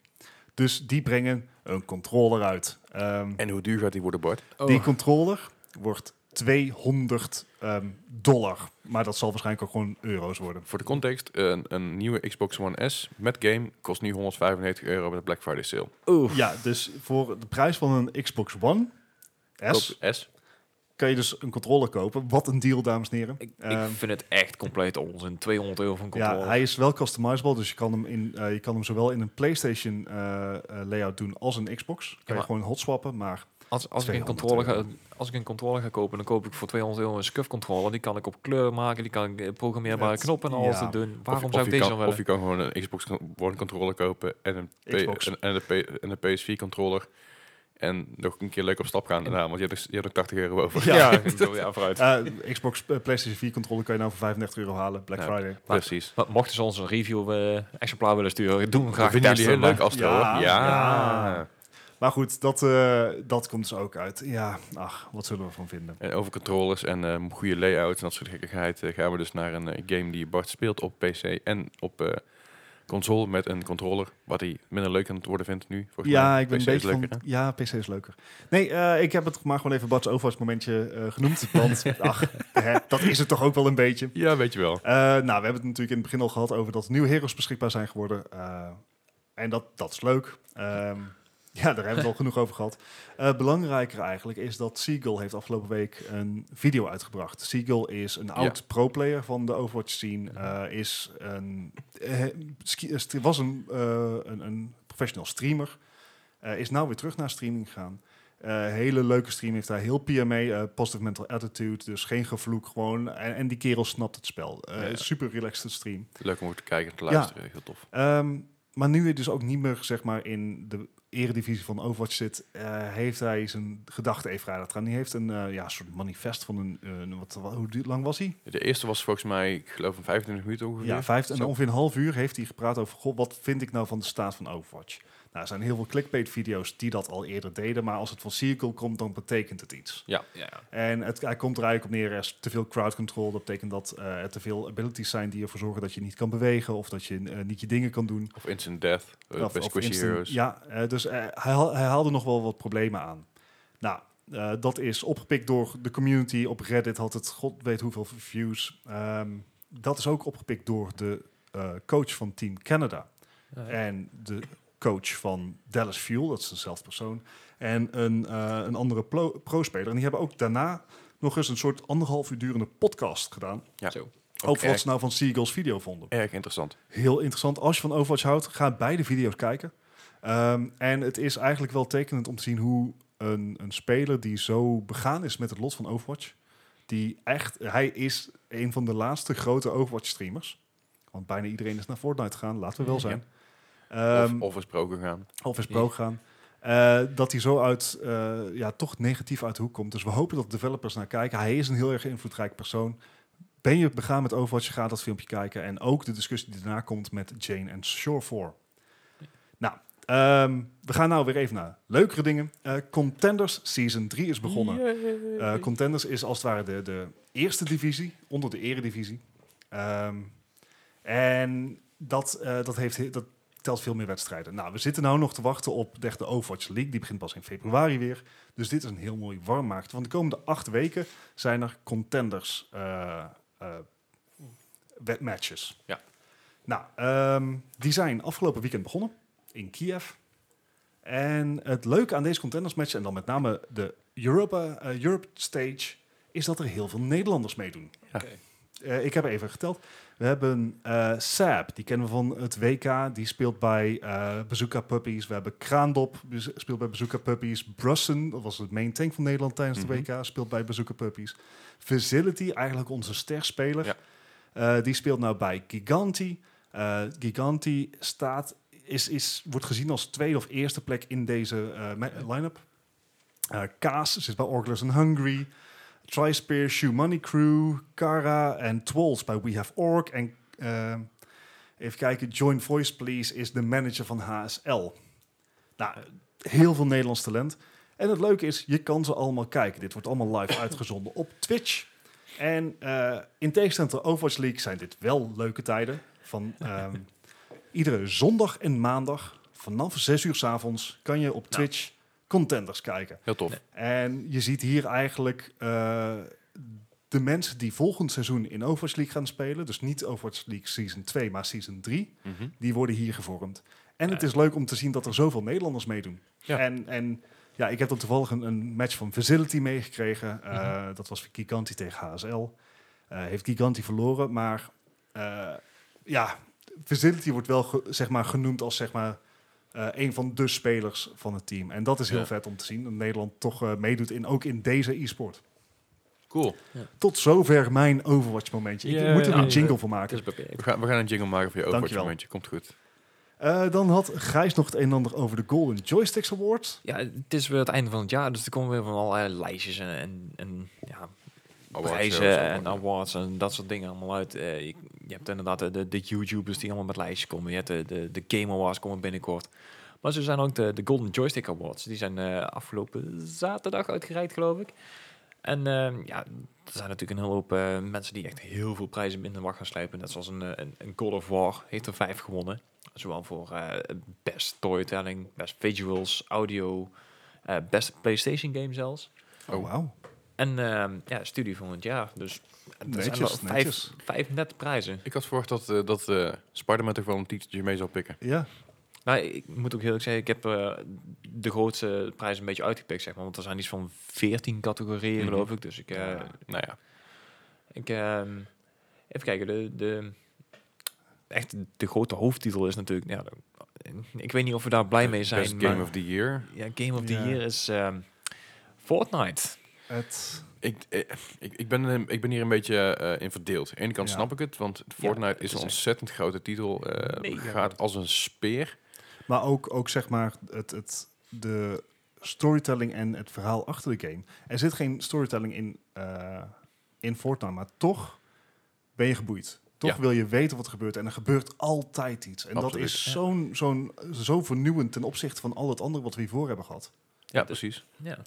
S2: Dus die brengen een controller uit. Ehm,
S1: En hoe duur gaat die worden, Bart?
S3: Oh.
S2: Die controller wordt 200 ehm, dollar, maar dat zal waarschijnlijk ook gewoon euro's worden.
S1: Voor de context, een, een nieuwe Xbox One S met game kost nu 195 euro bij de Black Friday sale.
S3: Oeh.
S2: Ja, dus voor de prijs van een Xbox One S
S1: Koop S.
S2: kan je dus een controller kopen. Wat een deal, dames en heren.
S3: Ik, ik
S2: Ehm,
S3: vind het echt compleet onzin. 200 euro van
S2: ja,
S3: controle.
S2: hij is wel customizable, dus je kan hem, in, eh, je kan hem zowel in een PlayStation eh, eh, layout doen als een Xbox. Kan je
S3: maar-
S2: gewoon hot swappen, maar
S3: Als, als, ik een
S2: 200
S3: controller ga,
S2: euro.
S3: als ik een controller ga kopen, dan koop ik voor 200 euro een scuff controller. Die kan ik op kleur maken, die kan ik eh, programmeerbare
S2: Het-
S3: knoppen en
S2: ja.
S3: alles doen.
S1: Of je-
S3: Waarom
S1: of
S3: zou
S1: je
S3: ik deze
S1: kan,
S3: dan
S1: Of
S3: willen?
S1: je kan gewoon een Xbox One controller kopen en een, P-
S2: Xbox.
S1: en, en een, P- en een PS4 controller. En nog een keer leuk op stap gaan daarna, want je hebt, er- je hebt er 80 euro over.
S2: Ja.
S3: ik bedoel, ja, vooruit.
S2: eh, Xbox eh, PlayStation 4 controller kan je nou voor 35 euro halen, Black
S1: Ja.
S2: Friday.
S1: Precies.
S3: Maar mochten ze ons een review eh exemplaar willen sturen, doen we graag
S1: Vinden jullie
S3: testen,
S1: heel
S3: maar-
S1: leuk, Astro?
S2: Ja,
S1: hoor.
S2: ja. Maar goed, dat, eh, dat komt dus ook uit. Ja, ach, wat zullen we ervan vinden?
S1: En over controllers en ehm, goede layouts en dat soort gekkigheid eh, gaan we dus naar een eh, game die Bart speelt op PC en op eh, console met een controller. Wat hij minder leuk aan het worden vindt nu. Volgens
S2: ja,
S1: mij.
S2: ik ben
S1: PC
S2: een
S1: is
S2: beetje
S1: leuker,
S2: van...
S1: hè?
S2: Ja, PC is leuker. Nee, eh, ik heb het maar gewoon even Bart's overheidsmomentje eh, genoemd. Want ach, hè, dat is het toch ook wel een beetje.
S1: Ja, weet je wel.
S2: Eh, nou, we hebben het natuurlijk in het begin al gehad over dat er nieuwe heroes beschikbaar zijn geworden. Eh, en dat, dat is leuk. Ehm, ja, daar hebben we het al genoeg over gehad. Eh, belangrijker eigenlijk is dat Seagull heeft afgelopen week een video uitgebracht. Seagull is een oud pro-player van de Overwatch scene. eh, is een, eh, ski- eh, st- was een, eh, een, een professional streamer. Eh, is nou weer terug naar streaming gegaan. Eh, hele leuke stream heeft daar heel PMA, eh, positive mental attitude, dus geen gevloek gewoon. En, en die kerel snapt het spel. Eh,
S1: Ja.
S2: Super relaxed stream.
S1: Leuk om ook te kijken en te
S2: Ja.
S1: luisteren. Heel tof.
S2: Ehm, maar nu hij dus ook niet meer zeg maar, in de eredivisie van Overwatch zit, eh, heeft hij zijn gedachten even verder gaan. Hij heeft een eh, ja, soort manifest van een, eh, een wat, wat- hoe du- lang was hij?
S1: De eerste was volgens mij, ik geloof, een 25 minuten ongeveer.
S2: Ja, vijf, en
S1: Zo.
S2: ongeveer een half uur heeft hij gepraat over, god, wat vind ik nou van de staat van Overwatch? Nou, er zijn heel veel clickbait-video's die dat al eerder deden, maar als het van Circle komt, dan betekent het iets.
S3: Ja.
S2: En het, hij komt er eigenlijk op neer, er is te veel crowd control. Dat betekent dat eh, er te veel abilities zijn die ervoor zorgen dat je niet kan bewegen of dat je eh, niet je dingen kan doen.
S1: Of Instant Death, eh,
S2: Of-
S1: bij
S2: of
S1: Squishy
S2: instant-
S1: Heroes.
S2: Ja, eh, dus eh, hij, haal- hij haalde nog wel wat problemen aan. Nou, eh, dat is opgepikt door de community. Op Reddit had het god weet hoeveel views. Ehm, dat is ook opgepikt door de eh, coach van Team Canada. En de coach van Dallas Fuel, dat is dezelfde persoon. En een, eh, een andere plo- pro-speler. En die hebben ook daarna nog eens een soort anderhalf uur durende podcast gedaan.
S1: Ja.
S3: Zo.
S1: Ook
S2: Over wat
S1: erg,
S2: ze nou van Seagulls video vonden.
S1: erg interessant.
S2: Heel interessant. Als je van Overwatch houdt, ga beide video's kijken. Ehm, en het is eigenlijk wel tekenend om te zien hoe een, een speler die zo begaan is met het lot van Overwatch, die echt, hij is een van de laatste grote Overwatch-streamers. Want bijna iedereen is naar Fortnite gegaan, laten we wel zijn.
S1: Of-
S2: Ehm,
S1: of is pro gegaan.
S2: of is pro gaan. Eh, dat hij zo uit, eh, ja, toch negatief uit de hoek komt. Dus we hopen dat developers naar kijken. Hij is een heel erg invloedrijk persoon. Ben je begaan met Overwatch, ga dat filmpje kijken. En ook de discussie die daarna komt met Jane en Shore 4. Nou, ehm, we gaan nou weer even naar leukere dingen. Eh, Contenders Season 3 is begonnen. Eh, contenders is als het ware de, de eerste divisie, onder de eredivisie. Ehm, en dat, eh, dat, heeft, he- dat telt veel meer wedstrijden. Nou, we zitten nou nog te wachten op de echte Overwatch League. Die begint pas in februari weer. Dus dit is een heel mooi warmmaakt. Want de komende acht weken zijn er Contenders eh, eh, wed- matches.
S1: Ja.
S2: Nou, ehm, die zijn afgelopen weekend begonnen in Kiev. En het leuke aan deze contendersmatch, en dan met name de Europa, eh, Europe Stage, is dat er heel veel Nederlanders meedoen.
S1: Ja.
S4: Oké.
S2: Eh, ik heb even geteld. We hebben eh Saab, die kennen we van het WK, die speelt bij eh Bazooka Puppies. We hebben Kraandop, die s- speelt bij Bazooka Puppies. Brussen, dat was het main tank van Nederland tijdens de
S1: Mhm.
S2: WK, speelt bij Bazooka Puppies. Facility, eigenlijk onze sterspeler,
S1: Ja.
S2: eh, die speelt nou bij Giganti. Eh, Giganti staat, is, is, wordt gezien als tweede of eerste plek in deze eh, ma- line-up. Eh, Kaas zit bij Orglers and Hungry. Trispear, Shoe Money Crew, Kara en Twals bij We Have Org. En eh, even kijken, Join Voice Please is de manager van HSL. Nou, heel veel Nederlands talent. En het leuke is, je kan ze allemaal kijken. Dit wordt allemaal live uitgezonden op Twitch. En eh, in tegenstelling tot Overwatch League zijn dit wel leuke tijden. Van ehm, iedere zondag en maandag vanaf 6 uur s avonds kan je op Twitch contenders kijken.
S1: Heel tof.
S2: En je ziet hier eigenlijk eh, de mensen die volgend seizoen in Overwatch League gaan spelen. Dus niet Overwatch League Season 2, maar Season 3.
S1: Mhm.
S2: Die worden hier gevormd. En het is leuk om te zien dat er zoveel Nederlanders meedoen.
S1: Ja.
S2: En, en ja, ik heb dan toevallig een, een match van Facility meegekregen. Eh,
S3: Mhm.
S2: Dat was Giganti tegen HSL. Eh, heeft Giganti verloren, maar eh, ja, Facility wordt wel ge- zeg maar, genoemd als zeg maar, eh, een van de spelers van het team. En dat is heel
S1: Ja.
S2: vet om te zien. Dat Nederland toch eh, meedoet in, ook in deze e-sport.
S1: Cool.
S2: Tot zover mijn Overwatch momentje. Ik
S3: Yay.
S2: moet er een
S3: Ja,
S2: jingle voor
S3: Het
S2: maken.
S3: is beperkt.
S1: We gaan, we gaan een jingle maken voor je Overwatch
S2: Dankjewel.
S1: momentje. Komt goed.
S2: Eh, dan had Gijs nog het een en ander over de Golden Joysticks Award.
S3: Ja, het is weer het einde van het jaar, dus er komen weer van allerlei lijstjes en, en, en ja,
S1: Awards, shows,
S3: prijzen en
S1: allemaal.
S3: awards en dat soort dingen allemaal uit. Eh, je, je hebt inderdaad de, de, de YouTubers die allemaal met lijstjes komen. Je hebt de, de, de Game Awards komen binnenkort. Maar zo zijn ook de, de Golden Joystick Awards. Die zijn eh, afgelopen zaterdag uitgereikt, geloof ik. En eh, ja, er zijn natuurlijk een hele hoop eh, mensen die echt heel veel prijzen in de wacht gaan slijpen. Net zoals een, eh, een, een God of War heeft er vijf gewonnen. Zowel voor eh, best storytelling, best visuals, audio, eh best PlayStation game zelfs.
S2: Oh, wauw.
S3: En ehm, ja, studie van het jaar. Dus er zijn wel
S2: Netjes,
S3: vijf,
S2: netjes.
S3: vijf net prijzen.
S1: Ik had verwacht dat, eh, dat eh Spider-Man toch wel een titeltje mee zou pikken.
S2: Ja,
S3: Maar ik moet ook heel eerlijk zeggen, ik heb eh, de grootste prijs een beetje uitgepikt, zeg maar. Want er zijn iets van veertien categorieën,
S1: Mhm.
S3: geloof ik. Dus ik, eh,
S1: Nou ja,
S3: ik ehm, even kijken. De, de, echt, de grote hoofdtitel is natuurlijk, ja, ik weet niet of we daar blij mee zijn.
S1: best
S3: maar,
S1: Game of the Year.
S3: ja, Game of the
S2: Ja.
S3: Year is ehm, Fortnite.
S2: het...
S1: Ik, eh, ik, ik, ben, er- ik ben hier een beetje eh, in verdeeld. Aan de ene kant
S2: Ja.
S1: snap ik het, want Fortnite
S3: het
S1: is
S3: is
S1: een
S3: echt-
S1: ontzettend grote titel. eh,
S3: Mega
S1: gaat als een speer.
S2: Maar ook, ook zeg maar het, het, de storytelling en het verhaal achter de game. Er zit geen storytelling in, eh, in Fortnite, maar toch ben je geboeid. Toch
S1: Ja.
S2: wil je weten wat er gebeurt. En er gebeurt altijd iets. En dat
S1: Absoluut.
S2: is zo'n, zo'n, zo vernieuwend ten opzichte van al het andere wat we hiervoor hebben gehad.
S1: Ja, precies.
S3: Ja.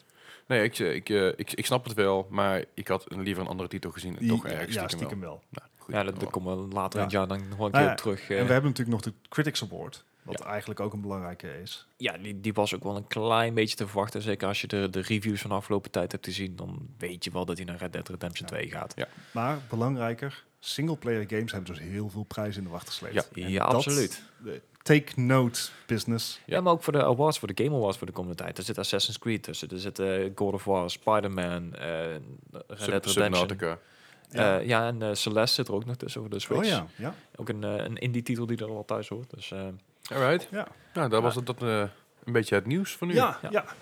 S1: Nee, ik, eh, ik, eh, ik, ik snap het wel, maar ik had een- liever een andere titel gezien. En toch
S2: Die-
S1: ergens
S2: ja,
S1: stiekem wel.
S2: stiekem wel.
S1: Nou, goed,
S3: Ja, dat, dat
S1: wel.
S3: komen we later in het
S2: oh. Ja.
S3: jaar dan nog wel een
S2: Nou
S3: keer
S2: ja,
S3: op terug. eh.
S2: En we hebben natuurlijk nog de Critics Award. Wat eigenlijk ook een belangrijke is.
S3: ja, die, die was ook wel een klein beetje te verwachten. Zeker als je de, de reviews van de afgelopen tijd hebt gezien, dan weet je wel dat hij naar Red Dead Redemption
S2: Ja.
S3: 2 gaat.
S2: Maar belangrijker, singleplayer games hebben dus heel veel prijzen in de wacht gesleept.
S3: Ja,
S2: En
S3: ja,
S2: dat-
S3: absoluut.
S2: eh, Take note, business.
S3: Ja. maar ook voor de awards, voor de Game Awards voor de komende tijd. Er zit Assassin's Creed tussen, er zit eh, God of War, Spider-Man, eh, Red
S1: Sub-
S3: Dead Redemption.
S1: Subnautica.
S2: Ja.
S3: Eh, ja, en eh, Celeste zit er ook nog tussen voor de Switch.
S2: Oh ja, ja.
S3: Ook een, eh, een indie-titel die er al thuis hoort. Dus, eh,
S1: Alright.
S2: Ja.
S1: Nou, daar was het dat, eh, een beetje het nieuws van nu.
S2: Ja, ja.
S3: Ja.
S1: Nou,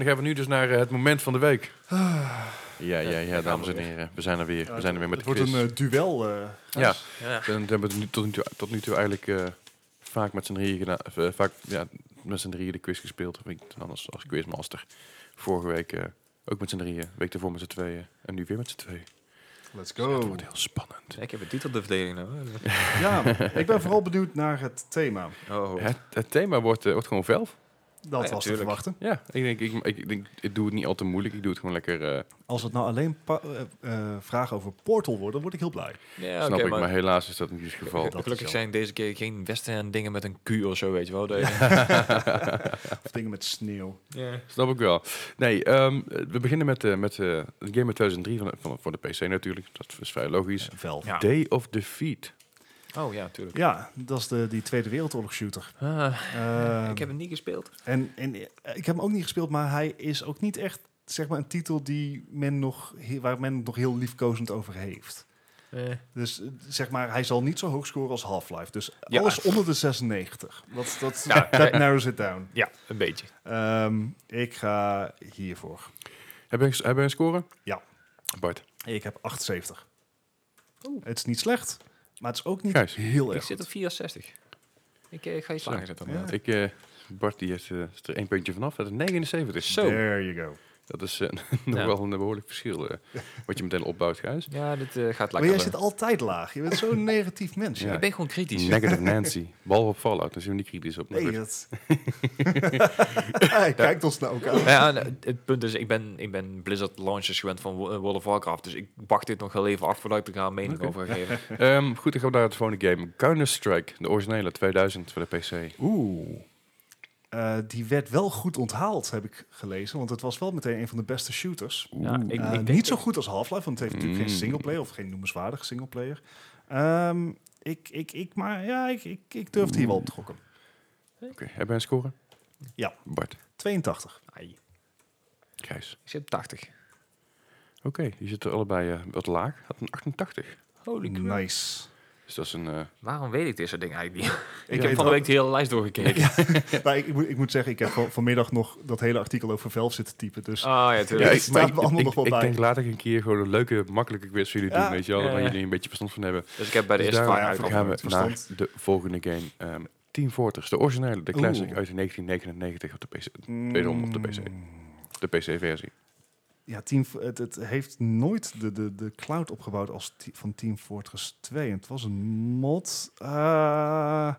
S1: dan gaan we nu dus naar eh, het moment van de week. Ah. Ja, ja, ja,
S3: gaan
S1: dames
S3: we
S1: en heren. We zijn er weer. We zijn er weer met
S2: Het
S1: de
S2: wordt
S1: quiz.
S2: een eh, duel. eh,
S1: Ja.
S3: ja.
S1: Dan hebben we het nu- tot nu toe, tot nu toe eigenlijk eh, vaak met z'n drieën gedaan. of, eh, vaak ja, met z'n drieën de quiz gespeeld. Of ik dan anders als quizmaster. Vorige week eh, ook met z'n drieën. Week daarvoor met z'n tweeën. En nu weer met z'n tweeën.
S2: Let's
S1: Dus Het
S2: go.
S1: wordt heel spannend.
S3: Ik heb een titel de verdediging nou.
S2: Ja, ik ben vooral benieuwd naar het thema.
S3: Oh.
S1: Het, het thema wordt, eh, wordt gewoon velf.
S2: Dat
S3: Ja,
S2: was te
S3: tuurlijk.
S2: verwachten.
S1: Ja, ik denk, ik, ik, denk, ik doe het niet al te moeilijk. Ik doe het gewoon lekker, eh,
S2: Als het nou alleen pa- eh, eh, vragen over Portal worden, word ik heel blij.
S3: Ja,
S1: snap
S3: oké,
S1: ik. Maar, helaas is dat niet het geval.
S2: dat
S3: Gelukkig
S2: is
S3: zijn deze keer geen western dingen met een Q of zo, weet je wel. De-
S2: Of dingen met sneeuw.
S3: ja.
S1: Snap ik wel. Nee, ehm, we beginnen met, eh met eh, een game uit 2003 van, van, voor de PC natuurlijk. Dat is vrij logisch.
S2: Velf.
S3: Ja.
S1: Day of Defeat.
S3: Oh ja, tuurlijk.
S2: Ja, dat is de, die Tweede Wereldoorlog shooter.
S3: Ah,
S2: Ehm,
S3: ik heb het niet gespeeld.
S2: En, en eh, ik heb hem ook niet gespeeld, maar hij is ook niet echt zeg maar, een titel die men nog, he- waar men het nog heel liefkozend over heeft.
S3: Eh,
S2: Dus eh, zeg maar, hij zal niet zo hoog scoren als Half-Life. Dus
S3: Ja.
S2: alles onder de 96. Dat, dat,
S3: Ja.
S2: that narrows it down.
S3: ja, een beetje.
S2: Ehm, ik ga hiervoor.
S1: Heb je, heb je een score?
S2: Ja.
S1: Bart.
S2: Ik heb 78.
S3: Oeh.
S2: Het is niet slecht, maar het is ook niet
S1: Gijs.
S2: heel
S3: Ik
S2: erg.
S3: zit op
S2: goed.
S3: 64. Ik eh, ga je
S1: Zo.
S3: slagen zetten.
S2: Ja.
S3: man.
S1: Ik, eh, Bart die is, eh, is er één puntje vanaf. Dat is 79.
S3: Zo.
S2: There you go.
S1: Dat is eh, nog
S3: Ja.
S1: wel een behoorlijk verschil. eh, wat je meteen opbouwt, Gijs.
S3: Ja, dit eh, gaat
S2: Maar
S3: lekker.
S2: jij zit altijd laag. Je bent zo'n negatief mens.
S1: Ja.
S2: Ja.
S3: Ik ben gewoon kritisch.
S1: Negative Nancy. Bal op Fallout. Daar zijn we niet kritisch op. Maar
S2: Nee,
S1: goed.
S2: dat... Hij kijkt ons nou ook aan.
S3: Nou ja, en het punt is, ik ben, ik ben Blizzard launches gewend van Wo- eh, World of Warcraft. Dus ik wacht dit nog wel even af voordat ik er een mening
S1: Oké.
S3: over ga geven.
S1: Ehm, goed, dan gaan we naar het volgende game. Counter-Strike, de originele 2000 voor de PC.
S2: Oeh. Eh, die werd wel goed onthaald, heb ik gelezen. Want het was wel meteen een van de beste shooters.
S3: Ja, ik, ik
S2: Eh,
S3: denk
S2: niet zo
S3: dat-
S2: goed als Half-Life, want het heeft natuurlijk geen
S1: Mm.
S2: singleplayer of geen noemenswaardige singleplayer. Ehm ik, ik, ik, maar ja, ik, ik, ik durfde hier wel op te gokken.
S1: Oké, hebben we een score?
S2: Ja.
S1: Bart,
S2: 82.
S3: Ai,
S1: Gijs.
S3: ik zit op 80.
S1: Oké, je zit er allebei eh, wat laag. Had een 88.
S3: Holy crap.
S2: Nice.
S1: Dus dat is een... eh,
S3: Waarom weet ik dit soort dingen eigenlijk niet? Ik
S2: weet
S3: heb van de
S2: ook-
S3: week de hele lijst doorgekeken.
S2: Nou, ik, ik moet, ik moet zeggen, ik heb van, vanmiddag nog dat hele artikel over Velf zitten typen. Dus
S3: Ah ja,
S2: Ja,
S3: tuurlijk.
S2: ik- staat me allemaal
S1: ik,
S2: nog wel
S1: ik
S2: bij.
S1: denk later een keer gewoon een leuke, makkelijke quiz voor jullie
S2: Ja.
S1: doen, weet je wel. Waar
S3: Ja.
S1: jullie een beetje verstand van hebben.
S3: Dus ik heb bij de
S1: Dus
S3: eerste vraag
S1: daarom
S2: ja,
S3: eigenlijk
S1: gaan
S3: al-
S1: we
S2: antwoord.
S1: naar de volgende game. Ehm Team Fortress, de originele, de classic
S2: Oeh.
S1: uit 1999 op de PC.
S2: mm,
S1: wederom op de PC. De PC-versie.
S2: Ja, Team, het, het heeft nooit de, de, de cloud opgebouwd als te- van Team Fortress 2. En het was een mod. Eh,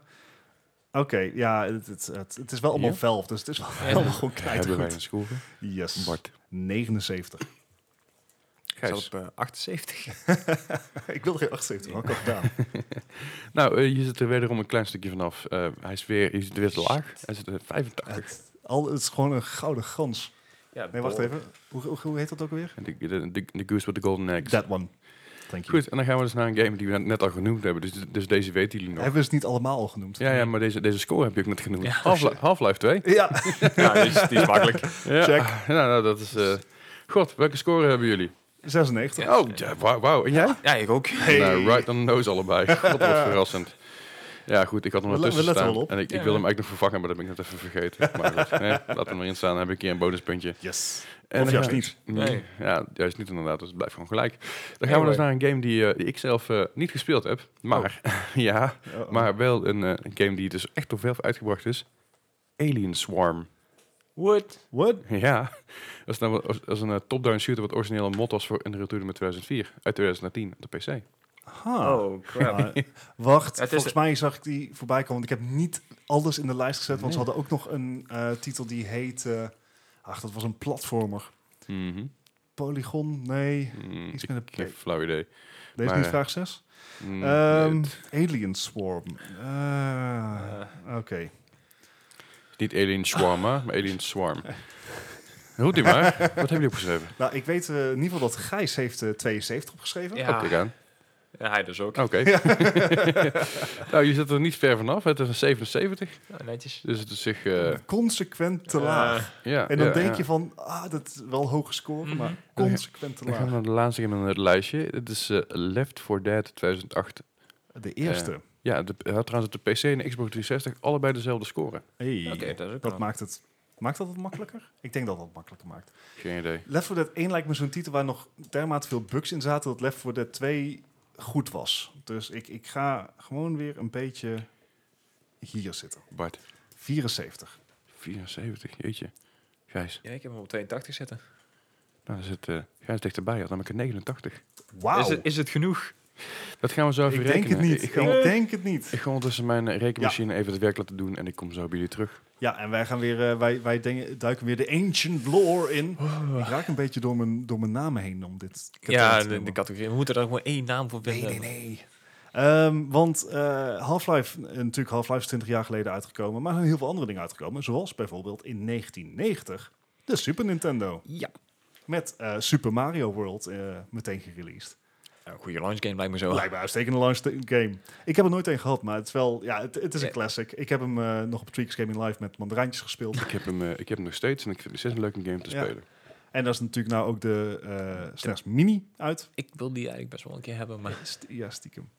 S2: Oké, ja, het, het, het, het is wel allemaal
S1: Ja.
S2: Valve, dus het is wel allemaal gewoon
S1: Hebben wij
S2: knijtergoed.
S1: een score?
S3: dus.
S2: Yes,
S1: Bart.
S2: 79.
S3: Ik zat
S1: Gijs.
S3: op eh, 78.
S2: ik wilde geen 78, maar ik had het gedaan.
S1: Nou, eh, je zit er wederom een klein stukje vanaf. Eh, hij is weer, je zit er weer te laag. Hij zit er 85.
S2: Het, al, het is gewoon een gouden gans.
S3: Ja,
S2: Nee, wacht even. Hoe, hoe, hoe heet dat ook alweer?
S1: En de, de, de, de Goose with the Golden Eggs.
S2: That one. Thank you.
S1: Goed, en dan gaan we dus naar een game die we net al genoemd hebben. Dus, dus deze weten jullie nog.
S2: Hebben ze het niet allemaal al genoemd?
S1: Ja, ja, maar deze, deze score heb je ook net genoemd.
S3: Ja.
S1: Half-Li- Half-Life 2.
S2: Ja,
S3: Ja, die is, die is makkelijk.
S1: Ja.
S2: Check.
S1: Ah, Nou, nou, dat is... eh, God, welke score hebben jullie?
S2: 96.
S3: Ja.
S1: Oh, ja, wauw. wauw. En jij?
S3: Ja, ik ook.
S1: Nou, right on the nose allebei. God, wat verrassend. Ja, goed, ik had hem
S2: We le-
S1: ertussen
S2: we letten
S1: staan.
S2: wel op.
S1: En ik, ik
S3: Ja.
S1: wil hem eigenlijk nog vervangen, maar dat ben ik net even vergeten. Maar goed, nee, laat hem erin staan. Dan heb ik hier een bonuspuntje.
S2: Yes.
S1: En
S2: Of
S1: dan
S2: juist
S1: gaan-
S2: niet.
S3: Nee.
S1: Ja, juist niet inderdaad. Dus het blijft gewoon gelijk. Dan gaan we
S3: Anyway.
S1: dus naar een game die, eh, die ik zelf eh, niet gespeeld heb. Maar,
S3: Oh.
S1: ja,
S2: Uh-oh.
S1: maar wel een, eh, een game die dus echt door Valve uitgebracht is. Alien Swarm.
S3: What?
S2: What?
S1: Ja, dat is, nou, wat- dat is een eh, top-down shooter wat origineel een mod was voor Unreal Tournament 2004. Uit 2010 op de PC.
S2: Ha.
S3: Oh, crap.
S2: Maar, wacht,
S3: Het is
S2: volgens
S3: de-
S2: mij zag ik die voorbij komen. Want ik heb niet alles in de lijst gezet, want ze
S1: Nee.
S2: hadden ook nog een eh, titel die heette... eh, ach, dat was een platformer.
S1: Mhm.
S2: Polygon? Nee,
S1: Mm,
S2: iets
S1: ik
S2: met een
S1: heb geen
S2: P.
S1: flauw idee.
S2: Deze
S1: maar,
S2: is niet
S1: eh,
S2: vraag 6.
S1: Mm,
S2: Ehm,
S1: het
S2: Alien Swarm. Eh, Oké.
S1: is niet Alien Swarm, hè, maar Alien Swarm. Goed, die maar. Wat hebben jullie opgeschreven?
S2: Nou, ik weet eh, in ieder geval dat Gijs heeft eh, 72 opgeschreven.
S3: Ja.
S1: Kijk aan.
S3: Ja, hij dus ook.
S2: Oh,
S1: Oké. nou, je zit er niet ver vanaf. Het is een 77.
S3: Nou, netjes.
S1: Dus het is zich... eh,
S2: Consequent te
S3: Eh,
S2: laag.
S1: ja,
S2: En dan
S1: ja,
S2: denk
S1: ja.
S2: je van, ah, dat is wel hoge score,
S3: Mhm.
S2: maar consequent te
S1: Dan gaan we
S2: laag.
S1: naar de laatste game in het lijstje. Het is eh, Left 4 Dead 2008.
S2: De eerste.
S1: Ja, de, hij had trouwens op de PC en de Xbox 360 allebei dezelfde score.
S2: Hey.
S3: Oké, dat is ook
S2: Dat
S3: wel.
S2: maakt het. Maakt dat het makkelijker? Ik denk dat dat het makkelijker maakt.
S1: Geen idee.
S2: Left 4 Dead 1 lijkt me zo'n titel waar nog dermate veel bugs in zaten dat Left 4 Dead 2 goed was. Dus ik, ik ga gewoon weer een beetje hier zitten.
S1: Bart.
S2: 74.
S1: 74, jeetje. Gijs,
S3: Ja, ik heb hem op 82 zitten.
S1: nou, daar zit eh, Ga eens dichterbij, had namelijk een 89.
S2: Wauw.
S3: Is, het, is het genoeg?
S1: Dat gaan we zo even
S2: Ik denk het
S1: rekenen.
S2: niet.
S1: Ik
S2: Ik
S1: ga,
S2: denk het niet.
S1: ik ga ondertussen mijn eh, rekenmachine even het werk laten doen en ik kom zo bij jullie terug.
S2: Ja, en wij gaan weer, eh, wij, wij denken, duiken weer de ancient lore in. Ik raak een beetje door mijn, door mijn namen heen om dit
S3: Oh. ja,
S2: te
S3: de,
S2: noemen.
S3: de categorie. We moeten daar gewoon één naam voor vinden.
S2: Nee, nee, nee. Ehm, want eh, Half-Life, eh, natuurlijk Half-Life is 20 jaar geleden uitgekomen, maar er zijn heel veel andere dingen uitgekomen. Zoals bijvoorbeeld in 1990 de Super Nintendo.
S3: Ja.
S2: Met eh, Super Mario World eh, meteen gereleased.
S3: Een goede launch game lijkt me zo.
S2: Blijkbaar uitstekende launch game. Ik heb er nooit een gehad, maar het is wel, ja, het, het is een
S3: Ja.
S2: classic. Ik heb hem eh, nog op Tweaks Gaming Live met mandarijntjes gespeeld.
S1: Ik heb hem, eh, ik heb hem nog steeds en ik vind het steeds een leuke game te
S2: Ja.
S1: spelen.
S2: en daar is natuurlijk nou ook de eh SNES Mini uit.
S3: Ik wil die eigenlijk best wel een keer hebben, maar...
S2: St- ja, stiekem.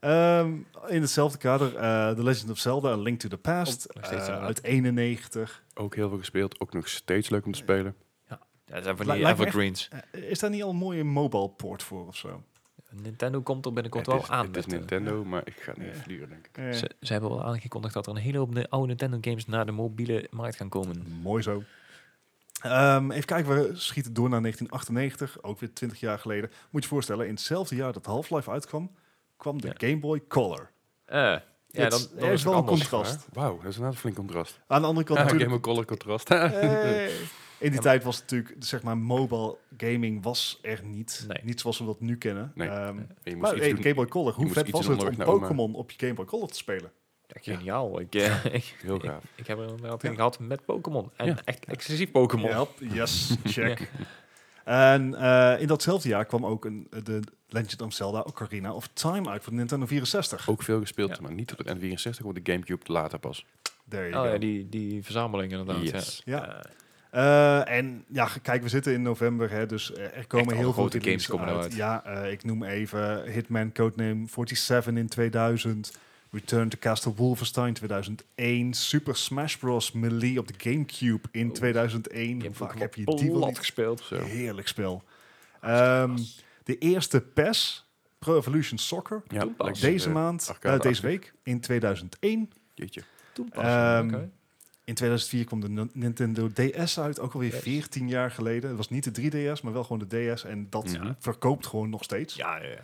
S2: Ehm, in hetzelfde kader, eh The Legend of Zelda, A Link to the Past,
S3: Oh, nog steeds
S2: eh,
S3: inderdaad.
S2: uit 91.
S1: Ook heel veel gespeeld, ook nog steeds leuk om te spelen.
S3: Ja, dat zijn van
S2: Lij-
S3: die
S2: lijkt me echt-
S3: evergreens.
S2: Eh, is daar niet al een mooie mobile port voor of zo?
S3: Nintendo komt er binnenkort
S1: het
S3: wel
S1: is,
S3: aan.
S1: het is
S3: met, eh,
S1: Nintendo, maar ik ga het niet even verduren, denk ik.
S2: Eh,
S3: Ze, ze hebben wel aangekondigd dat er een hele hoop ni- oude Nintendo games naar de mobiele markt gaan komen.
S2: Mooi zo. Ehm, even kijken, we schieten door naar 1998, ook weer 20 jaar geleden. Moet je je voorstellen, in hetzelfde jaar dat Half-Life uitkwam, kwam de
S3: Ja.
S2: Game Boy Color.
S3: Eh, ja,
S2: Het-
S3: dan,
S2: er
S3: dan
S2: is
S3: is het
S2: wel een
S3: anders.
S2: contrast.
S1: Wauw, dat is inderdaad een flink contrast.
S2: Aan de andere kant
S1: Ah,
S2: natuurlijk...
S1: Game of Color contrast.
S2: Eh, in die
S3: maar-
S2: tijd was het natuurlijk, zeg maar, mobile gaming was er niet.
S3: Nee.
S2: Niet zoals we dat nu kennen.
S1: Nee.
S2: Ehm,
S1: je moest
S2: maar
S1: iets
S2: hey,
S1: doen.
S2: Game Boy Color, hoe
S1: moest
S2: vet
S1: iets
S2: was
S1: doen
S2: het om
S1: onderweg naar oma.
S2: Pokémon op je Game Boy Color te spelen?
S3: Ja, geniaal. Ik, eh, ik,
S1: Heel
S3: ik-
S1: gaaf.
S3: ik heb er inderdaad
S2: Ja.
S3: een gehad met Pokémon. En
S1: Ja.
S3: echt exclusief Pokémon.
S2: Ja, yes, check. En eh, in datzelfde jaar kwam ook een, eh, de Legend of Zelda Ocarina of Time uit voor de Nintendo 64.
S1: Ook veel gespeeld,
S3: Ja.
S1: maar niet op de N64, op de Gamecube later pas.
S2: There you
S3: Oh
S2: go.
S3: ja, die, die verzameling inderdaad.
S1: Yes.
S3: Ja.
S2: Ja.
S3: Eh,
S2: Eh, en ja, g- kijk, we zitten in november, hè, dus eh, er komen
S3: alle
S2: heel veel
S3: grote
S2: releases
S3: games komen eruit.
S2: Ja, eh, ik noem even Hitman Codename 47 in 2000, Return to Castle Wolfenstein 2001, Super Smash Bros. Melee op de Gamecube in
S3: Oh.
S2: 2001.
S3: ik heb
S2: Vaak
S3: Pokémon
S2: heb je die wel
S3: plat
S2: niet.
S3: gespeeld.
S1: Zo.
S2: Heerlijk spel. Ehm, de eerste PES, Pro Evolution Soccer,
S1: Ja,
S3: Toen pas.
S1: lijkt me
S2: deze
S1: een, eh,
S2: maand,
S1: arcade
S2: eh, deze
S1: achter.
S2: week in 2001.
S1: Jeetje.
S3: Toen pas.
S2: Ehm,
S3: oké.
S2: In 2004 kwam de N- Nintendo DS uit, ook alweer
S3: Yes.
S2: 14 jaar geleden. Het was niet de 3DS, maar wel gewoon de DS. En dat
S1: Ja.
S2: verkoopt gewoon nog steeds.
S3: Ja, ja, ja.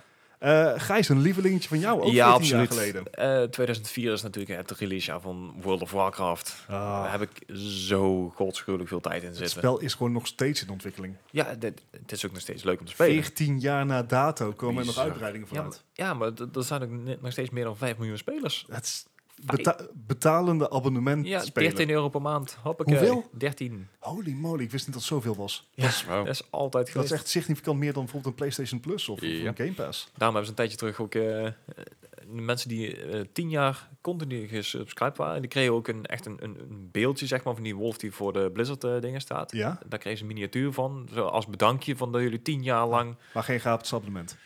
S2: Eh, Gijs, een lievelingetje van jou, ook
S3: ja,
S2: 14
S3: absoluut.
S2: jaar geleden.
S3: Eh, 2004 is natuurlijk eh, het releasejaar van World of Warcraft. Daar heb ik zo godschuwelijk veel tijd
S2: Ah.
S3: in
S2: het
S3: zitten.
S2: spel is gewoon nog steeds in ontwikkeling.
S3: Ja, dit- het is ook nog steeds leuk om te spelen.
S2: 14 jaar na dato komen er nog
S1: Bizar.
S2: uitbreidingen van
S3: Ja, maar,
S2: uit.
S3: ja, maar d- er zijn ook ne- nog steeds meer dan 5 miljoen spelers.
S2: Het is beta- betalende abonnement
S3: Ja,
S2: spelen.
S3: 13 euro per maand. Hoppakee.
S2: Hoeveel?
S3: 13.
S2: Holy moly, ik wist niet dat het zoveel was.
S3: Ja, dat,
S1: Wauw.
S3: is altijd
S2: Dat
S3: geweest.
S2: is echt significant meer dan bijvoorbeeld een PlayStation Plus of, of
S1: Ja.
S2: een Game Pass.
S3: Daarom hebben ze een tijdje terug ook eh, eh, mensen die eh, 10 jaar continu gesubscribed waren. Die kregen ook een, echt een, een, een beeldje zeg maar, van die wolf die voor de Blizzard eh, dingen staat.
S2: Ja,
S3: Daar kregen ze een miniatuur van. Zo als bedankje van dat jullie 10 jaar lang...
S2: maar geen gratis abonnement.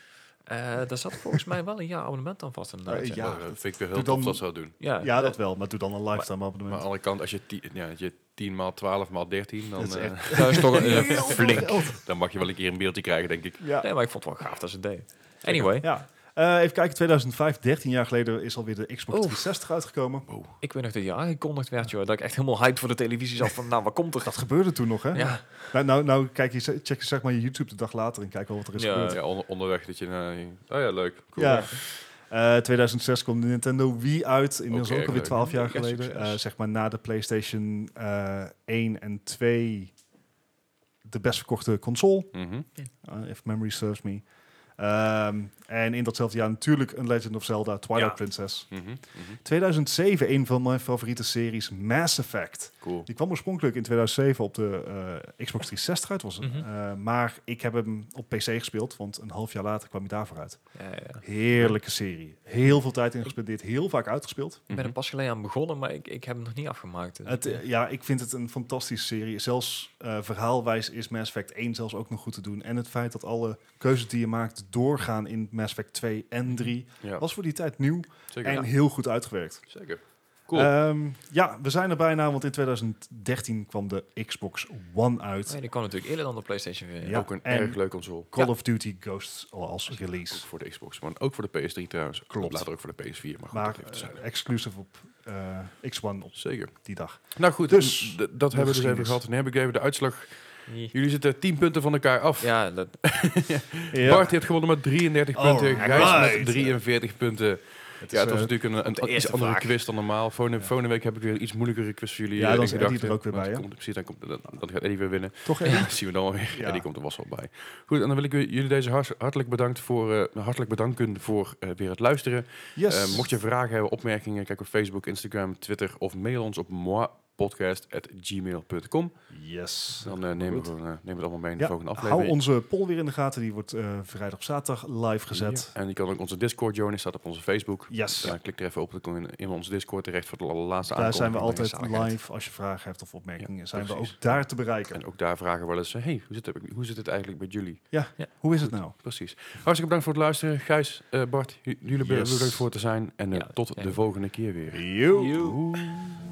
S3: eh daar zat volgens mij wel een jaar abonnement aan vast inderdaad.
S2: Eh,
S3: ja.
S2: Ja,
S1: Ja, dat vind ik weer heel
S2: doe
S1: tof
S2: dan-
S1: dat ze dat doen.
S3: Ja,
S2: Ja,
S3: eh,
S2: dat wel, maar doe dan een lifetime
S1: Maar aan
S2: abonnement.
S1: de andere kant, als je 10 ja, als je 10 maal 12 maal 13, dan,
S2: Dat is
S1: eh,
S2: echt-
S3: dat is toch een,
S2: Heel veel
S3: flink.
S2: geld.
S1: dan mag je wel een keer een beeldje krijgen, denk ik.
S2: Ja.
S3: Nee, maar ik vond het wel gaaf dat ze het deden. Anyway,
S2: Ja. Eh, even kijken, 2005, 13 jaar geleden is alweer de Xbox
S3: Oeh.
S2: 360 uitgekomen.
S3: ik weet nog dat je aangekondigd werd, joh. Dat ik echt helemaal hyped voor de televisie zat van, nou, wat komt er?
S2: Dat gebeurde toen nog, hè?
S3: Ja,
S2: Nou, nou, nou kijk je, check je zeg maar je YouTube de dag later en kijk wel wat er is
S3: Ja.
S2: gebeurd.
S1: Ja, onder- onderweg dat je, eh, oh ja, leuk, cool.
S2: Ja. Eh, 2006 kwam de Nintendo Wii uit, inmiddels
S1: Ook
S2: ook
S1: erg
S2: alweer
S1: leuk.
S2: 12 jaar
S3: Ja,
S2: geleden.
S3: succes.
S2: Eh, zeg maar na de PlayStation eh 1 en 2 de best verkochte console,
S1: Mhm.
S2: eh, if memory serves me. Ehm, en in datzelfde jaar natuurlijk een Legend of Zelda, Twilight
S3: Ja.
S2: Princess.
S1: Mhm. Mhm.
S2: 2007, een van mijn favoriete series, Mass Effect.
S1: Cool.
S2: Die kwam oorspronkelijk in 2007 op de eh, Xbox 360 uit, was het.
S3: Mhm.
S2: Eh, maar ik heb hem op PC gespeeld, want een half jaar later kwam hij daarvoor uit.
S3: ja, ja.
S2: Heerlijke serie. Heel veel tijd in gespendeerd, heel vaak uitgespeeld.
S3: Ik ben er
S1: Mhm.
S3: pas geleden aan begonnen, maar ik, ik heb hem nog niet afgemaakt. Dus
S2: Het, eh, ja, ik vind het een fantastische serie. Zelfs eh, verhaalwijs is Mass Effect 1 zelfs ook nog goed te doen. En het feit dat alle keuzes die je maakt doorgaan in Mass Effect 2 en 3,
S1: Ja,
S2: was voor die tijd nieuw
S1: zeker.
S2: en heel goed uitgewerkt.
S1: Zeker. Cool.
S2: Ehm, ja, we zijn er bijna, want in 2013 kwam de Xbox One uit.
S3: Nee, die kwam natuurlijk eerder dan de PlayStation 4.
S2: ja,
S1: ook een
S2: en-
S1: erg leuke console.
S2: Call
S3: Ja.
S2: of Duty Ghosts al als
S1: Ook
S2: release.
S1: voor de Xbox One. Ook voor de PS3 trouwens.
S2: Klopt.
S1: Later ook voor de PS4. Maar, goed,
S2: Maar
S1: dat even
S2: eh,
S1: terzijde.
S2: exclusive op eh, X1 op
S1: Zeker.
S2: die dag.
S1: Nou goed,
S2: Dus,
S1: dus, dat hebben we dus even
S2: geschiedenis.
S1: gehad. Nu heb ik even de uitslag
S3: Nee.
S1: Jullie zitten 10 punten van elkaar af.
S3: Ja, dat,
S1: Bart heeft gewonnen met 33
S2: Oh,
S1: punten.
S2: Alright.
S1: Gijs met 43 punten.
S2: Het
S1: Ja,
S2: is,
S1: het was
S2: eh,
S1: natuurlijk een, een,
S3: eerste
S1: iets andere
S3: vraag.
S1: quiz dan normaal. Volgende, volgende week heb ik weer een iets moeilijkere quiz voor jullie.
S2: Ja,
S1: eh,
S2: dan
S1: ik
S2: is Eddie
S1: dacht,
S2: er ook weer
S1: want
S2: bij, hè?
S1: komt- Precies, dan, komt, dan, dan gaat Eddie weer winnen.
S2: toch even.
S1: Dat zien we dan weer.
S2: Ja.
S1: Eddie komt er vast wel bij. Goed, en dan wil ik jullie deze hars- hartelijk, bedankt voor, eh, hartelijk bedanken voor eh, weer het luisteren.
S2: Yes.
S1: Eh, mocht je vragen hebben, opmerkingen, kijk op Facebook, Instagram, Twitter of mail ons op moipodcast.gmail.com.
S2: Yes.
S1: Dan eh, nemen, we,
S2: Goed.
S1: gewoon, eh, nemen we het allemaal mee in de
S2: Ja,
S1: volgende aflevering.
S2: Hou onze poll weer in de gaten. Die wordt eh, vrijdag op zaterdag live gezet.
S1: Ja. En je kan ook onze Discord joinen, staat op onze Facebook.
S2: Yes.
S1: Ja, klik er even op, dan kom je in onze Discord terecht voor de allerlaatste
S2: Daar zijn we
S1: aankondiging.
S2: altijd
S3: zaligheid.
S2: live. Als je vragen hebt of opmerkingen,
S1: Ja,
S2: zijn we
S1: precies.
S2: ook daar te bereiken.
S1: En ook daar vragen we wel eens, eh, hey, hoe zit, het, hoe zit het eigenlijk met jullie?
S2: Hoe is het nou?
S1: Precies. Hartstikke bedankt voor het luisteren. Gijs, eh, Bart, j- jullie
S2: Yes.
S1: bedankt voor te zijn. En eh,
S3: Ja,
S1: tot
S3: ja.
S1: de volgende keer weer.
S2: You.
S3: Joe.
S1: Doei.